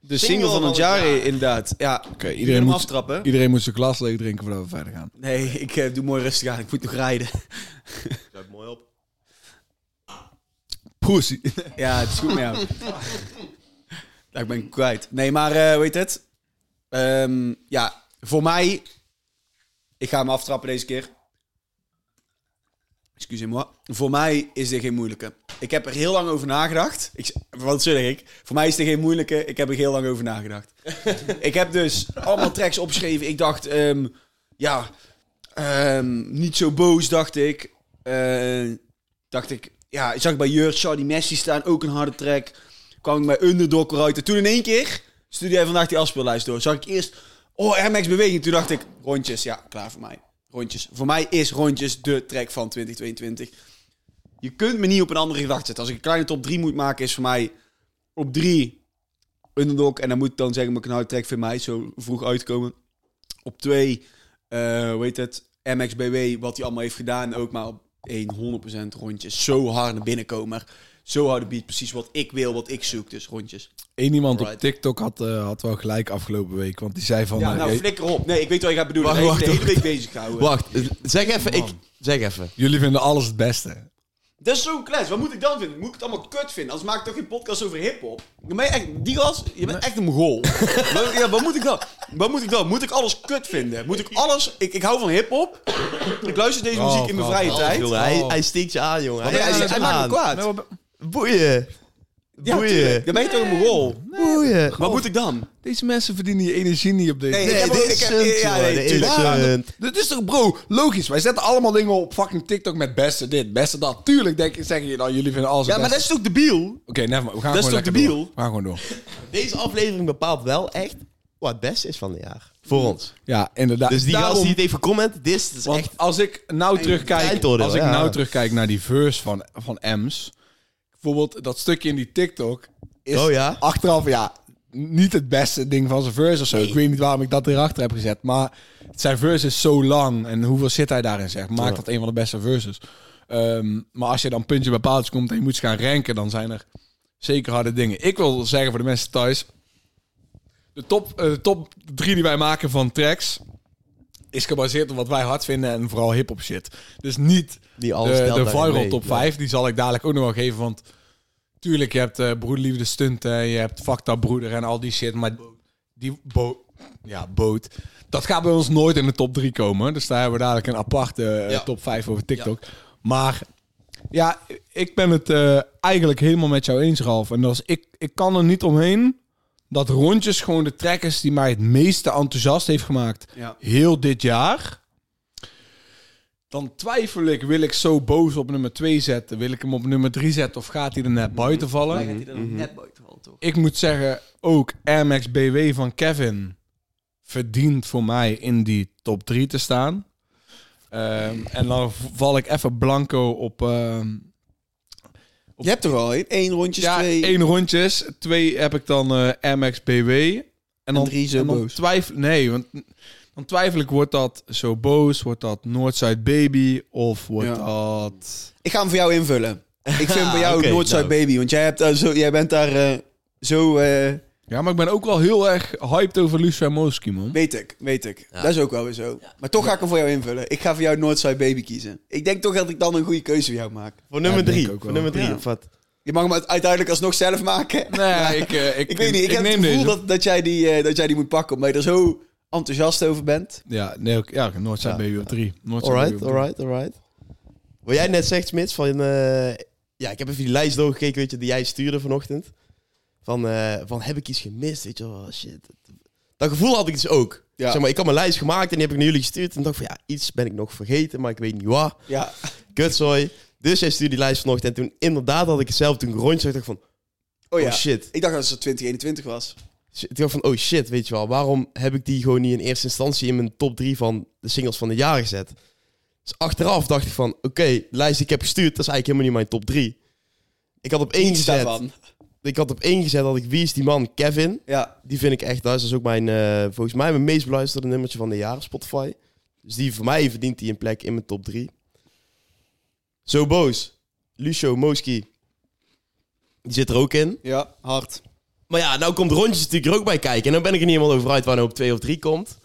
Speaker 2: de single, van het jaar, inderdaad. Ja, oké
Speaker 1: iedereen
Speaker 2: hem
Speaker 1: moet-
Speaker 2: aftrappen.
Speaker 1: Iedereen moet zijn glas leeg drinken voordat we verder gaan.
Speaker 2: Nee, ik eh, doe mooi rustig aan, ik moet nog rijden.
Speaker 3: mooi op.
Speaker 1: Poesie.
Speaker 2: ja, het is goed met jou. ja, ik ben kwijt. Nee, maar eh weet het? Ehm, ja, voor mij, ik ga hem aftrappen deze keer. Excusez-moi. Voor mij is dit geen moeilijke. Ik heb er heel lang over nagedacht. Ik, wat zeg ik? Voor mij is dit geen moeilijke. Ik heb er heel lang over nagedacht. ik heb dus allemaal tracks opgeschreven. Ik dacht, ehm, ja, ehm, niet zo boos, dacht ik. Eh, dacht ik, ja, ik zag bij Jurt Charlie Messi staan, ook een harde track. Kwam ik bij Underdog eruit. En toen in één keer stuurde hij vandaag die afspeellijst door. Zag ik eerst, oh, MX Beweging. Toen dacht ik, rondjes, ja, klaar voor mij. Rondjes. Voor mij is rondjes de track van 2022. Je kunt me niet op een andere gedachte zetten. Als ik een kleine top 3 moet maken, is voor mij op 3 Underdog. En dan moet ik dan zeggen, maar ik een harde track vind mij zo vroeg uitkomen. Op 2, eh hoe heet het, MXBW, wat hij allemaal heeft gedaan. Ook maar op 100% rondjes. Zo hard naar binnen komen. maar Zo harde beat, precies wat ik wil, wat ik zoek. Dus rondjes.
Speaker 3: Oh
Speaker 1: Eén iemand op
Speaker 2: Right.
Speaker 1: TikTok had, eh, had wel gelijk afgelopen week. Want die zei van...
Speaker 2: Ja,
Speaker 1: eh,
Speaker 2: nou
Speaker 1: eh,
Speaker 2: flikker op. Nee, ik weet wat je gaat bedoelen.
Speaker 3: Wacht,
Speaker 2: Wacht,
Speaker 3: wacht,
Speaker 2: de hele week bezig houden.
Speaker 3: Wacht, eh, zeg even, ik... Zeg even.
Speaker 1: jullie vinden alles het beste.
Speaker 2: Dat is zo'n klets. Wat moet ik dan vinden? Moet ik het allemaal kut vinden? Anders maak ik toch geen podcast over hiphop? Dan ben je echt- Die gast, je bent echt een mogol. Wat- ja, wat moet ik dan? Wat moet ik dan? Moet ik alles kut vinden? Moet ik alles... Ik, ik hou van hiphop. Ik luister deze
Speaker 1: Oh,
Speaker 2: muziek in mijn
Speaker 1: oh,
Speaker 2: vrije
Speaker 1: oh,
Speaker 2: tijd.
Speaker 3: Jongen, hij, hij steekt je aan, jongen.
Speaker 2: Nee,
Speaker 3: steekt
Speaker 2: hij,
Speaker 3: je
Speaker 1: Nou,
Speaker 2: hij maakt me
Speaker 3: aan.
Speaker 2: kwaad.
Speaker 3: Boeien.
Speaker 2: Ja,
Speaker 3: Boeien.
Speaker 2: tuurlijk. Dan ben je toch een mogol?
Speaker 1: Nee,
Speaker 3: bedoel je?
Speaker 2: Wat moet ik dan?
Speaker 1: Deze mensen verdienen je energie niet op deze...
Speaker 2: Nee,
Speaker 3: Nee,
Speaker 2: ik heb ook-
Speaker 3: dit
Speaker 2: ik
Speaker 3: is
Speaker 2: heb-
Speaker 3: een
Speaker 2: ja, nee,
Speaker 3: dit
Speaker 2: tuurlijk.
Speaker 3: is
Speaker 1: Ja,
Speaker 3: een-
Speaker 1: dat- dat is toch, bro, logisch. Wij zetten allemaal dingen op fucking TikTok met beste dit, beste dat. Tuurlijk denk, ik- zeg je dan, jullie vinden alles het
Speaker 2: Ja, maar dat
Speaker 1: beste.
Speaker 2: is toch debiel?
Speaker 1: Oké, never mind. We gaan
Speaker 2: dat is
Speaker 1: gewoon lekker
Speaker 2: toch debiel?
Speaker 1: door. We gaan gewoon door.
Speaker 3: Deze aflevering bepaalt wel echt wat het beste is van het jaar. Voor ons.
Speaker 1: Ja, inderdaad.
Speaker 3: Dus die
Speaker 1: Daarom-
Speaker 3: gast die het heeft gecomment, dit is
Speaker 1: Want
Speaker 3: echt...
Speaker 1: als ik nou terugkijk,
Speaker 3: eindoordeel,
Speaker 1: als ik
Speaker 3: ja.
Speaker 1: nou terugkijk naar die verse van, van Ems, bijvoorbeeld dat stukje in die TikTok is
Speaker 3: Oh ja?
Speaker 1: achteraf ja niet het beste ding van zijn verse of zo. Ik weet niet waarom ik dat erachter heb gezet, maar zijn verse is zo lang en hoeveel zit hij daarin zeg, maakt dat een van de beste verses. Ehm, maar als je dan puntje bij paaltje komt en je moet ze gaan ranken, dan zijn er zeker harde dingen. Ik wil zeggen voor de mensen thuis, de top, eh, de top drie die wij maken van tracks is gebaseerd op wat wij hard vinden en vooral hip-hop shit. Dus niet
Speaker 3: Die alles
Speaker 1: de,
Speaker 3: telt
Speaker 1: de
Speaker 3: daarin
Speaker 1: viral
Speaker 3: mee.
Speaker 1: top
Speaker 3: Ja.
Speaker 1: 5. Die zal ik dadelijk ook nog wel geven. Want tuurlijk, je hebt eh Broederliefde de Stunt. eh, je hebt Fuck Dat Broeder en al die shit. Maar die boot. Ja, boot. Dat gaat bij ons nooit in de top 3 komen. Dus daar hebben we dadelijk een aparte eh,
Speaker 3: Ja.
Speaker 1: top 5 over TikTok. Maar ja, ik ben het eh, eigenlijk helemaal met jou eens, Ralf. En dat is, ik, ik kan er niet omheen dat Rondjes gewoon de track is die mij het meeste enthousiast heeft gemaakt
Speaker 2: Ja.
Speaker 1: heel dit jaar. Dan twijfel ik, wil ik zo boos op nummer 2 zetten? Wil ik hem op nummer 3 zetten of gaat hij er net buiten vallen?
Speaker 2: gaat hij er
Speaker 3: Mhm.
Speaker 2: dan net buiten vallen, toch?
Speaker 1: Ik moet zeggen, ook Airmax BW van Kevin verdient voor mij in die top 3 te staan. Ehm, en dan v- val ik even blanco op... ehm,
Speaker 2: Je hebt er al één. Eén rondjes,
Speaker 1: ja,
Speaker 2: twee.
Speaker 1: één rondjes. Twee heb ik dan eh MX BW. En dan,
Speaker 2: drie zo
Speaker 1: en dan
Speaker 2: boos.
Speaker 1: Twijfel, nee, want dan twijfel ik, wordt dat zo boos? Wordt dat Noordside Baby? Of wordt
Speaker 2: Ja.
Speaker 1: dat...
Speaker 2: Ik ga hem voor jou invullen. Ik vind bij jou
Speaker 3: Oké,
Speaker 2: Noordside
Speaker 3: nou.
Speaker 2: Baby, want jij, hebt, daar zo, jij bent daar eh, zo... eh,
Speaker 1: Ja, maar ik ben ook wel heel erg hyped over Lucia Moski, man.
Speaker 2: weet ik, weet ik.
Speaker 3: Ja.
Speaker 2: Dat is ook wel weer zo. Maar toch ga ik hem voor jou invullen. Ik ga voor jou Noordside Baby kiezen. Ik denk toch dat ik dan een goede keuze voor jou maak.
Speaker 3: Voor
Speaker 1: Ja,
Speaker 3: nummer
Speaker 1: ik denk
Speaker 3: drie.
Speaker 1: ook
Speaker 3: Voor
Speaker 1: wel.
Speaker 3: nummer drie,
Speaker 2: Ja.
Speaker 3: of wat?
Speaker 2: Je mag hem uit- uiteindelijk alsnog zelf maken.
Speaker 1: Nee, ik, eh, ik,
Speaker 2: Ik weet niet, ik, heb
Speaker 1: neem
Speaker 2: het gevoel
Speaker 1: deze.
Speaker 2: dat, dat, jij die, eh, dat jij die moet pakken, omdat je er zo enthousiast over bent.
Speaker 1: Ja, nee, ook, ja, Noordside
Speaker 3: Ja.
Speaker 1: Baby op drie. Noordside
Speaker 3: Alright,
Speaker 1: Baby op drie.
Speaker 3: alright, alright. Wat jij net zegt, Smits, van... eh, ja, ik heb even die lijst doorgekeken, weet je, die jij stuurde vanochtend. Van, eh, van heb ik iets gemist, weet je wel, oh, shit. Dat gevoel had ik dus ook.
Speaker 2: Ja.
Speaker 3: Zeg maar, ik had mijn lijst gemaakt en die heb ik naar jullie gestuurd. En dacht van, ja, iets ben ik nog vergeten, maar ik weet niet waar.
Speaker 2: Ja,
Speaker 3: Kutzooi. Dus jij stuurde die lijst vanochtend. En toen, inderdaad, had ik het zelf toen ik rondje zag, dacht ik van,
Speaker 2: oh
Speaker 3: oh,
Speaker 2: ja.
Speaker 3: shit.
Speaker 2: Ik dacht dat het 2021 was.
Speaker 3: Shit, Ik dacht van, oh shit, weet je wel, waarom heb ik die gewoon niet in eerste instantie in mijn top 3 van de singles van het jaar gezet? Dus achteraf dacht ik van, oké, de lijst die ik heb gestuurd, dat is eigenlijk helemaal niet mijn top 3. Ik had op één
Speaker 2: Iets
Speaker 3: gezet,
Speaker 2: daarvan.
Speaker 3: ik had op één gezet, had ik Wie is die man, Kevin.
Speaker 2: Ja,
Speaker 3: Die vind ik echt, dat is ook mijn, eh, volgens mij mijn meest beluisterde nummertje van de jaar op Spotify. Dus die voor mij verdient die een plek in mijn top 3. Zo boos, Lucio Moski, die zit er ook in.
Speaker 2: ja, hard.
Speaker 3: Maar ja, nou komt rondjes natuurlijk er ook bij kijken. En dan ben ik er niet helemaal over uit waar nou op twee of drie komt.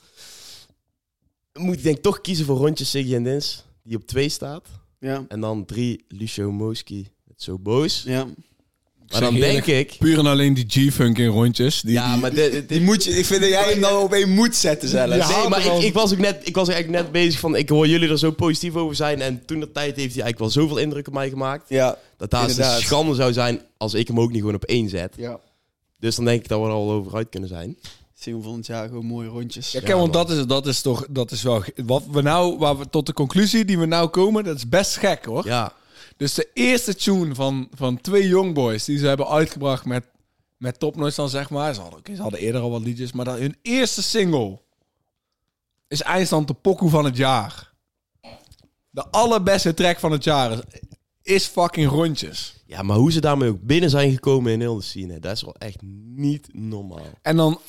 Speaker 3: Dan Moet ik denk ik toch kiezen voor rondjes Siggy en Dins, die op twee staat.
Speaker 2: Ja.
Speaker 3: En dan drie, Lucio Moski met Zo Boos.
Speaker 2: Ja.
Speaker 3: maar dan
Speaker 1: zeg je
Speaker 3: denk ik...
Speaker 1: Puur en alleen die G-Funk in rondjes. Die,
Speaker 3: Ja,
Speaker 1: die-
Speaker 3: maar dit, dit-
Speaker 2: Die moet je, ik vind dat jij hem nou op één moet zetten zelfs.
Speaker 1: Ja.
Speaker 3: nee, maar
Speaker 1: wel.
Speaker 3: ik, ik was ook net, ik was eigenlijk net bezig van, ik hoor jullie er zo positief over zijn. En toen de tijd heeft hij eigenlijk wel zoveel indruk op mij gemaakt.
Speaker 2: Ja.
Speaker 3: Dat daar een
Speaker 2: Inderdaad.
Speaker 3: schande zou zijn als ik hem ook niet gewoon op één zet.
Speaker 2: ja.
Speaker 3: Dus dan denk ik dat we er al over uit kunnen zijn.
Speaker 2: Zie hem volgend jaar gewoon mooie rondjes.
Speaker 1: Ja,
Speaker 2: Ja.
Speaker 1: kijk, want dat is, dat is toch, dat is wel, wat we nou, waar we tot de conclusie die we nou komen, dat is best gek hoor.
Speaker 3: Ja,
Speaker 1: Dus de eerste tune van, van twee Youngboys die ze hebben uitgebracht met, met Topnotes dan, zeg maar. Ze hadden, oké, ze hadden eerder al wat liedjes, maar dan hun eerste single is eindstand de pokoe van het jaar. De allerbeste track van het jaar is, is fucking Rondjes.
Speaker 3: Ja, maar hoe ze daarmee ook binnen zijn gekomen in heel de scene, dat is wel echt niet normaal.
Speaker 1: En dan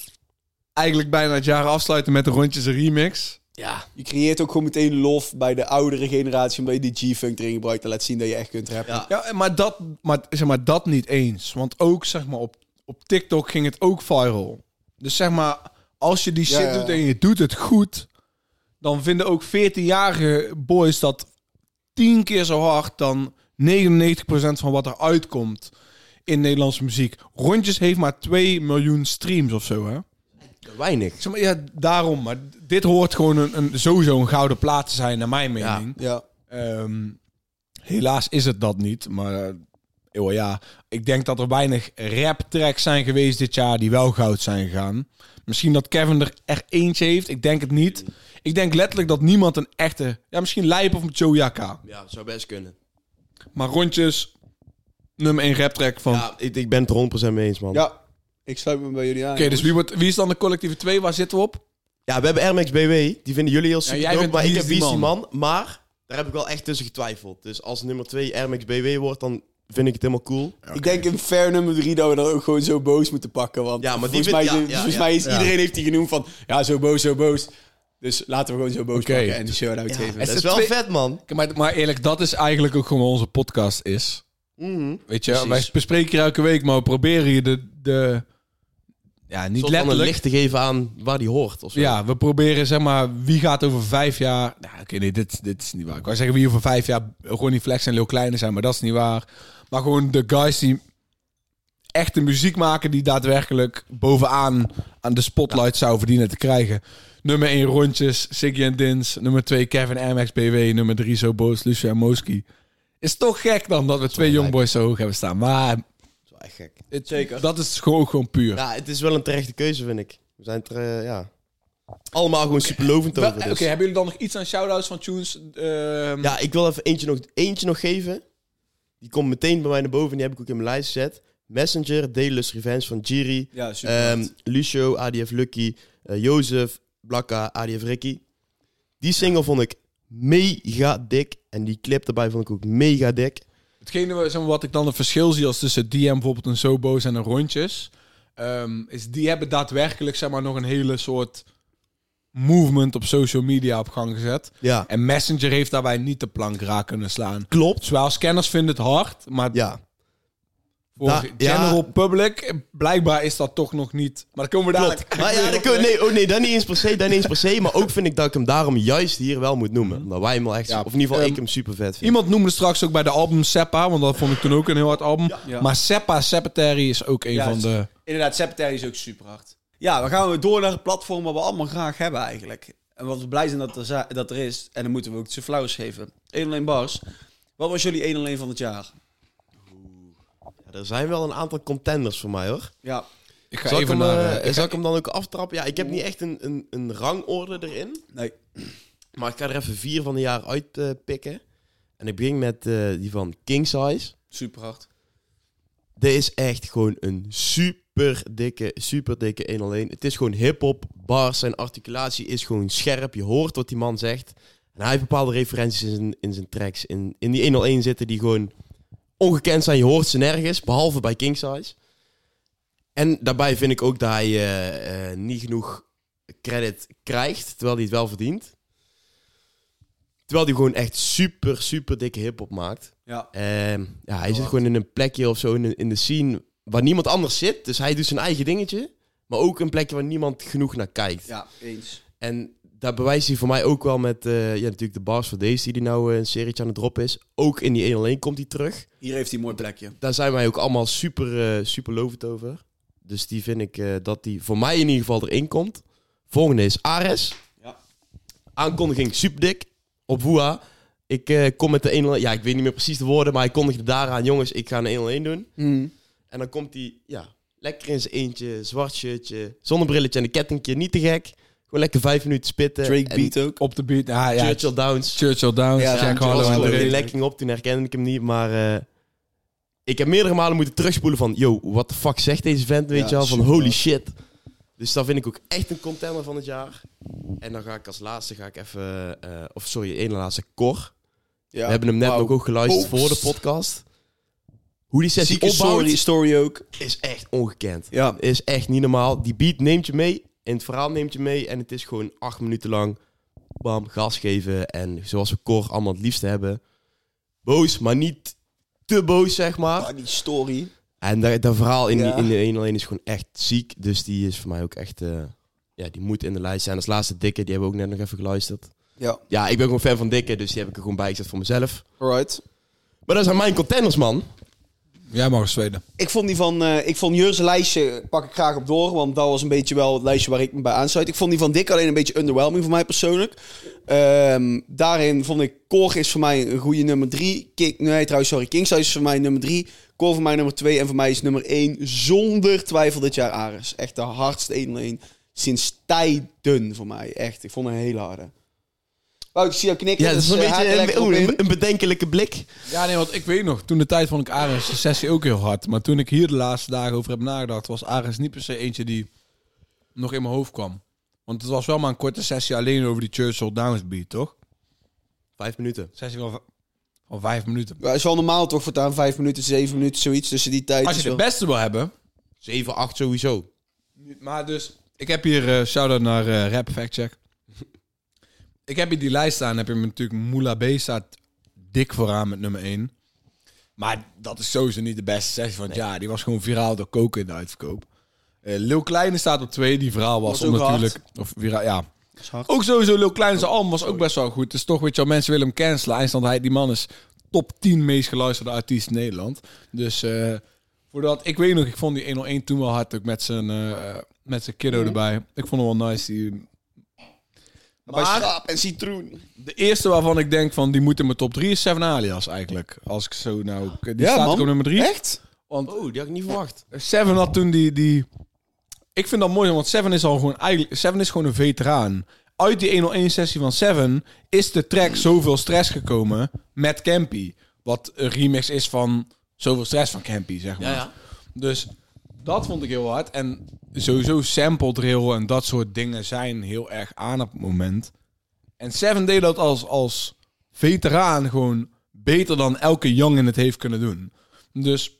Speaker 1: eigenlijk bijna het jaar afsluiten met de Rondjes remix.
Speaker 3: Ja,
Speaker 2: Je creëert ook gewoon meteen lof bij de oudere generatie, omdat je die G-Funk erin gebruikt en laat zien dat je echt kunt rappen.
Speaker 3: Ja.
Speaker 1: Ja, maar dat, maar, zeg maar dat niet eens. Want ook zeg maar, op, op TikTok ging het ook viral. Dus zeg maar, als je die
Speaker 2: Ja,
Speaker 1: shit
Speaker 2: ja.
Speaker 1: doet en je doet het goed, dan vinden ook 14-jarige boys dat tien keer zo hard dan 99% van wat er uitkomt in Nederlandse muziek. Rondjes heeft maar 2 miljoen streams of zo, hè?
Speaker 3: weinig.
Speaker 1: Zeg maar, ja, daarom. Maar dit hoort gewoon een, een, sowieso een gouden plaat te zijn, naar mijn
Speaker 3: Ja.
Speaker 1: mening.
Speaker 2: Ja.
Speaker 1: Ehm, helaas is het dat niet, maar eh, eeuw, ja, ik denk dat er weinig rap tracks zijn geweest dit jaar die wel goud zijn gegaan. Misschien dat Kevin er echt eentje heeft. Ik denk het niet. Ik denk letterlijk dat niemand een echte... Ja, misschien Lijp of Jojaka.
Speaker 3: Ja, zou best kunnen.
Speaker 1: Maar rondjes, nummer 1 rap track van...
Speaker 3: Ja, ik, ik ben het er 100% mee eens, man. Ja,
Speaker 2: Ja, ik sluit me bij jullie aan.
Speaker 1: Oké, dus wie, wordt, wie is dan de collectieve 2? Waar zitten we op?
Speaker 3: we hebben Airmax BW. Die vinden jullie heel super
Speaker 1: jij bent
Speaker 3: maar ik
Speaker 1: Wie
Speaker 3: heb
Speaker 1: is die
Speaker 3: Wie is die man. Maar daar heb ik wel echt tussen getwijfeld. Dus als nummer 2 Airmax BW wordt, dan vind ik het helemaal cool.
Speaker 2: Ik denk in fair nummer drie dat we dan ook gewoon zo boos moeten pakken. Want
Speaker 3: Ja, maar die
Speaker 2: volgens, mij,
Speaker 3: vind- ja,
Speaker 2: is-
Speaker 3: ja,
Speaker 2: volgens
Speaker 3: ja.
Speaker 2: mij is
Speaker 1: Ja.
Speaker 2: iedereen heeft die genoemd van... Ja, zo boos, zo boos. Dus laten we gewoon zo boos
Speaker 1: Oké.
Speaker 2: pakken en de shout-out geven.
Speaker 1: het
Speaker 3: Dat
Speaker 1: de
Speaker 3: is wel
Speaker 1: twee-
Speaker 3: vet, man.
Speaker 1: Oké, Maar, maar eerlijk, dat is eigenlijk ook gewoon wat onze podcast is.
Speaker 3: Mhm.
Speaker 1: Weet je,
Speaker 3: Precies.
Speaker 1: wij bespreken hier elke week, maar we proberen je de... de ja, niet
Speaker 3: Soort van een
Speaker 1: letterlijk.
Speaker 3: licht te geven aan waar die hoort. Of zo.
Speaker 1: Ja, we proberen zeg maar, wie gaat over vijf jaar... Nou, oké, nee, dit, dit is niet waar. Ik wou zeggen wie over vijf jaar Ronnie Flex en Lil Kleine zijn, maar dat is niet waar. Maar gewoon de guys die echt de muziek maken die daadwerkelijk bovenaan aan de spotlight zou verdienen te krijgen. Nummer 1 rondjes, Siggy en Dins. Nummer 2 Kevin MXBW. Nummer 3 Zo Boos, Lucia en Moski. Is toch gek dan dat we twee jongboys zo hoog hebben staan. Maar
Speaker 3: Dat is wel echt gek.
Speaker 1: het-
Speaker 2: Zeker.
Speaker 1: dat is gewoon, gewoon puur.
Speaker 3: Ja, het is wel een terechte keuze, vind ik. We zijn het er, eh, ja... Allemaal gewoon superlovend
Speaker 1: Wel,
Speaker 3: over,
Speaker 1: Oké,
Speaker 3: dus.
Speaker 1: hebben jullie dan nog iets aan shout-outs van tunes? Ehm,
Speaker 3: Ja, ik wil even eentje nog, eentje nog geven. Die komt meteen bij mij naar boven. Die heb ik ook in mijn lijst gezet. Messenger, Delus Revenge van Jiri.
Speaker 2: Ja, super.
Speaker 3: ehm Lucio, ADF Lucky. eh, Jozef, Blakka, ADF Ricky. Die single vond ik mega dik. En die clip daarbij vond ik ook mega dik.
Speaker 1: Hetgene wa- zeg maar, wat ik dan het verschil zie als tussen DM bijvoorbeeld een Sobo's en een Rondjes, ehm, is die hebben daadwerkelijk zeg maar, nog een hele soort movement op social media op gang gezet.
Speaker 3: Ja.
Speaker 1: En Messenger heeft daarbij niet de plank raak kunnen slaan.
Speaker 3: Klopt.
Speaker 1: Zowel scanners vinden het hard, maar
Speaker 3: Ja.
Speaker 1: voor
Speaker 3: Da-
Speaker 1: general
Speaker 3: ja.
Speaker 1: public eh, blijkbaar is dat toch nog niet. Maar dan komen we dadelijk.
Speaker 3: Klopt. Maar ja, dan kun- nee, oh nee, dat niet eens per se, dat niet eens per se. Maar ook vind ik dat ik hem daarom juist hier wel moet noemen. Omdat wij hem wel echt...
Speaker 1: Ja,
Speaker 3: of in ieder geval,
Speaker 1: ehm,
Speaker 3: ik hem super vet vind.
Speaker 1: Iemand noemde straks ook bij de album Seppa, want dat vond ik toen ook een heel hard album.
Speaker 2: Ja.
Speaker 1: Maar Seppa, Sepetary is ook een
Speaker 2: Ja,
Speaker 1: van
Speaker 2: is-
Speaker 1: de...
Speaker 2: Inderdaad, Sepetary is ook super hard. Ja, dan gaan we door naar het platform wat we allemaal graag hebben eigenlijk. En wat we blij zijn dat er, za- dat er is. En dan moeten we ook zijn flauws geven. 1 alleen bars. Wat was jullie 1 alleen van het jaar?
Speaker 3: Ja, er zijn wel een aantal contenders voor mij, hoor.
Speaker 2: Ja,
Speaker 1: Ik ga
Speaker 3: zal,
Speaker 1: even
Speaker 3: ik hem,
Speaker 1: naar...
Speaker 3: eh,
Speaker 1: eh, ik ga-
Speaker 3: zal ik hem dan ook aftrappen? Ja, ik heb niet echt een, een, een rangorde erin.
Speaker 2: nee.
Speaker 3: Maar ik ga er even vier van de jaar uitpikken. pikken. en ik begin met eh, die van King Size.
Speaker 2: Super hard.
Speaker 3: Dit is echt gewoon een super dikke, super dikke 1 alleen. Het is gewoon hip-hop, bars, zijn articulatie is gewoon scherp. Je hoort wat die man zegt. En hij heeft bepaalde referenties in, zijn- in zijn tracks. In, in die 101 zitten die gewoon ongekend zijn. Je hoort ze nergens, behalve bij King Size. En daarbij vind ik ook dat hij eh, eh, niet genoeg credit krijgt, terwijl hij het wel verdient. Terwijl hij gewoon echt super, super dikke hip-hop maakt.
Speaker 2: Ja.
Speaker 3: Ehm, ja, hij zit gewoon in een plekje of zo in, de- in de scene waar niemand anders zit. Dus hij doet zijn eigen dingetje. Maar ook een plekje waar niemand genoeg naar kijkt.
Speaker 2: Ja, eens.
Speaker 3: En dat bewijst hij voor mij ook wel met eh, ja, natuurlijk de bars voor deze die hij nou eh, een serietje aan het drop is. Ook in die 101 komt hij terug.
Speaker 2: Hier heeft hij een mooi plekje.
Speaker 3: Daar zijn wij ook allemaal super, eh, super lovend over. Dus die vind ik eh, dat die voor mij in ieder geval erin komt. Volgende is Ares.
Speaker 2: Ja.
Speaker 3: Aankondiging super dik op Woeha. Ik eh, kom met de 1 Ja, ik weet niet meer precies de woorden, maar hij kondigde daaraan. Jongens, ik ga een 1 doen. En dan komt hij, ja, lekker in zijn eentje, zwart shirtje, zonnebrilletje en een kettingje, niet te gek. Gewoon lekker vijf minuten spitten.
Speaker 2: Drake
Speaker 3: en
Speaker 2: beat ook.
Speaker 1: Op de beat. Ah, ja,
Speaker 3: Churchill Downs.
Speaker 1: Churchill Downs,
Speaker 2: Ja,
Speaker 1: Jack
Speaker 2: ja,
Speaker 3: was
Speaker 1: Harlow en
Speaker 3: gewoon
Speaker 2: Churchill.
Speaker 1: Drake.
Speaker 3: een lekking op, toen herkende ik hem niet, maar... eh, ik heb meerdere malen moeten terugspoelen van, yo, wat de fuck zegt deze vent, weet
Speaker 2: Ja,
Speaker 3: je wel, van
Speaker 2: super.
Speaker 3: holy shit. Dus dat vind ik ook echt een contender van het jaar. En dan ga ik als laatste, ga ik even, eh, of sorry, één laatste, Cor.
Speaker 2: Ja.
Speaker 3: We hebben hem net
Speaker 2: Wauw.
Speaker 3: nog ook geluisterd
Speaker 2: Oogst.
Speaker 3: voor de podcast. Hoe die sessie
Speaker 2: Zieke
Speaker 3: opbouwt,
Speaker 2: story, story ook.
Speaker 3: is echt ongekend.
Speaker 2: Ja.
Speaker 3: Is echt niet normaal. Die beat neemt je mee. In het verhaal neemt je mee. En het is gewoon acht minuten lang. Bam, gas geven. En zoals we Cor allemaal het liefst hebben. Boos, maar niet te boos, zeg maar.
Speaker 2: Ah, die story.
Speaker 3: En dat, dat verhaal in,
Speaker 2: Ja.
Speaker 3: die, in de 1 alleen is gewoon echt ziek. Dus die is voor mij ook echt... eh, ja, die moet in de lijst zijn. Als laatste Dikke, die hebben we ook net nog even geluisterd.
Speaker 2: Ja.
Speaker 3: Ja, ik ben gewoon fan van Dikke, dus die heb ik er gewoon bij gezet voor mezelf.
Speaker 2: Alright.
Speaker 3: Maar dat zijn mijn contenders, man.
Speaker 1: Jij mag eens tweede.
Speaker 2: Ik vond die van, eh, ik vond Jur's lijstje, pak ik graag op door, want dat was een beetje wel het lijstje waar ik me bij aansluit. Ik vond die van Dick alleen een beetje underwhelming voor mij persoonlijk. Ehm, daarin vond ik Core is voor mij een goede nummer drie. King, nee, trouwens, sorry. Kingshuis is voor mij nummer drie. Core voor mij nummer twee. En voor mij is nummer één zonder twijfel dit jaar Ares. Echt de hardste 1 sinds tijden voor mij. Echt, ik vond hem een hele harde. Wou, ik zie jou knikken.
Speaker 3: Ja, dat is een
Speaker 2: dus, eh, haak er
Speaker 3: beetje
Speaker 2: lekker
Speaker 3: een,
Speaker 2: op in.
Speaker 3: oeh, een- een bedenkelijke blik.
Speaker 1: Ja, nee, want ik weet nog, toen de tijd vond ik Ares de sessie ook heel hard. Maar toen ik hier de laatste dagen over heb nagedacht, was Ares niet per se eentje die nog in mijn hoofd kwam. Want het was wel maar een korte sessie alleen over die Churchill Downs beat, toch?
Speaker 3: Vijf minuten.
Speaker 1: Sessie van, v- van vijf minuten.
Speaker 2: Ja, is wel normaal toch voortaan vijf minuten, zeven minuten, zoiets tussen die tijd.
Speaker 1: Als
Speaker 2: is
Speaker 1: je de
Speaker 2: wel-
Speaker 1: beste wil hebben.
Speaker 3: Zeven, acht sowieso.
Speaker 1: Maar dus, ik heb hier, eh shout-out naar eh, Rap Fact Check. ik heb hier die lijst staan, heb je me natuurlijk Moula B staat dik vooraan met nummer 1. Maar dat is sowieso niet de beste sessie van het jaar. Die was gewoon viraal door koken in de uitverkoop. Eh Lil Kleine staat op 2, die verhaal was,
Speaker 2: Was ook
Speaker 1: om natuurlijk... Of viraal, ja.
Speaker 2: Dat is hard.
Speaker 1: Ook sowieso Lil Kleine zijn album was ook best wel goed. Dus toch, weet je wel, mensen willen hem cancelen. Eindstand, hij, die man is top 10 meest geluisterde artiest in Nederland. Dus eh, voordat, ik weet nog, ik vond die 101 toen wel hard. Ook met zijn, eh, met zijn
Speaker 2: Mhm.
Speaker 1: kiddo erbij. Ik vond hem wel nice. Die...
Speaker 2: Bij
Speaker 1: Maar
Speaker 2: schaap en citroen.
Speaker 1: de eerste waarvan ik denk van, die moet in mijn top 3 is Seven Alias eigenlijk. Als ik zo nou... Die
Speaker 2: Ja,
Speaker 1: staat
Speaker 2: man.
Speaker 1: ook op nummer 3.
Speaker 2: Echt?
Speaker 1: Want
Speaker 3: Oh, die had ik niet verwacht.
Speaker 1: Seven had toen die, die... Ik vind dat mooi, want Seven is al gewoon eigenlijk... Seven is gewoon een veteraan. Uit die 101-sessie van Seven is de track Zoveel Stress gekomen met Campy. Wat een remix is van Zoveel Stress van Campy, zeg maar.
Speaker 3: Ja, ja.
Speaker 1: Dus dat vond ik heel hard. En sowieso sample drill en dat soort dingen zijn heel erg aan op het moment. En Seven deed dat als, als veteraan gewoon beter dan elke jongen het heeft kunnen doen. Dus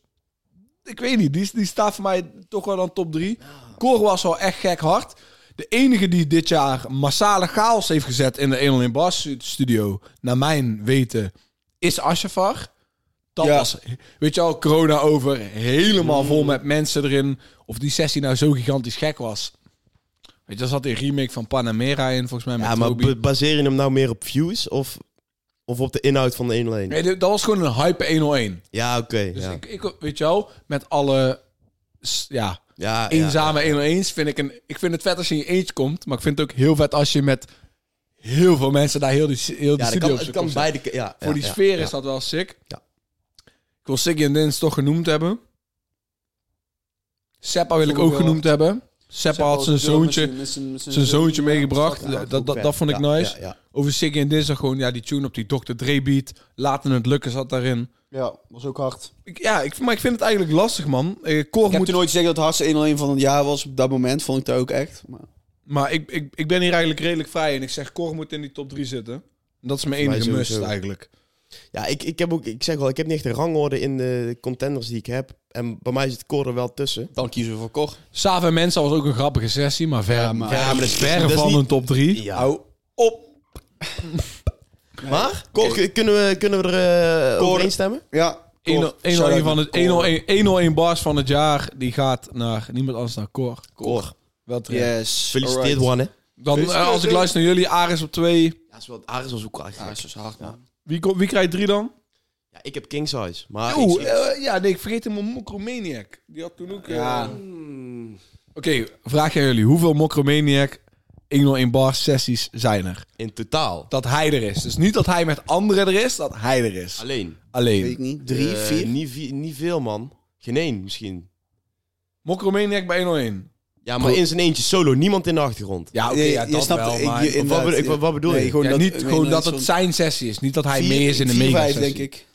Speaker 1: ik weet niet, die, die staat voor mij toch wel dan top 3. Cor was wel echt gek hard. De enige die dit jaar massale chaos heeft gezet in de 101 Bas studio, naar mijn weten, is Ashafar. Dat
Speaker 2: Ja.
Speaker 1: was, weet je al, corona over, helemaal
Speaker 3: Mm.
Speaker 1: vol met mensen erin. Of die sessie nou zo gigantisch gek was. Weet je, daar zat die remake van Panamera in, volgens mij. Met
Speaker 3: Ja, maar
Speaker 1: Toby.
Speaker 3: ba- baseer je hem nou meer op views of, of op de inhoud van de 1
Speaker 1: Nee, dit- dat was gewoon een hype 101.
Speaker 3: Ja, oké.
Speaker 1: Dus
Speaker 3: ja.
Speaker 1: ik, ik, weet je wel, met alle s- ja,
Speaker 3: ja, ja.
Speaker 1: eenzame 101's vind ik een... Ik vind het vet als je in je eentje komt, maar ik vind het ook heel vet als je met heel veel mensen daar heel die, heel die
Speaker 3: Ja, dat
Speaker 1: studio
Speaker 3: kan,
Speaker 1: op
Speaker 3: het
Speaker 1: z'n
Speaker 3: kan
Speaker 1: kop zetten.
Speaker 3: beide... ke- Ja,
Speaker 1: Voor die sfeer is dat wel sick.
Speaker 3: Ja.
Speaker 1: Ik wil Siggy en Dins toch genoemd hebben. Seppa wil
Speaker 2: Vond
Speaker 1: ik
Speaker 2: ik
Speaker 1: ook
Speaker 2: wel
Speaker 1: genoemd hebben. Seppa had zijn zoontje, zijn zoontje meegebracht.
Speaker 2: Ja,
Speaker 1: dat, dat, dat vond ik nice.
Speaker 3: Ja, ja.
Speaker 1: Over Siggy en Dins gewoon, ja, die tune op die Dr. Dre beat. Laten het lukken zat daarin.
Speaker 2: Ja, was ook hard.
Speaker 1: Ik- ja, ik, maar ik vind het eigenlijk lastig, man. Eh, Cor
Speaker 2: Ik heb
Speaker 1: moet...
Speaker 2: toen nooit zeggen dat het hardste 101 van het jaar was. Op dat moment vond ik dat ook echt. Maar
Speaker 1: Maar ik, ik, ik ben hier eigenlijk redelijk vrij en ik zeg Cor moet in die top 3 zitten. En Dat is mijn
Speaker 3: Voor mij
Speaker 1: enige must
Speaker 3: sowieso.
Speaker 1: eigenlijk.
Speaker 3: Ja, ik, ik heb ook... Ik zeg wel, ik heb niet echt een rangorde in de contenders die ik heb. En bij mij zit Core er wel tussen.
Speaker 2: dan kiezen we voor Cor.
Speaker 1: Saaf en Mensa was ook een grappige sessie, maar ver,
Speaker 2: Ja, maar-
Speaker 1: ver,
Speaker 3: Ja, maar dat is-
Speaker 1: ver
Speaker 3: dat is
Speaker 1: van
Speaker 3: niet-
Speaker 1: een top 3.
Speaker 3: Ja.
Speaker 2: Hou op.
Speaker 3: Maar, Cor,
Speaker 2: Oké.
Speaker 3: kunnen, we, kunnen we er eh
Speaker 2: Cor-
Speaker 3: overeen stemmen?
Speaker 2: Ja. Cor.
Speaker 1: 101
Speaker 2: Shout-out
Speaker 1: van
Speaker 2: naar
Speaker 1: het-
Speaker 2: Cor.
Speaker 1: 101 101 bars van het jaar, die gaat naar niemand anders dan Cor.
Speaker 3: Cor,
Speaker 1: Wel terecht.
Speaker 2: Yes.
Speaker 3: gefeliciteerd,
Speaker 2: Alright.
Speaker 3: one, hè.
Speaker 1: Dan, eh, als ik luister naar jullie, Aris op 2.
Speaker 3: Ja, is wel, Aris was ook
Speaker 2: Ja, dat is hard, man.
Speaker 1: Wie, ko- wie krijgt 3 dan?
Speaker 3: Ja, ik heb King Size, maar...
Speaker 1: Oeh,
Speaker 3: Ah, ik-
Speaker 1: eh, ja, nee, ik vergeet helemaal Mokromaniac. Die had toen ook... eh,
Speaker 2: Ja.
Speaker 1: Oké, vraag aan jullie. Hoeveel Mokromaniac 101 bars sessies zijn er?
Speaker 3: in totaal.
Speaker 1: dat hij er is. Dus niet dat hij met anderen er is, dat hij er is.
Speaker 3: Alleen.
Speaker 2: Weet ik
Speaker 1: Alleen.
Speaker 2: niet. Drie,
Speaker 3: Eh,
Speaker 2: vier.
Speaker 3: Niet, vi- niet veel, man. Geen één, misschien.
Speaker 1: Mokromaniac bij 101.
Speaker 3: Ja, maar
Speaker 2: Goed.
Speaker 3: in zijn eentje solo, niemand in de achtergrond.
Speaker 1: Ja, oké,
Speaker 2: Nee,
Speaker 1: ja,
Speaker 2: je
Speaker 1: dat
Speaker 2: snapt,
Speaker 1: wel,
Speaker 2: ik-
Speaker 1: maar...
Speaker 2: je-
Speaker 1: Ja,
Speaker 3: Of wat,
Speaker 2: inderdaad,
Speaker 3: ik- wat- wat bedoel
Speaker 2: Nee,
Speaker 3: je?
Speaker 2: gewoon dat-
Speaker 1: niet
Speaker 2: nee,
Speaker 1: gewoon
Speaker 2: nee,
Speaker 1: dat
Speaker 2: zo'n
Speaker 1: het zijn sessie is. Niet dat hij
Speaker 2: vier-
Speaker 1: mee is in de
Speaker 2: vier,
Speaker 1: mega
Speaker 2: vijf,
Speaker 1: sessie.
Speaker 2: denk ik.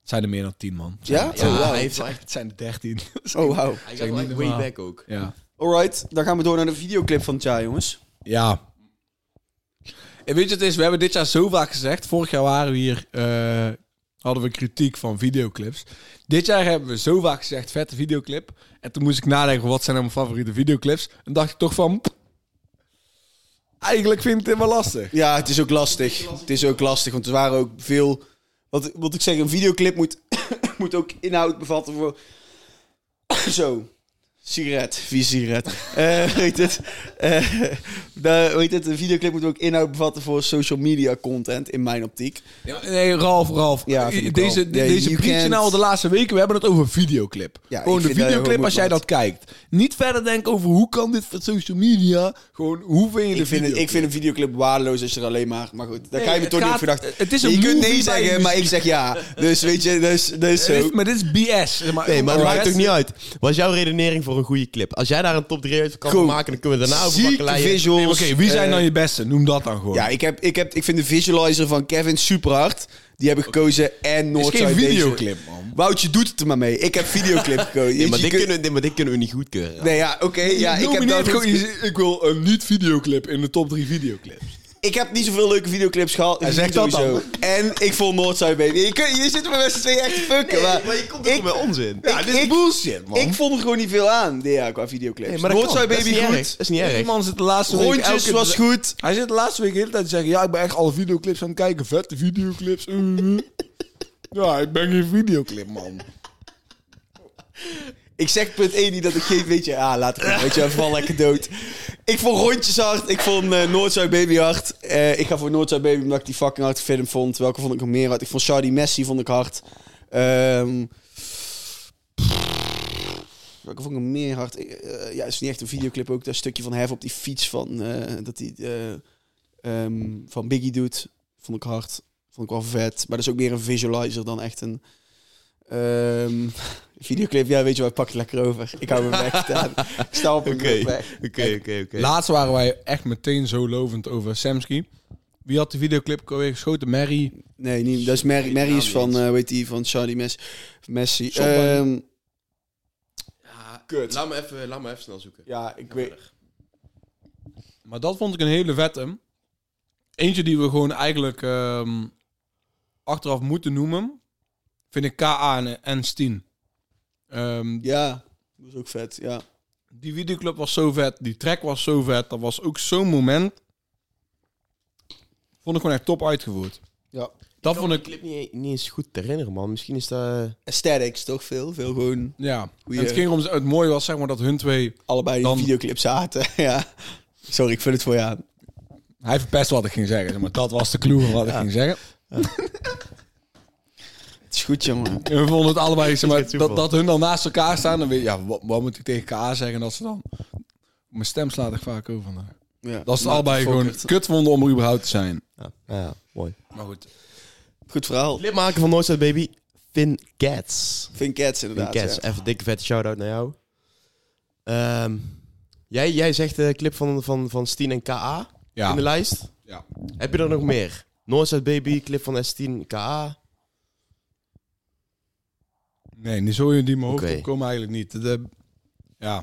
Speaker 1: Het zijn er meer dan 10 man. Het zijn-
Speaker 2: Ja?
Speaker 1: het
Speaker 2: Oh,
Speaker 1: zijn-
Speaker 2: wauw.
Speaker 1: hij heeft, het zijn er 13.
Speaker 2: Oh, wauw.
Speaker 3: Hij
Speaker 1: Zeg niet
Speaker 3: gaat like way
Speaker 1: normaal.
Speaker 3: back ook.
Speaker 1: Ja.
Speaker 2: Alright, dan gaan we door naar de videoclip van het jaar, jongens.
Speaker 1: Ja. En weet je wat het is? We hebben dit jaar zo vaak gezegd. Vorig jaar waren we hier... eh, hadden we kritiek van videoclips. Dit jaar hebben we zo vaak gezegd... vette videoclip. En toen moest ik nadenken... wat zijn nou mijn favoriete videoclips? En dacht ik toch van... Eigenlijk vind ik dit wel lastig.
Speaker 2: Ja, het is ook lastig. Het is ook lastig, want er waren ook veel... Wat, wat ik zeg, een videoclip moet, moet ook inhoud bevatten voor... Zo. Sigaret, vies sigaret. Eh, weet het, Eh, de, weet het, een videoclip moet ook inhoud bevatten voor social media content, in mijn optiek.
Speaker 1: Ja, Nee, Ralf, Ralf.
Speaker 2: Ja, vind ik
Speaker 1: deze
Speaker 2: wel. Ja,
Speaker 1: deze
Speaker 2: you
Speaker 1: preach
Speaker 2: can't-
Speaker 1: nou al de laatste weken. We hebben het over videoclip.
Speaker 2: Ja, ik
Speaker 1: Gewoon de
Speaker 2: vind dat je
Speaker 1: videoclip
Speaker 2: gewoon
Speaker 1: als jij
Speaker 2: moet,
Speaker 1: dat kijkt. Niet verder denken over hoe kan dit voor social media. Gewoon hoe vind je de
Speaker 2: Ik vind, het-
Speaker 1: videoclip?
Speaker 2: ik vind een videoclip waardeloos als je er alleen maar... Maar goed, daar
Speaker 1: Nee,
Speaker 2: ga je me
Speaker 1: het
Speaker 2: toch niet op
Speaker 1: gaat-
Speaker 2: verdachten.
Speaker 1: het is een
Speaker 2: je kunt
Speaker 1: movie
Speaker 2: nee
Speaker 1: bij
Speaker 2: zeggen,
Speaker 1: muziek.
Speaker 2: maar ik zeg ja. Dus weet je, dus, dus
Speaker 1: Dit
Speaker 2: zo.
Speaker 1: is- maar dit is BS. zeg Maar,
Speaker 3: Nee, maar het
Speaker 1: Alright.
Speaker 3: maakt ook niet uit. Wat is jouw redenering voor een goede clip? Als jij daar een top 3 uit kan
Speaker 2: Goed.
Speaker 3: maken, dan kunnen we daarna over
Speaker 2: Ziek
Speaker 3: bakkeleien.
Speaker 2: visuals.
Speaker 1: Nee, maar Oké, wie zijn
Speaker 2: eh,
Speaker 1: dan je beste? Noem dat dan gewoon.
Speaker 2: Ja, ik, heb, ik, heb, ik vind de visualizer van Kevin super hard. Die heb ik gekozen en
Speaker 1: het is geen
Speaker 2: Noordzijde
Speaker 1: videoclip, man.
Speaker 2: Woutje doet het er maar mee. Ik heb videoclip gekozen.
Speaker 3: Nee, maar
Speaker 2: Je
Speaker 3: dit
Speaker 2: kunt-
Speaker 3: kunnen, nee, maar dit kunnen we niet goedkeuren.
Speaker 2: Nee, ja, oké. ja, ik, heb dat
Speaker 1: gewoon, ik wil een niet-videoclip in de top 3 videoclips.
Speaker 2: ik heb niet zoveel leuke videoclips gehad. dus
Speaker 1: Hij zegt dat
Speaker 2: Sowieso. En ik vond Noordzijde beter. Je, kunt- je zit er met z'n tweeën echt te fucken. maar
Speaker 3: maar je komt er
Speaker 2: ik-
Speaker 3: toch met onzin.
Speaker 2: Ja,
Speaker 1: Ja,
Speaker 2: Ik-
Speaker 1: dit is
Speaker 2: ik-
Speaker 1: bullshit, man.
Speaker 2: ik vond er gewoon niet veel aan ja, qua videoclips.
Speaker 3: Nee,
Speaker 2: Nee,
Speaker 3: maar
Speaker 2: maar
Speaker 3: Oh, dat kan.
Speaker 2: Baby
Speaker 3: Dat is niet
Speaker 2: goed.
Speaker 3: erg. Dat is niet erg.
Speaker 1: man zit de laatste week elke
Speaker 2: Rondjes
Speaker 1: keer
Speaker 2: was
Speaker 1: te-
Speaker 2: goed.
Speaker 1: Hij zit de laatste week de hele tijd te zeggen... Ja, ik ben echt alle videoclips aan het kijken. Vette videoclips. eh, eh. ja, ik ben geen videoclip, man.
Speaker 2: Ik zeg punt 1 niet dat ik geen... Weet je, ah, laat het gaan. Weet je, val lekker dood. Ik vond Rondjes hard. Ik vond eh Noordzuid Baby hard. Eh, ik ga voor Noordzuid Baby omdat ik die fucking hard film vond. Welke vond ik nog meer hard? Ik vond Shardy Messi vond ik hard. Ehm, welke vond ik nog meer hard? Ik, eh, ja, het is niet echt een videoclip ook. Dat stukje van Hef op die fiets van... eh, dat hij eh, ehm, van Biggie doet. Vond ik hard. Vond ik wel vet. Maar dat is ook meer een visualizer dan echt een... ehm, Videoclip, ja, weet je wat, pak het lekker over. Ik hou me weg. staan. Ik sta op een
Speaker 3: Oké.
Speaker 2: weg.
Speaker 3: Oké, oké, oké.
Speaker 1: Laatst waren wij echt meteen zo lovend over Samsky. Wie had de videoclip ook weer geschoten? Mary.
Speaker 2: Nee, niet, dat is Mary. Mary is van, eh weet die, van Charlie Messi. Messi.
Speaker 1: Shotman.
Speaker 2: Ehm,
Speaker 3: Kut. Laat me even, laat me even snel zoeken.
Speaker 2: ja, ik weet...
Speaker 1: Maar dat vond ik een hele vette. Eentje die we gewoon eigenlijk ehm, achteraf moeten noemen... vind ik K.A. en- en Steen. Ehm,
Speaker 2: Ja, dat is ook vet, ja.
Speaker 1: Die videoclip was zo vet. Die track was zo vet. Dat was ook zo'n moment. Vond ik gewoon echt top uitgevoerd.
Speaker 2: ja.
Speaker 1: Dat vond ik...
Speaker 3: clip niet, niet eens goed te herinneren, man. Misschien is dat...
Speaker 2: Aesthetics, toch veel? Veel gewoon
Speaker 1: Ja. En
Speaker 2: Goeie-
Speaker 1: het ging om... Het mooie was zeg maar dat hun twee...
Speaker 2: allebei in
Speaker 1: Dan-
Speaker 2: die videoclip zaten. ja. Sorry, ik vul het voor je aan.
Speaker 1: Hij verpest wat ik ging zeggen. zeg Maar dat was de clue van wat ik ging zeggen.
Speaker 2: Het is goed, jongen.
Speaker 1: En we vonden het allebei... Zeg
Speaker 3: Is
Speaker 1: maar,
Speaker 3: geen
Speaker 1: dat,
Speaker 3: toeval.
Speaker 1: dat hun dan naast elkaar staan. Dan weet, je, ja, wat, wat moet ik tegen K.A. zeggen? Dat ze dan... Mijn stem slaat ik vaak over. vandaag.
Speaker 2: Ja.
Speaker 1: Dat ze het
Speaker 2: Nou,
Speaker 1: allebei
Speaker 2: fuck
Speaker 1: gewoon
Speaker 2: it.
Speaker 1: kut vonden om er überhaupt te zijn.
Speaker 3: Ja, eh, ah, nou ja mooi.
Speaker 1: Maar goed.
Speaker 2: Goed verhaal.
Speaker 3: Lidmaker van Noordzide Baby, Finn Cats.
Speaker 2: Vind Cats
Speaker 3: Finn
Speaker 2: inderdaad.
Speaker 3: Cats,
Speaker 2: ja.
Speaker 3: even dikke vette shout-out naar jou. Ehm, jij, jij zegt de clip van, van, van Steen en K.A. in de
Speaker 1: Ja.
Speaker 3: lijst.
Speaker 1: ja.
Speaker 3: Heb je er nog meer? Noordzide Baby, clip van S10, K.A.
Speaker 1: Nee, die zul je die in mijn hoofd
Speaker 3: Oké.
Speaker 1: opkomen eigenlijk niet. De, ja.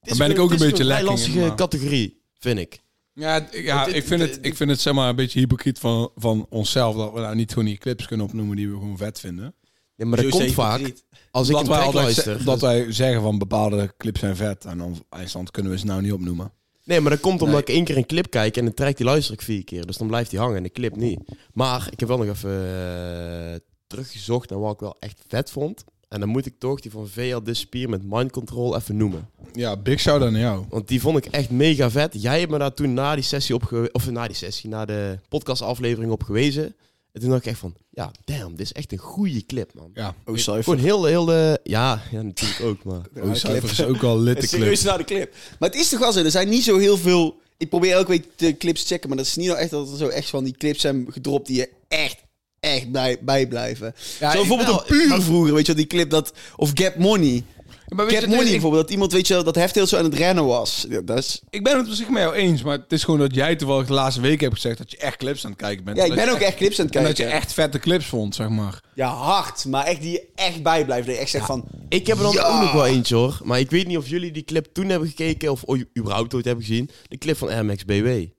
Speaker 3: Het is
Speaker 1: ben ik
Speaker 3: gewoon-
Speaker 1: ook een
Speaker 3: het is
Speaker 1: beetje
Speaker 3: gewoon
Speaker 1: lekker in,
Speaker 3: een lastige
Speaker 1: maar-
Speaker 3: categorie, vind ik.
Speaker 1: Ja, d- ja
Speaker 3: Want dit-
Speaker 1: ik, vind het,
Speaker 3: dit-
Speaker 1: ik vind het zeg maar een beetje hypocriet van, van onszelf dat we nou niet gewoon die clips kunnen opnoemen die we gewoon vet vinden.
Speaker 3: Ja, maar dat
Speaker 2: Zo
Speaker 3: komt
Speaker 2: zeker
Speaker 3: vaak
Speaker 2: niet.
Speaker 3: als ik
Speaker 1: Dat
Speaker 3: een
Speaker 1: wij,
Speaker 3: track
Speaker 1: altijd ze-
Speaker 3: luister.
Speaker 1: dat wij zeggen van bepaalde clips zijn vet en dan IJsland kunnen we ze nou niet opnoemen.
Speaker 3: Nee, maar dat komt omdat
Speaker 2: Nee.
Speaker 3: ik één keer een clip kijk en een track die luister ik vier keer. Dus dan blijft die hangen en de clip niet. Maar ik heb wel nog even eh, teruggezocht naar wat ik wel echt vet vond. En dan moet ik toch die van VL Dispier met Mind Control even noemen.
Speaker 1: Ja, big shout out aan jou.
Speaker 3: Want die vond ik echt mega vet. Jij hebt me daar toen na die sessie op gewe- of na die sessie, na de podcastaflevering op gewezen. En toen dacht ik echt van, ja, damn, dit is echt een goede clip, man.
Speaker 1: Ja,
Speaker 2: Oh, sorry.
Speaker 3: Gewoon heel, heel, eh, ja, ja, natuurlijk ook, maar...
Speaker 1: oh, Cypher is ook wel
Speaker 2: Het
Speaker 1: litte
Speaker 2: is
Speaker 1: clip.
Speaker 2: serieus naar de clip. Maar het is toch wel zo, er zijn niet zo heel veel... Ik probeer elke week de clips te checken, maar dat is niet nou echt dat er zo echt van die clips zijn gedropt die je echt, echt bij, bij blijven. zo bijvoorbeeld een puur vroeger, weet je wel, die clip dat... Of Get Money.
Speaker 1: Maar weet
Speaker 2: Get
Speaker 1: je,
Speaker 2: Money
Speaker 1: ik,
Speaker 2: bijvoorbeeld, dat iemand, weet je wel, dat heft heel zo aan het rennen was. Ja, dat is,
Speaker 1: ik ben het op zich met jou eens, maar het is gewoon dat jij toevallig de laatste week hebt gezegd dat je echt clips aan het kijken bent.
Speaker 2: ja
Speaker 1: En
Speaker 2: ik
Speaker 1: dat
Speaker 2: ben
Speaker 1: je
Speaker 2: ook echt clips aan het
Speaker 1: En
Speaker 2: kijken.
Speaker 1: dat je echt vette clips vond, zeg maar.
Speaker 2: Ja, hard, maar echt die je echt bijblijft. Dat je echt zegt van...
Speaker 3: Ik heb er dan
Speaker 2: Ja.
Speaker 3: ook nog wel eentje hoor. Maar ik weet niet of jullie die clip toen hebben gekeken of ooit- überhaupt ooit hebben gezien. De clip van RMXBW. Nee,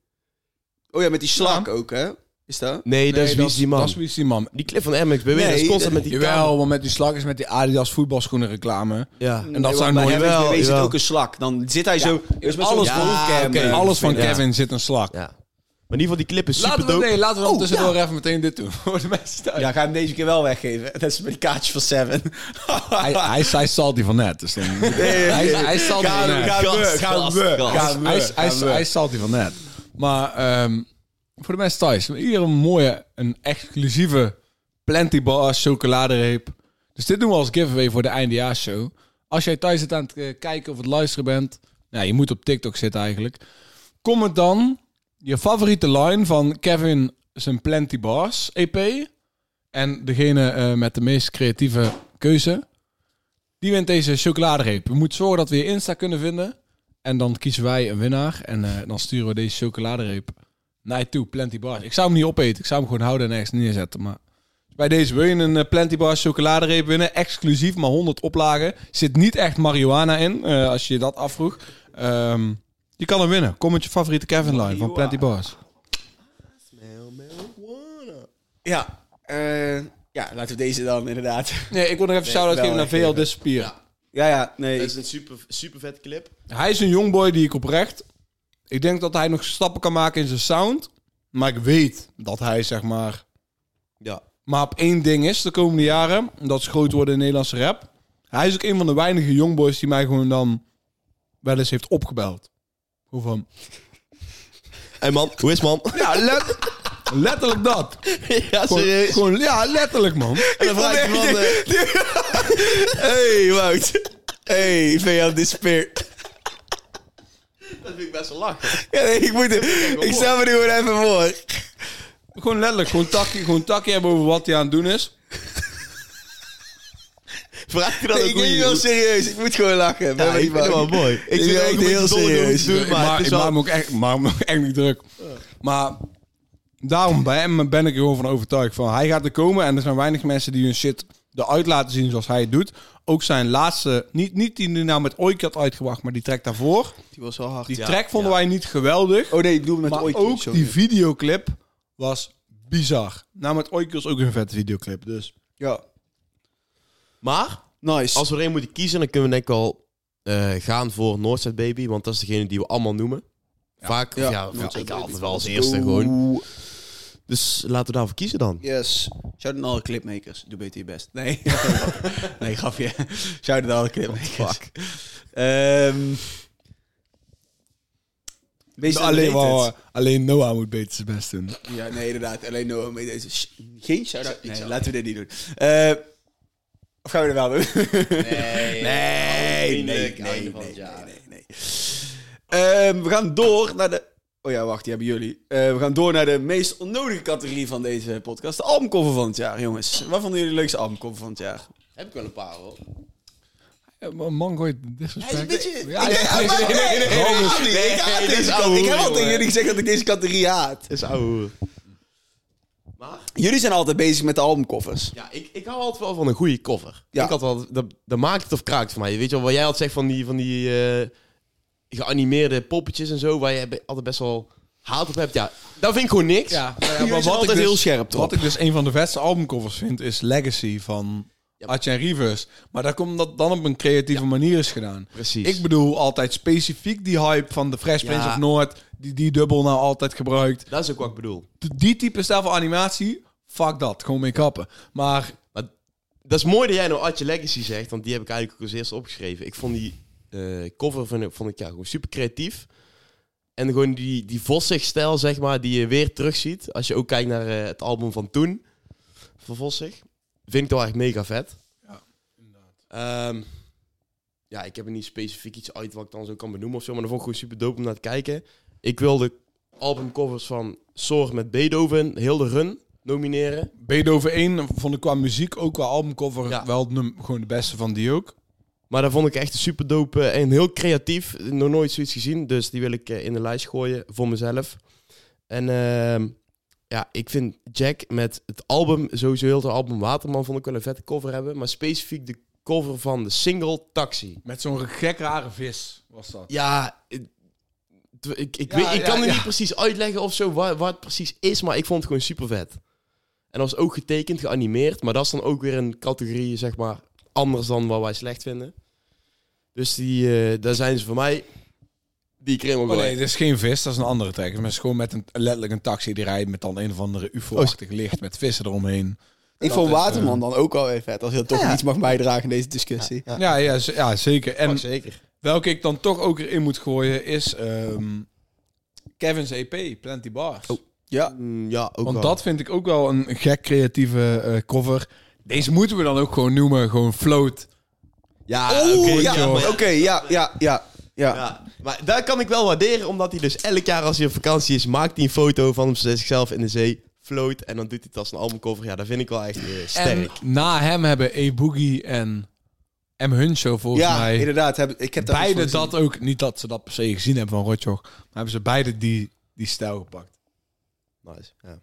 Speaker 2: Oh ja, met die slak ook, hè? Is dat?
Speaker 3: dat is wie is die man.
Speaker 1: Dat is wie is die man.
Speaker 3: Die clip van RMXBW,
Speaker 2: Nee,
Speaker 3: dat is constant met die camera.
Speaker 1: Jawel, want met die slag is met die Adidas voetbalschoenen reclame.
Speaker 3: Ja.
Speaker 1: En dat zijn
Speaker 2: bij
Speaker 1: nooit-
Speaker 2: hem
Speaker 3: Jawel,
Speaker 2: is
Speaker 3: jawel.
Speaker 2: ook een slak. Dan zit hij zo... dus met zo'n
Speaker 1: alles,
Speaker 2: rolcam,
Speaker 1: van-
Speaker 2: eh,
Speaker 1: alles van
Speaker 3: Ja.
Speaker 1: Kevin zit een slag.
Speaker 3: ja. Maar in ieder geval, die clip is super
Speaker 1: Laten we, nee, laten we dan
Speaker 3: Oh,
Speaker 1: tussendoor even meteen dit doen. Voor de mensen thuis.
Speaker 2: Ja, ga hem deze keer wel weggeven. Dat is met die kaartjes van Seven.
Speaker 1: Hij, hij, hij zal die van net. Dus dan, hij, hij zal die van net.
Speaker 2: Gaan we,
Speaker 3: Gast,
Speaker 2: gaan we, gaan
Speaker 3: gast, gast.
Speaker 2: we,
Speaker 1: Hij, hij,
Speaker 2: gaan we.
Speaker 1: hij zal die van net. Maar ehm, voor de mensen thuis. Hier een mooie, een exclusieve Plenty Bar chocoladereep. Dus dit doen we als giveaway voor de eindejaarshow. Als jij thuis zit aan het eh, kijken of het luisteren bent. Nou, je moet op TikTok zitten eigenlijk. Comment dan je favoriete line van Kevin zijn Plenty Bars E EP. En degene eh, met de meest creatieve keuze. Die wint deze chocoladereep. We moeten zorgen dat we je Insta kunnen vinden. En dan kiezen wij een winnaar. En eh, dan sturen we deze chocoladereep naar je toe. Plenty Bars. Ik zou hem niet opeten. Ik zou hem gewoon houden en ergens neerzetten. Maar bij deze wil je een eh, Plenty Bars chocoladereep winnen. Exclusief, maar 100 oplagen. Zit niet echt marihuana in, eh, als je je dat afvroeg. Ehm, je kan hem winnen. Kom met je favoriete Kevin line van Plenty Bars.
Speaker 2: Ja, eh, ja, laten we deze dan inderdaad.
Speaker 1: Nee, ik wil nog even shout-out
Speaker 2: wel
Speaker 1: geven naar VL
Speaker 2: weggeven.
Speaker 1: Despier.
Speaker 2: Ja, ja, nee.
Speaker 3: Dat is
Speaker 2: ik-
Speaker 3: een super, super vette clip.
Speaker 1: Hij is een jongboy die ik oprecht... Ik denk dat hij nog stappen kan maken in zijn sound. Maar ik weet dat hij, zeg maar...
Speaker 3: Ja.
Speaker 1: Maar op één ding is de komende jaren, en dat is groot worden in Nederlandse rap. Hij is ook een van de weinige jongboys die mij gewoon dan wel eens heeft opgebeld. Hoe van?
Speaker 3: Hey man, hoe is man?
Speaker 1: Ja, let- letterlijk dat.
Speaker 3: ja,
Speaker 1: Gewoon,
Speaker 3: serieus.
Speaker 1: gewoon- ja, letterlijk man.
Speaker 3: En dan vraag ik
Speaker 2: vond
Speaker 3: van... eh,
Speaker 2: Hey, Wout. Hey, VL Despair.
Speaker 3: Dat vind ik best wel lachen.
Speaker 2: Ja, nee, ik moet... Ik stel me nu gewoon even voor.
Speaker 1: Gewoon letterlijk, gewoon takkie, gewoon takkie hebben over wat hij aan het doen is.
Speaker 3: Vraag je dan
Speaker 2: Nee,
Speaker 3: ook
Speaker 2: ik
Speaker 3: hoe
Speaker 2: neem
Speaker 3: je-
Speaker 2: je wel serieus. Ik moet gewoon lachen. Ben
Speaker 3: Ja,
Speaker 2: maar
Speaker 3: ik
Speaker 2: niet
Speaker 3: vind het wel
Speaker 2: bang.
Speaker 3: mooi.
Speaker 2: Ik vind het echt heel serieus.
Speaker 3: Doe
Speaker 1: ik
Speaker 3: maar,
Speaker 1: maak,
Speaker 3: het
Speaker 1: ik
Speaker 3: is wel-
Speaker 1: maak me ook echt, ik maak me ook echt niet druk. Maar daarom bij hem ben ik er gewoon van overtuigd. Van, hij gaat er komen en er zijn weinig mensen die hun shit eruit laten zien zoals hij het doet. Ook zijn laatste, niet, niet die nu nou met Oik had uitgebracht, maar die track daarvoor.
Speaker 2: Die was wel hard.
Speaker 1: Die
Speaker 3: Ja,
Speaker 1: track vonden
Speaker 3: ja.
Speaker 1: wij niet geweldig.
Speaker 2: Oh nee, ik bedoel met
Speaker 1: maar
Speaker 2: ooitjes,
Speaker 1: ook
Speaker 2: sorry.
Speaker 1: die videoclip was bizar. Nou, met Oik was ook een vette videoclip. Dus
Speaker 2: Ja,
Speaker 3: Maar,
Speaker 2: nice.
Speaker 3: als we er één moeten kiezen, dan kunnen we denk ik al eh, gaan voor Northside Baby. Want dat is degene die we allemaal noemen. Vaak, ja, vind ik altijd wel als eerste gewoon.
Speaker 2: Oeh.
Speaker 3: Dus laten we daarvoor kiezen dan.
Speaker 2: Yes. Shout-out naar alle clipmakers. Doe beter je best. Nee. nee, grapje. Shout-out naar alle clipmakers. Ehm Wees
Speaker 1: alleen,
Speaker 2: underrated.
Speaker 1: wel, alleen Noah moet beter zijn best doen.
Speaker 2: Ja, nee, inderdaad. Alleen Noah mee deze. Sh- Geen shout-out.
Speaker 3: Ik
Speaker 2: Nee,
Speaker 3: zou-
Speaker 2: laten we dit niet doen. Eh, of gaan we er wel doen? Nee, nee,
Speaker 3: Nee.
Speaker 2: nee,
Speaker 3: Vriendelijk,
Speaker 2: nee,
Speaker 3: einde van
Speaker 2: nee,
Speaker 3: het jaar.
Speaker 2: nee, nee. Ehm, we gaan door naar de... Oh ja, wacht, die hebben jullie. Eh, we gaan door naar de meest onnodige categorie van deze podcast. De albumcover van het jaar, jongens. Wat vonden jullie de leukste albumcover van het jaar?
Speaker 3: Heb ik wel een paar hoor.
Speaker 1: Ja, maar man, gooi disrespect. Ja,
Speaker 2: Ik-
Speaker 1: ja, ja,
Speaker 2: ik-
Speaker 1: ja, ja, ja, ja, ja, ja.
Speaker 2: Nee, ik haat
Speaker 3: dit is
Speaker 2: deze
Speaker 3: ouwe
Speaker 2: categorie. Ik heb al
Speaker 3: hoeren,
Speaker 2: tegen
Speaker 3: jongen.
Speaker 2: jullie gezegd dat ik deze categorie haat.
Speaker 3: Is ouwe. Maar?
Speaker 2: Jullie zijn altijd bezig met de albumcovers.
Speaker 3: Ja, ik, ik hou altijd wel van een goede cover.
Speaker 2: Ja.
Speaker 3: Ik had wel, dat, dat maakt het of kraakt voor mij. Weet je wel, wat jij altijd zegt van die, van die eh, geanimeerde poppetjes en zo, waar je be- altijd best wel haat op hebt. Ja, dat vind ik gewoon niks.
Speaker 1: Ja,
Speaker 2: Jullie zijn altijd
Speaker 1: dus,
Speaker 2: heel scherp, toch?
Speaker 1: Wat ik dus een van de beste albumcovers vind, is Legacy van
Speaker 3: Ja.
Speaker 1: Arjen Rivers. Maar dat komt dat dan op een creatieve manier is gedaan.
Speaker 3: Precies.
Speaker 1: Ik bedoel altijd specifiek die hype van de Fresh Prince
Speaker 2: Ja.
Speaker 1: of Noord, die die dubbel nou altijd gebruikt.
Speaker 3: dat is ook wat ik bedoel.
Speaker 1: D- Die type stijl van animatie, fuck dat, gewoon mee kappen. Maar
Speaker 3: Maar dat is mooi dat jij nou Artje Legacy zegt, want die heb ik eigenlijk ook als eerste opgeschreven. Ik vond die eh, cover vond ik, vond ik ja, gewoon super creatief. En gewoon die, die Vossig-stijl, zeg maar, die je weer terugziet. Als je ook kijkt naar eh, het album van toen, van Vossig. Vind ik toch echt mega vet.
Speaker 1: Ja,
Speaker 3: inderdaad. ja, ik heb er niet specifiek iets uit wat ik dan zo kan benoemen of zo. Maar dat vond ik gewoon super dope om naar te kijken. Ik wil de albumcovers van Soort met Beethoven, heel de run, nomineren.
Speaker 1: Beethoven 1 vond ik qua muziek, ook qua albumcover,
Speaker 3: Ja.
Speaker 1: wel het num- gewoon de beste van die ook.
Speaker 3: Maar dat vond ik echt super dope eh, en heel creatief. Nog nooit zoiets gezien, dus die wil ik eh, in de lijst gooien voor mezelf. En ehm, ja, ik vind Jack met het album, sowieso heel het album Waterman, vond ik wel een vette cover hebben. Maar specifiek de cover van de single Taxi.
Speaker 1: Met zo'n gek rare vis was dat.
Speaker 3: Ja, eh, t- ik, ik,
Speaker 1: Ja,
Speaker 3: weet, ik
Speaker 1: ja,
Speaker 3: kan het
Speaker 1: ja.
Speaker 3: niet precies uitleggen of zo wat, wat het precies is, maar ik vond het gewoon super vet. En dat was ook getekend, geanimeerd, maar dat is dan ook weer een categorie, zeg maar, anders dan wat wij slecht vinden. Dus die, eh, daar zijn ze voor mij die ik erin wil
Speaker 1: Oh
Speaker 3: gooien.
Speaker 1: nee, dit is geen vis, dat is een andere track. Maar het is gewoon met een, letterlijk een taxi die rijdt met dan een of andere UFO-achtig licht met vissen eromheen.
Speaker 2: Ik
Speaker 1: Dat
Speaker 2: vond
Speaker 1: is, eh,
Speaker 2: Waterman dan ook al even vet. Als je dat toch iets mag bijdragen in deze discussie.
Speaker 1: Ja, ja, ja, z- ja zeker. En
Speaker 3: zeker.
Speaker 1: welke ik dan toch ook erin moet gooien is ehm, Kevin's EP, Plenty Bars.
Speaker 2: Ja.
Speaker 3: Mm, ja, ook
Speaker 1: Want
Speaker 3: wel.
Speaker 1: dat vind ik ook wel een gek creatieve eh, cover. Deze moeten we dan ook gewoon noemen, gewoon float.
Speaker 3: Ja,
Speaker 1: Ah, Oh,
Speaker 2: Oeh,
Speaker 3: oké,
Speaker 2: ja,
Speaker 3: ja, maar-
Speaker 2: oké, ja, ja, ja, ja.
Speaker 3: Ja, maar daar kan ik wel waarderen, omdat hij dus elk jaar als hij op vakantie is, maakt hij een foto van zichzelf in de zee, float en dan doet hij het als een albumcover. Ja, dat vind ik wel echt eh, sterk.
Speaker 1: En na hem hebben E Boogie en M Huncho volgens
Speaker 2: Ja,
Speaker 1: mij
Speaker 2: inderdaad. Heb, ik heb daar
Speaker 1: beide
Speaker 2: iets van
Speaker 1: dat ook niet dat ze dat per se gezien hebben van Rotjoch, maar hebben ze beide die die stijl gepakt.
Speaker 3: Nice. Ja,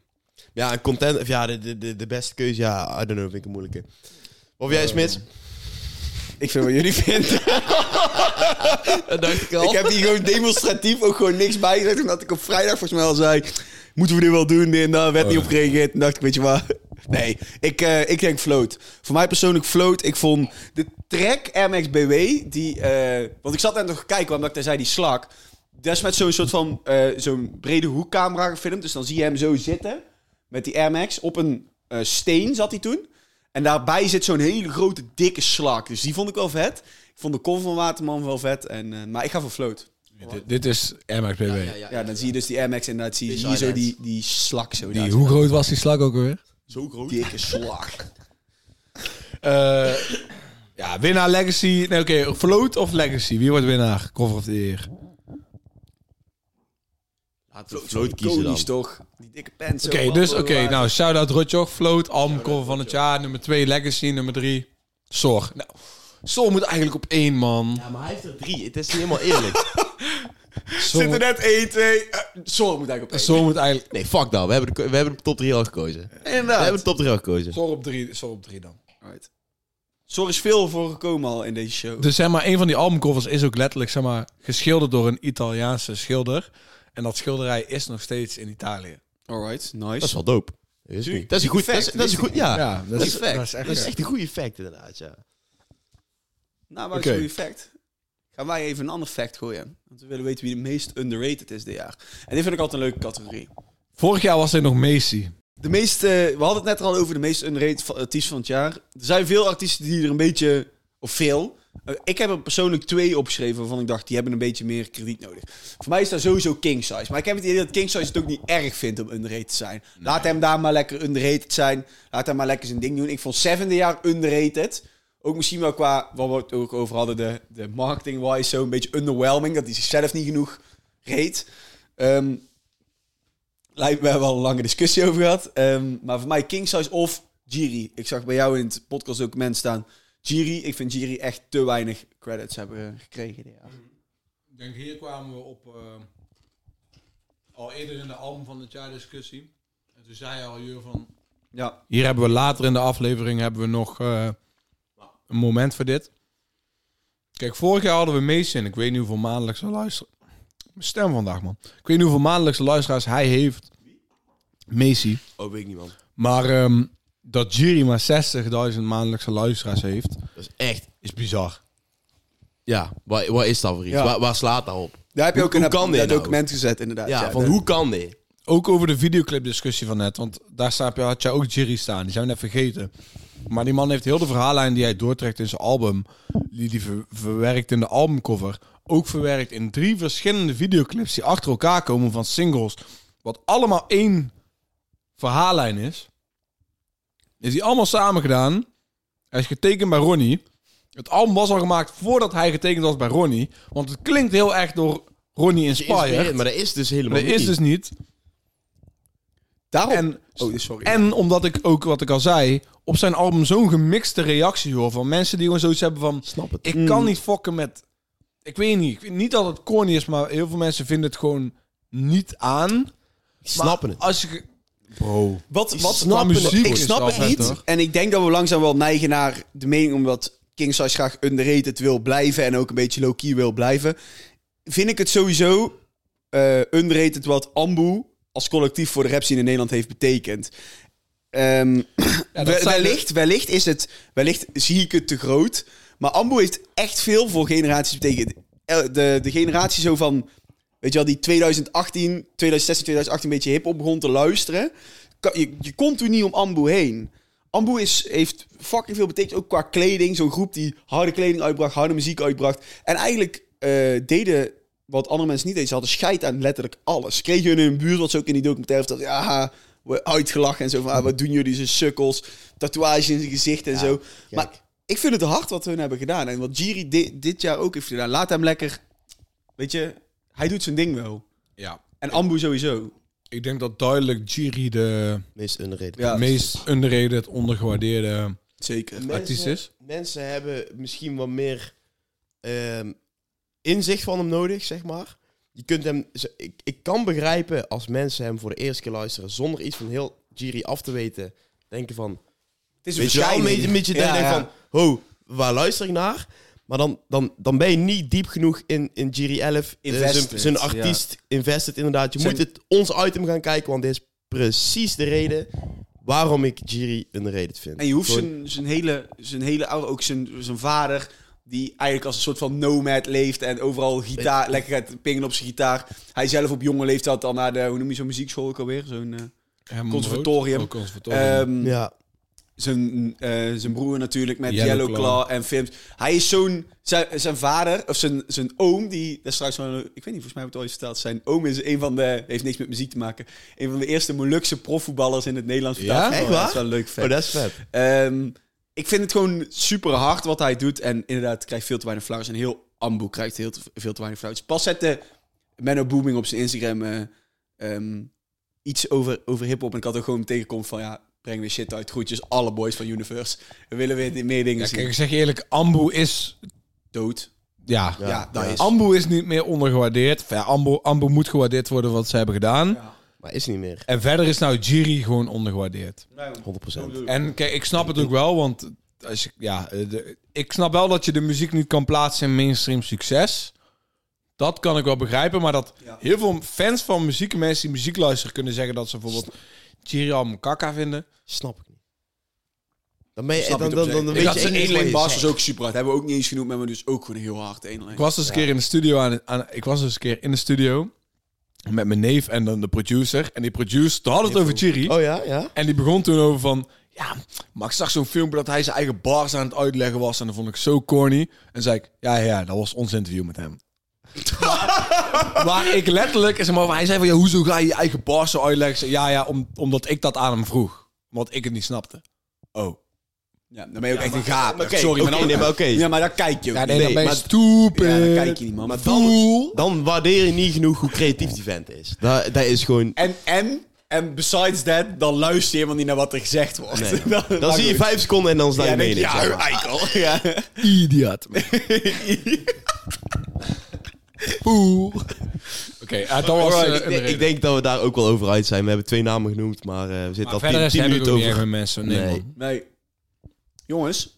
Speaker 3: ja en content, of ja, de- de, de, de beste keuze, ja, I don't know, vind ik een moeilijke. Of jij, Smits?
Speaker 2: gezien. Ik vind wat jullie vinden.
Speaker 3: Dat dacht
Speaker 2: ik heb hier gewoon demonstratief ook gewoon niks bij gezegd. Omdat ik op vrijdag volgens mij al zei... Moeten we dit wel doen? En daar werd niet op gereageerd. Toen dacht ik, weet je wat? Nee, ik, eh, ik denk float. Voor mij persoonlijk float. Ik vond de track MXBW... Die, eh, want ik zat net nog te kijken, omdat ik daar zei die slak. Dat is met zo'n soort van... eh, zo'n brede hoekcamera gefilmd. Dus dan zie je hem zo zitten. Met die MX. Op een eh, steen zat hij toen. En daarbij zit zo'n hele grote, dikke slak. Dus die vond ik wel vet. Ik vond de cover van Waterman wel vet. En, eh, maar ik ga voor float.
Speaker 1: Dit, dit is MXBW.
Speaker 2: Ja, dan zie je dus die MX inderdaad. Zie je
Speaker 3: Deze
Speaker 2: hier zo die,
Speaker 3: highlights.
Speaker 2: die slak zo.
Speaker 1: Die,
Speaker 2: daar.
Speaker 1: hoe groot was die slag ook alweer?
Speaker 3: Zo groot.
Speaker 2: Dikke slak.
Speaker 1: Eh, ja, winnaar Legacy. Nee, oké, Float of Legacy? Wie wordt winnaar? Cover of the Year.
Speaker 3: Laten we
Speaker 2: Float
Speaker 3: float kiezen dan.
Speaker 2: toch? Die dikke pants.
Speaker 1: Oké, dus oké. nou, shout-out Rotjoch. Float, album cover van het jaar. Nummer 2 Legacy, nummer 3 Sor. Nou, Sor moet eigenlijk op één, man.
Speaker 3: Ja, maar hij heeft er drie, het is niet helemaal eerlijk.
Speaker 1: Sor,
Speaker 2: Zit er
Speaker 1: moet-
Speaker 2: net 1, 2... Sorry, moet eigenlijk op één.
Speaker 1: Sor eh, moet eigenlijk...
Speaker 3: Nee, fuck nou, we hebben de, we hebben de top drie al gekozen. We hebben
Speaker 2: Inderdaad.
Speaker 3: de top drie al gekozen.
Speaker 1: Sor op 3 Sor op drie dan.
Speaker 2: Alright. Sorry is veel voor gekomen al in deze show.
Speaker 1: Dus zeg maar, een van die albumcovers is ook letterlijk zeg maar, geschilderd door een Italiaanse schilder. En dat schilderij is nog steeds in Italië.
Speaker 2: Alright,
Speaker 3: Dat is
Speaker 2: nice.
Speaker 3: wel dope. Dat is,
Speaker 1: Zie,
Speaker 3: goed. Dat is een goed, dat is,
Speaker 2: effect,
Speaker 3: dat is een goed, ja.
Speaker 1: dat
Speaker 3: is fact.
Speaker 1: Dat is echt
Speaker 3: Dat is
Speaker 1: gek.
Speaker 3: echt een goede fact inderdaad, ja.
Speaker 2: Nou, maar dat
Speaker 1: Oké.
Speaker 2: is een goede fact. Gaan wij even een ander fact gooien. Want we willen weten wie de meest underrated is dit jaar. En dit vind ik altijd een leuke categorie.
Speaker 1: Vorig jaar was hij nog Messi.
Speaker 2: De meeste, we hadden het net al over de meest underrated va- artiesten van het jaar. Er zijn veel artiesten die er een beetje, of veel. Eh, Ik heb er persoonlijk twee opgeschreven waarvan ik dacht, die hebben een beetje meer krediet nodig. Voor mij is daar sowieso King Size. Maar ik heb het idee dat King Size het ook niet erg vindt om underrated te zijn. Laat hem daar maar lekker underrated zijn. Laat hem maar lekker zijn ding doen. Ik vond Seven jaar underrated. Ook misschien wel qua, wat we het ook over hadden, de, de marketing-wise zo een beetje underwhelming. Dat hij zichzelf niet genoeg reed. Ehm Lijkt me wel een lange discussie over gehad. Ehm, maar voor mij King Size of Jiri. Ik zag bij jou in het podcastdocument staan. Jiri, ik vind Jiri echt te weinig credits hebben eh, gekregen. dit jaar.
Speaker 3: Mm.
Speaker 1: Ik denk hier kwamen we op eh, al eerder in de album van het jaar discussie. En toen zei hij al hier van.
Speaker 2: Ja,
Speaker 1: Hier hebben we later in de aflevering hebben we nog eh, een moment voor dit. Kijk, vorig jaar hadden we Mason. en ik weet niet hoeveel maandelijkse luisteraars. Mijn stem vandaag, man. Ik weet niet hoeveel maandelijkse luisteraars hij heeft. Macy.
Speaker 3: Oh, weet ik niet, man.
Speaker 1: Maar ehm, dat Jury maar 60.000 maandelijkse luisteraars heeft,
Speaker 3: Dat is echt...
Speaker 1: is bizar.
Speaker 3: Ja, wat, wat is dat voor iets?
Speaker 2: Ja.
Speaker 3: Waar, waar slaat dat op?
Speaker 2: daar heb je
Speaker 3: Hoe-
Speaker 2: ook een
Speaker 3: hoe kan dit
Speaker 2: dat
Speaker 3: nou?
Speaker 2: document gezet inderdaad.
Speaker 3: Ja, van
Speaker 2: dat-
Speaker 3: hoe kan dit?
Speaker 1: Ook over de videoclipdiscussie van net. Want daar staat, had jij ook Jerry staan. Die zijn we net vergeten. Maar die man heeft heel de verhaallijn die hij doortrekt in zijn album. Die die ver- verwerkt in de albumcover. Ook verwerkt in drie verschillende videoclips die achter elkaar komen van singles. Wat allemaal één verhaallijn is. Is die allemaal samen gedaan. Hij is getekend bij Ronnie. Het album was al gemaakt voordat hij getekend was bij Ronnie. Want het klinkt heel erg door Ronnie
Speaker 3: Geïnspireerd,
Speaker 1: Inspired.
Speaker 3: Maar dat is dus helemaal
Speaker 1: Maar dat is
Speaker 3: niet.
Speaker 1: dus niet.
Speaker 2: Daarom.
Speaker 1: En
Speaker 2: oh, sorry.
Speaker 1: en omdat ik ook, wat ik al zei, op zijn album zo'n gemixte reactie hoor. Van mensen die gewoon zoiets hebben van...
Speaker 3: Snap het.
Speaker 1: Ik kan niet fokken met... Ik weet niet. Ik weet niet dat het corny is, maar heel veel mensen vinden het gewoon niet aan.
Speaker 3: snappen het.
Speaker 1: Als je... Bro.
Speaker 2: wat, wat,
Speaker 1: snappen
Speaker 2: wat-
Speaker 1: muziek
Speaker 2: ik
Speaker 1: is
Speaker 2: snap
Speaker 1: wel
Speaker 2: het
Speaker 1: vet,
Speaker 2: niet.
Speaker 1: hoor.
Speaker 2: En ik denk dat we langzaam wel neigen naar de mening... omdat King Size graag underrated wil blijven... en ook een beetje low-key wil blijven. Vind ik het sowieso eh, underrated wat Ambu... als collectief voor de rap scene in Nederland heeft betekend. Ehm,
Speaker 1: Ja,
Speaker 2: wel-
Speaker 1: dat zijn de-
Speaker 2: wellicht, wellicht is het... Wellicht zie ik het te groot. Maar Ambu heeft echt veel voor generaties betekend. Eh, De, de generatie zo van... Weet je wel, die 2018, 2016, 2018 een beetje hip op begon te luisteren. Ka- Je, je komt toen niet om Ambu heen. Ambu is, heeft fucking veel betekend, ook qua kleding. Zo'n groep die harde kleding uitbracht, harde muziek uitbracht. En eigenlijk eh, deden wat andere mensen niet deden. Ze hadden scheid aan letterlijk alles. Kregen hun in hun buurt, wat ze ook in die documentaire vertelden. Ja, we uitgelachen en zo van, ah, wat doen jullie, ze sukkels. Tatoeages in zijn gezicht en zo. Maar ik vind het hard wat hun hebben gedaan. En wat Jiri di- dit jaar ook heeft gedaan. Laat hem lekker... Weet je, hij doet zijn ding wel.
Speaker 1: Ja.
Speaker 2: En Ambu sowieso.
Speaker 1: Ik denk dat duidelijk Jiri de
Speaker 3: Meest underrated.
Speaker 2: Ja,
Speaker 1: meest underrated, ondergewaardeerde
Speaker 2: zeker.
Speaker 1: artiest is.
Speaker 3: mensen hebben misschien wat meer ehm, inzicht van hem nodig, zeg maar. Je kunt hem, ze- ik, ik kan begrijpen als mensen hem voor de eerste keer luisteren zonder iets van heel Jiri af te weten. Denken van,
Speaker 2: Het is
Speaker 3: weet je wel, een beetje, een beetje
Speaker 2: Ja,
Speaker 3: denken
Speaker 2: ja.
Speaker 3: van, ho, waar luister ik naar? Maar dan, dan, dan ben je niet diep genoeg in, in Jiri 11, eh, zijn-
Speaker 2: Invested,
Speaker 3: zijn
Speaker 2: ja.
Speaker 3: artiest invested inderdaad. Je
Speaker 2: Zijn-
Speaker 3: moet het, ons item gaan kijken, want dit is precies de reden waarom ik Jiri underrated vind.
Speaker 2: En je hoeft
Speaker 3: Gewoon-
Speaker 2: zijn, zijn hele, zijn hele oude, ook zijn, zijn vader, die eigenlijk als een soort van nomad leeft en overal gitaar, lekker gaat pingen op zijn gitaar. Hij zelf op jonge leeftijd al naar de, hoe noem je zo'n muziekschool ook alweer? Zo'n, eh,
Speaker 1: Herman
Speaker 2: Conservatorium.
Speaker 1: Brood. Oh, conservatorium.
Speaker 2: ehm,
Speaker 3: Ja.
Speaker 2: zijn, eh, zijn broer natuurlijk met
Speaker 1: Yellow
Speaker 2: Yellow, Claw. en films. Hij is zo'n... Zijn, zijn vader, of zijn, zijn oom, die... Dat is trouwens wel... een- Ik weet niet, volgens mij heb ik het al eens verteld. Zijn oom is een van de... Heeft niks met muziek te maken. Een van de eerste Molukse profvoetballers in het Nederlands.
Speaker 1: Ja?
Speaker 2: betaald voetbal.
Speaker 3: Echt waar?
Speaker 2: Dat is wel een leuk vet.
Speaker 3: Oh, dat is vet.
Speaker 2: Ehm, ik vind het gewoon super hard wat hij doet. En inderdaad, krijgt veel te weinig flowers. En heel Ambu krijgt heel te, veel te weinig flowers. Pas zette Menno Booming op zijn Instagram eh, ehm, iets over, over hip-hop. En ik had ook gewoon tegenkomst van ja. Breng weer shit uit. Groetjes, alle boys van Universe. We willen weer meer dingen
Speaker 1: ja,
Speaker 2: zien.
Speaker 1: kijk, ik zeg je eerlijk, Ambu is...
Speaker 2: Dood.
Speaker 1: Ja,
Speaker 2: Ja, dat
Speaker 3: ja.
Speaker 2: is.
Speaker 1: Ambu is niet meer ondergewaardeerd. Enfin, ja, Ambu, Ambu moet gewaardeerd worden wat ze hebben gedaan.
Speaker 3: Maar is niet meer.
Speaker 1: En verder is nou Jiri gewoon ondergewaardeerd.
Speaker 3: 100%.
Speaker 1: En kijk, ik snap het ook wel, want als je, ja, eh, de- ik snap wel dat je de muziek niet kan plaatsen in mainstream succes. Dat kan ik wel begrijpen, maar dat
Speaker 2: Ja.
Speaker 1: heel veel fans van muziek, en mensen die muziek luisteren, kunnen zeggen dat ze bijvoorbeeld Jiri allemaal kaka vinden.
Speaker 3: Snap ik niet. Dan ben je,
Speaker 2: Snap
Speaker 3: dan,
Speaker 2: je
Speaker 3: dan,
Speaker 2: het
Speaker 3: dan,
Speaker 2: op
Speaker 3: dan
Speaker 2: zich?
Speaker 3: weet
Speaker 2: Ik had
Speaker 3: je
Speaker 2: zijn
Speaker 3: één ding
Speaker 2: één
Speaker 3: wat je
Speaker 2: basis
Speaker 3: zegt.
Speaker 2: ook super hard. Hebben we ook niet eens genoemd, maar we dus ook gewoon heel hard één lijn.
Speaker 1: Ik was dus een keer in de studio aan, aan ik was dus een keer in de studio met mijn neef en dan de producer. En die producer, toen hadden we het over Jiri.
Speaker 3: Oh ja, ja?
Speaker 1: En die begon toen over van... Ja, maar ik zag zo'n filmpje dat hij zijn eigen bars aan het uitleggen was. En dat vond ik zo corny. En zei ik, ja, ja, dat was ons interview met hem. maar ik letterlijk... Zeg maar, hij zei van, ja, hoezo ga je je eigen bars zo uitleggen? Ik zei, ja, ja, om, omdat ik dat aan hem vroeg. Omdat ik het niet snapte. Oh.
Speaker 2: Ja, dan ben je ook echt een gaap.
Speaker 3: oké,
Speaker 2: Sorry,
Speaker 3: oké,
Speaker 2: maar dan...
Speaker 3: nee, maar oké.
Speaker 2: Ja, maar daar kijk je ook
Speaker 1: Ja, nee,
Speaker 2: niet.
Speaker 1: dan ben je
Speaker 3: maar-
Speaker 1: stupid.
Speaker 2: Ja,
Speaker 3: Eh,
Speaker 2: dan kijk je niet, man.
Speaker 3: Maar
Speaker 1: Fool.
Speaker 3: dan, dan waardeer je niet genoeg hoe creatief die vent is. Dat, dat is gewoon...
Speaker 2: En, en, en besides that, dan luister je helemaal niet naar wat er gezegd wordt. dan
Speaker 3: Dan zie je vijf seconden en dan sta
Speaker 2: ja,
Speaker 3: je
Speaker 2: dan denk
Speaker 3: mening.
Speaker 2: je, ja,
Speaker 3: zeg maar.
Speaker 2: eikel. Ja.
Speaker 1: Idiot. Fool. Oké, ja, dat was...
Speaker 3: Alright,
Speaker 1: eh,
Speaker 3: ik,
Speaker 1: een
Speaker 3: denk-
Speaker 1: reden.
Speaker 3: ik denk dat we daar ook wel over uit zijn. We hebben twee namen genoemd, maar eh, we zitten
Speaker 1: Maar
Speaker 3: al
Speaker 1: verder
Speaker 3: tien,
Speaker 1: is
Speaker 3: tien
Speaker 1: heb ik ook
Speaker 3: minuten
Speaker 1: niet echt
Speaker 3: over.
Speaker 1: met mensen. Nee,
Speaker 3: Nee.
Speaker 1: man.
Speaker 2: Nee. Jongens.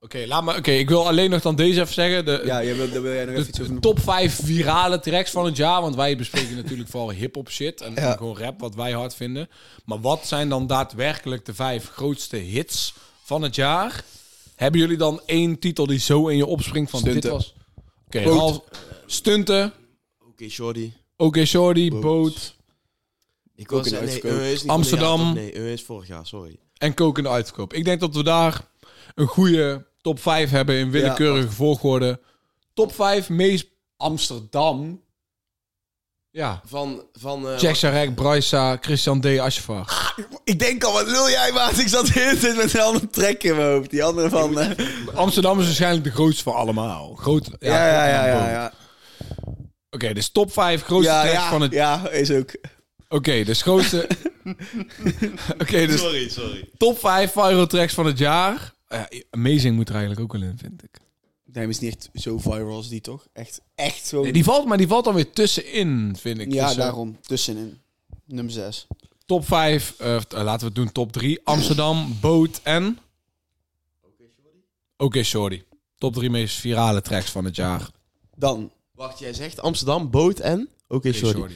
Speaker 1: Oké, laat maar. Oké, ik wil alleen nog dan deze even zeggen. De,
Speaker 2: Ja, jij wil, daar wil jij nog even iets over
Speaker 1: de
Speaker 2: doen.
Speaker 1: top 5 virale tracks van het jaar. Want wij bespreken natuurlijk vooral hip-hop shit. En, en gewoon rap, wat wij hard vinden. Maar wat zijn dan daadwerkelijk de vijf grootste hits van het jaar? Hebben jullie dan één titel die zo in je opspringt van dit
Speaker 2: Stunten.
Speaker 1: was? Oké,
Speaker 2: Boot.
Speaker 1: Ralf, Stunten.
Speaker 3: Oké, Shorty.
Speaker 1: Oké, Shorty,
Speaker 3: Boot.
Speaker 1: Boot.
Speaker 3: Ik
Speaker 2: was- nee, eh,
Speaker 3: is
Speaker 1: van dit jaar, Amsterdam. toch?
Speaker 3: Nee, is vorig jaar, sorry.
Speaker 1: en kokende uitverkoop. Ik denk dat we daar een goede top 5 hebben in willekeurige volgorde. Top 5 meest...
Speaker 2: Amsterdam.
Speaker 1: Ja,
Speaker 3: Van... van eh,
Speaker 1: Jack Sarek, Brysa, Christian D. Ashvar.
Speaker 2: Ik denk al, wat lul jij, maat? Ik zat de hele tijd met een andere trek in mijn hoofd. Die andere van... eh,
Speaker 1: Amsterdam is waarschijnlijk de grootste van allemaal. Groot,
Speaker 2: ja, ja, ja, ja.
Speaker 1: Oké,
Speaker 2: Ja,
Speaker 1: dus top 5 grootste
Speaker 2: ja,
Speaker 1: tracks
Speaker 2: ja,
Speaker 1: van het...
Speaker 2: ja, is ook...
Speaker 1: Oké, dus grootste... Oké, dus
Speaker 3: Sorry, sorry.
Speaker 1: top 5 viral tracks van het jaar. Ja, amazing moet er eigenlijk ook wel in, vind ik.
Speaker 2: Nee, maar is niet echt zo viral als die, toch? Echt, echt zo...
Speaker 1: Nee, die valt, maar die valt dan weer tussenin, vind ik.
Speaker 2: ja,
Speaker 1: Dus, eh,
Speaker 2: daarom. Tussenin. Nummer 6.
Speaker 1: Top 5, eh, eh, laten we het doen top 3. Amsterdam, Boot en... Oké, sorry. Top 3 meest virale tracks van het jaar.
Speaker 2: Dan.
Speaker 3: Wacht, jij zegt Amsterdam, boot en... Oké,
Speaker 1: Oké,
Speaker 3: Shorty.
Speaker 1: sorry.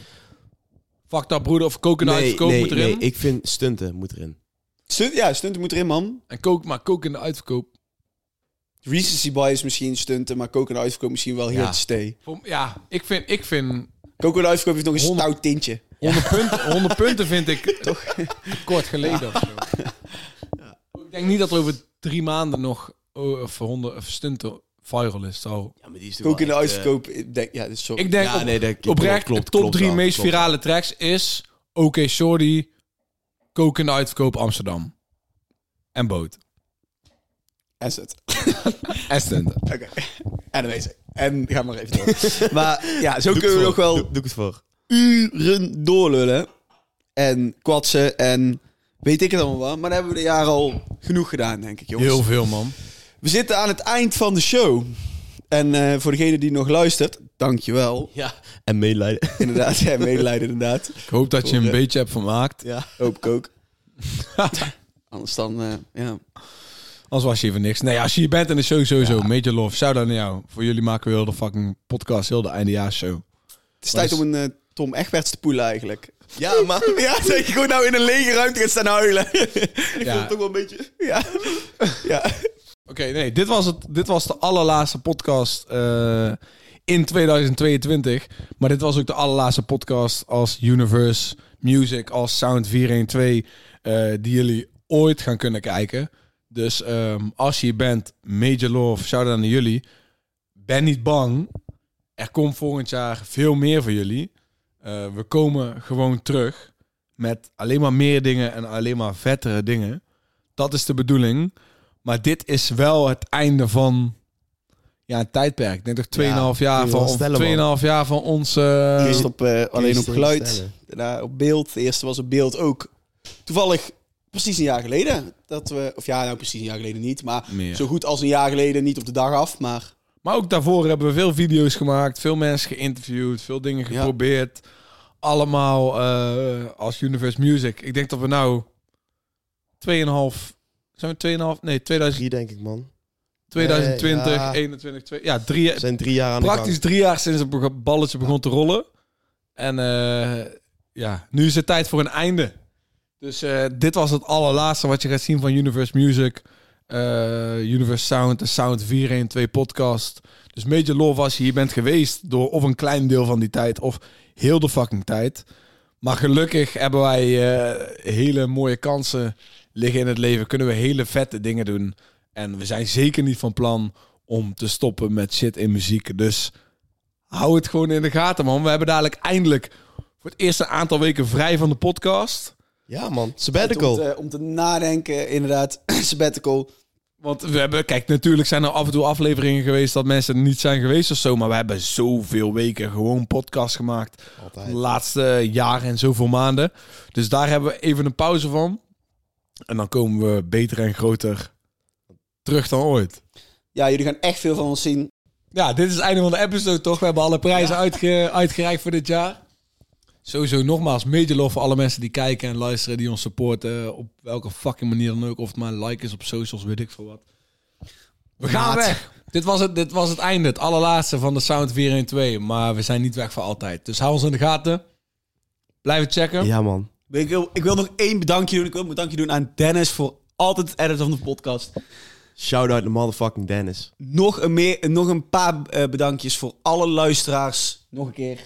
Speaker 1: Fuck dat broeder of kokende uitverkoop moet erin.
Speaker 3: nee, ik vind stunten moet erin.
Speaker 2: Stunt, ja, stunt moet erin, man.
Speaker 1: En kook, maar kokende uitverkoop.
Speaker 2: Recency bias misschien stunten, maar koken en uitverkoop misschien wel hier
Speaker 1: Ja.
Speaker 2: te stay.
Speaker 1: Voor- Ja, ik vind, ik vind
Speaker 2: Coco de Ijskoop heeft nog een
Speaker 1: Honderd-
Speaker 2: stout tintje.
Speaker 1: 100, punten, 100 punten vind ik toch te kort geleden of zo. Ik denk niet dat er over drie maanden nog oh, of 100 of stunten viral is. Zo.
Speaker 3: Ja, maar die is
Speaker 2: Coco de
Speaker 3: wel echt, eh,
Speaker 2: Ijskoop, ik denk, ja, dit is sorry.
Speaker 1: Ik denk op-
Speaker 3: nee, dat klopt,
Speaker 1: oprecht,
Speaker 3: klopt,
Speaker 1: de top
Speaker 3: klopt
Speaker 1: drie
Speaker 3: wel,
Speaker 1: meest
Speaker 3: klopt.
Speaker 1: virale tracks is OK Shorty, Coke in de Uitverkoop Amsterdam. En Boot.
Speaker 2: Asset.
Speaker 1: En stunten.
Speaker 2: Oké. En dan weet ik. En ga maar even door. maar ja, zo kunnen we nog wel
Speaker 3: Doe ik het voor.
Speaker 2: uren doorlullen. En kwatsen en weet ik het allemaal wel. Maar dat hebben we de jaren al genoeg gedaan, denk ik, jongens.
Speaker 1: Heel veel, man.
Speaker 2: We zitten aan het eind van de show. En eh, voor degene die nog luistert, dankjewel.
Speaker 3: Ja. En meeleiden.
Speaker 2: Inderdaad, ja, medelijden inderdaad.
Speaker 1: Ik hoop dat je een
Speaker 2: Voor, eh,
Speaker 1: beetje hebt vermaakt.
Speaker 3: ja.
Speaker 2: Hoop ik ook. Anders dan, eh, ja.
Speaker 1: Anders was je even niks. Nee, als je hier bent in de show sowieso, major love. Shout-out naar jou. Voor jullie maken we heel de fucking podcast, heel de eindejaarsshow.
Speaker 2: Het is tijd om een eh, Tom Egberts te poelen eigenlijk.
Speaker 3: Ja, maar... ik
Speaker 2: Ja, dat je gewoon nou in een lege ruimte gaat staan huilen.
Speaker 3: vind het ook wel een beetje...
Speaker 2: ja. ja.
Speaker 1: Oké, nee, dit was, het, dit was de allerlaatste podcast eh, in 2022. Maar dit was ook de allerlaatste podcast als Universe Music, als Sound 412, eh, die jullie ooit gaan kunnen kijken. Dus ehm, als je hier bent, major love, shout-out aan jullie. Ben niet bang. Er komt volgend jaar veel meer voor jullie. Eh, we komen gewoon terug met alleen maar meer dingen en alleen maar vettere dingen. Dat is de bedoeling. Maar dit is wel het einde van ja, een tijdperk. Ik denk toch 2,5 jaar,
Speaker 3: kun je wel
Speaker 1: van- of
Speaker 3: stellen, man.
Speaker 1: 2,5 jaar van ons... eh,
Speaker 2: Eerst op, eh, alleen op
Speaker 3: steeds
Speaker 2: geluid,
Speaker 3: stellen.
Speaker 2: daarna op beeld. De eerste was op beeld ook. Toevallig precies een jaar geleden dat we... Of ja, nou precies een jaar geleden niet. Maar
Speaker 1: Meer.
Speaker 2: zo goed als een jaar geleden niet op de dag af. Maar
Speaker 1: Maar ook daarvoor hebben we veel video's gemaakt, veel mensen geïnterviewd, veel dingen
Speaker 2: Ja.
Speaker 1: geprobeerd. Allemaal eh, als Universe Music. Ik denk dat we nou 2,5, zijn we 2,5, nee, 2000,
Speaker 3: Drie, denk ik, man.
Speaker 1: 2020,
Speaker 3: Nee, ja.
Speaker 1: 21, 2, ja, drie,
Speaker 3: We zijn drie jaar aan de
Speaker 1: praktisch
Speaker 3: gang.
Speaker 1: drie jaar sinds het beg- balletje begon te rollen. En eh, ja, nu is het tijd voor een einde. Dus eh, dit was het allerlaatste wat je gaat zien van Universe Music, eh, Universe Sound, de Sound 412 podcast. Dus Major Love als je hier bent geweest door of een klein deel van die tijd of heel de fucking tijd. Maar gelukkig hebben wij eh, hele mooie kansen liggen in het leven. Kunnen we hele vette dingen doen. En we zijn zeker niet van plan om te stoppen met shit in muziek. Dus hou het gewoon in de gaten, man. We hebben dadelijk eindelijk voor het eerst een aantal weken vrij van de podcast.
Speaker 3: Ja, man.
Speaker 2: om
Speaker 3: Sabbatical.
Speaker 2: te, om te nadenken, inderdaad. sabbatical.
Speaker 1: Want we hebben, kijk, natuurlijk zijn er af en toe afleveringen geweest dat mensen er niet zijn geweest of zo. Maar we hebben zoveel weken gewoon podcast gemaakt.
Speaker 3: Altijd.
Speaker 1: De laatste jaren en zoveel maanden. Dus daar hebben we even een pauze van. En dan komen we beter en groter terug dan ooit.
Speaker 2: Ja, jullie gaan echt veel van ons zien.
Speaker 1: Ja, dit is het einde van de episode, toch? We hebben alle prijzen uitge- uitgereikt voor dit jaar. Sowieso nogmaals, major love voor alle mensen die kijken en luisteren, die ons supporten. Op welke fucking manier dan ook. Of het maar een like is op socials, weet ik veel wat. We gaan
Speaker 3: Maat.
Speaker 1: weg. Dit was, het, dit was het einde, het allerlaatste van de Sound 412. Maar we zijn niet weg voor altijd. Dus hou ons in de gaten. Blijf het checken.
Speaker 3: Ja, man.
Speaker 2: Ik wil, ik wil nog één bedankje doen. Ik wil een bedankje doen aan Dennis voor altijd het editen van de podcast.
Speaker 3: Shout-out naar motherfucking Dennis.
Speaker 2: Nog een, meer, nog een paar eh, bedankjes voor alle luisteraars. Nog een keer.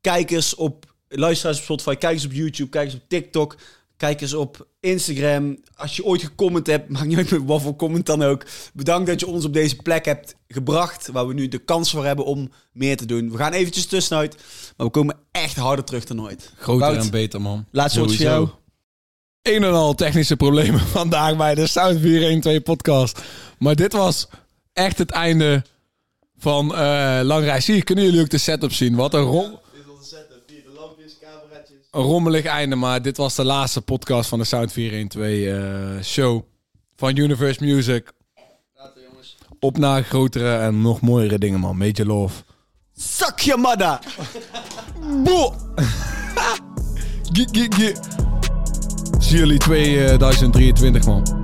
Speaker 2: Kijkers op, luisteraars op Spotify, kijkers op YouTube, kijkers op TikTok, kijkers op Instagram. Als je ooit gecomment hebt, maakt niet uit met wat voor comment dan ook. Bedankt dat je ons op deze plek hebt gebracht, waar we nu de kans voor hebben om meer te doen. We gaan eventjes tussenuit, maar we komen echt harder terug dan ooit.
Speaker 1: Groter
Speaker 2: Wout.
Speaker 1: en beter, man.
Speaker 2: Laatste woord voor
Speaker 3: Sowieso.
Speaker 2: jou.
Speaker 1: een en al technische problemen vandaag bij de Sound 412 podcast. Maar dit was echt het einde van eh Lang Reis. Hier kunnen jullie ook de setup zien. Wat een, rom
Speaker 3: Dit is onze setup. Hier, de lampjes, cameraatjes.
Speaker 1: een rommelig einde. Maar dit was de laatste podcast van de Sound 412 eh, show van Universe Music. Op naar grotere en nog mooiere dingen, man. Major love.
Speaker 2: Zak je madda!
Speaker 1: Boe! Gie, gie, gie. Zie jullie 2023, eh, man.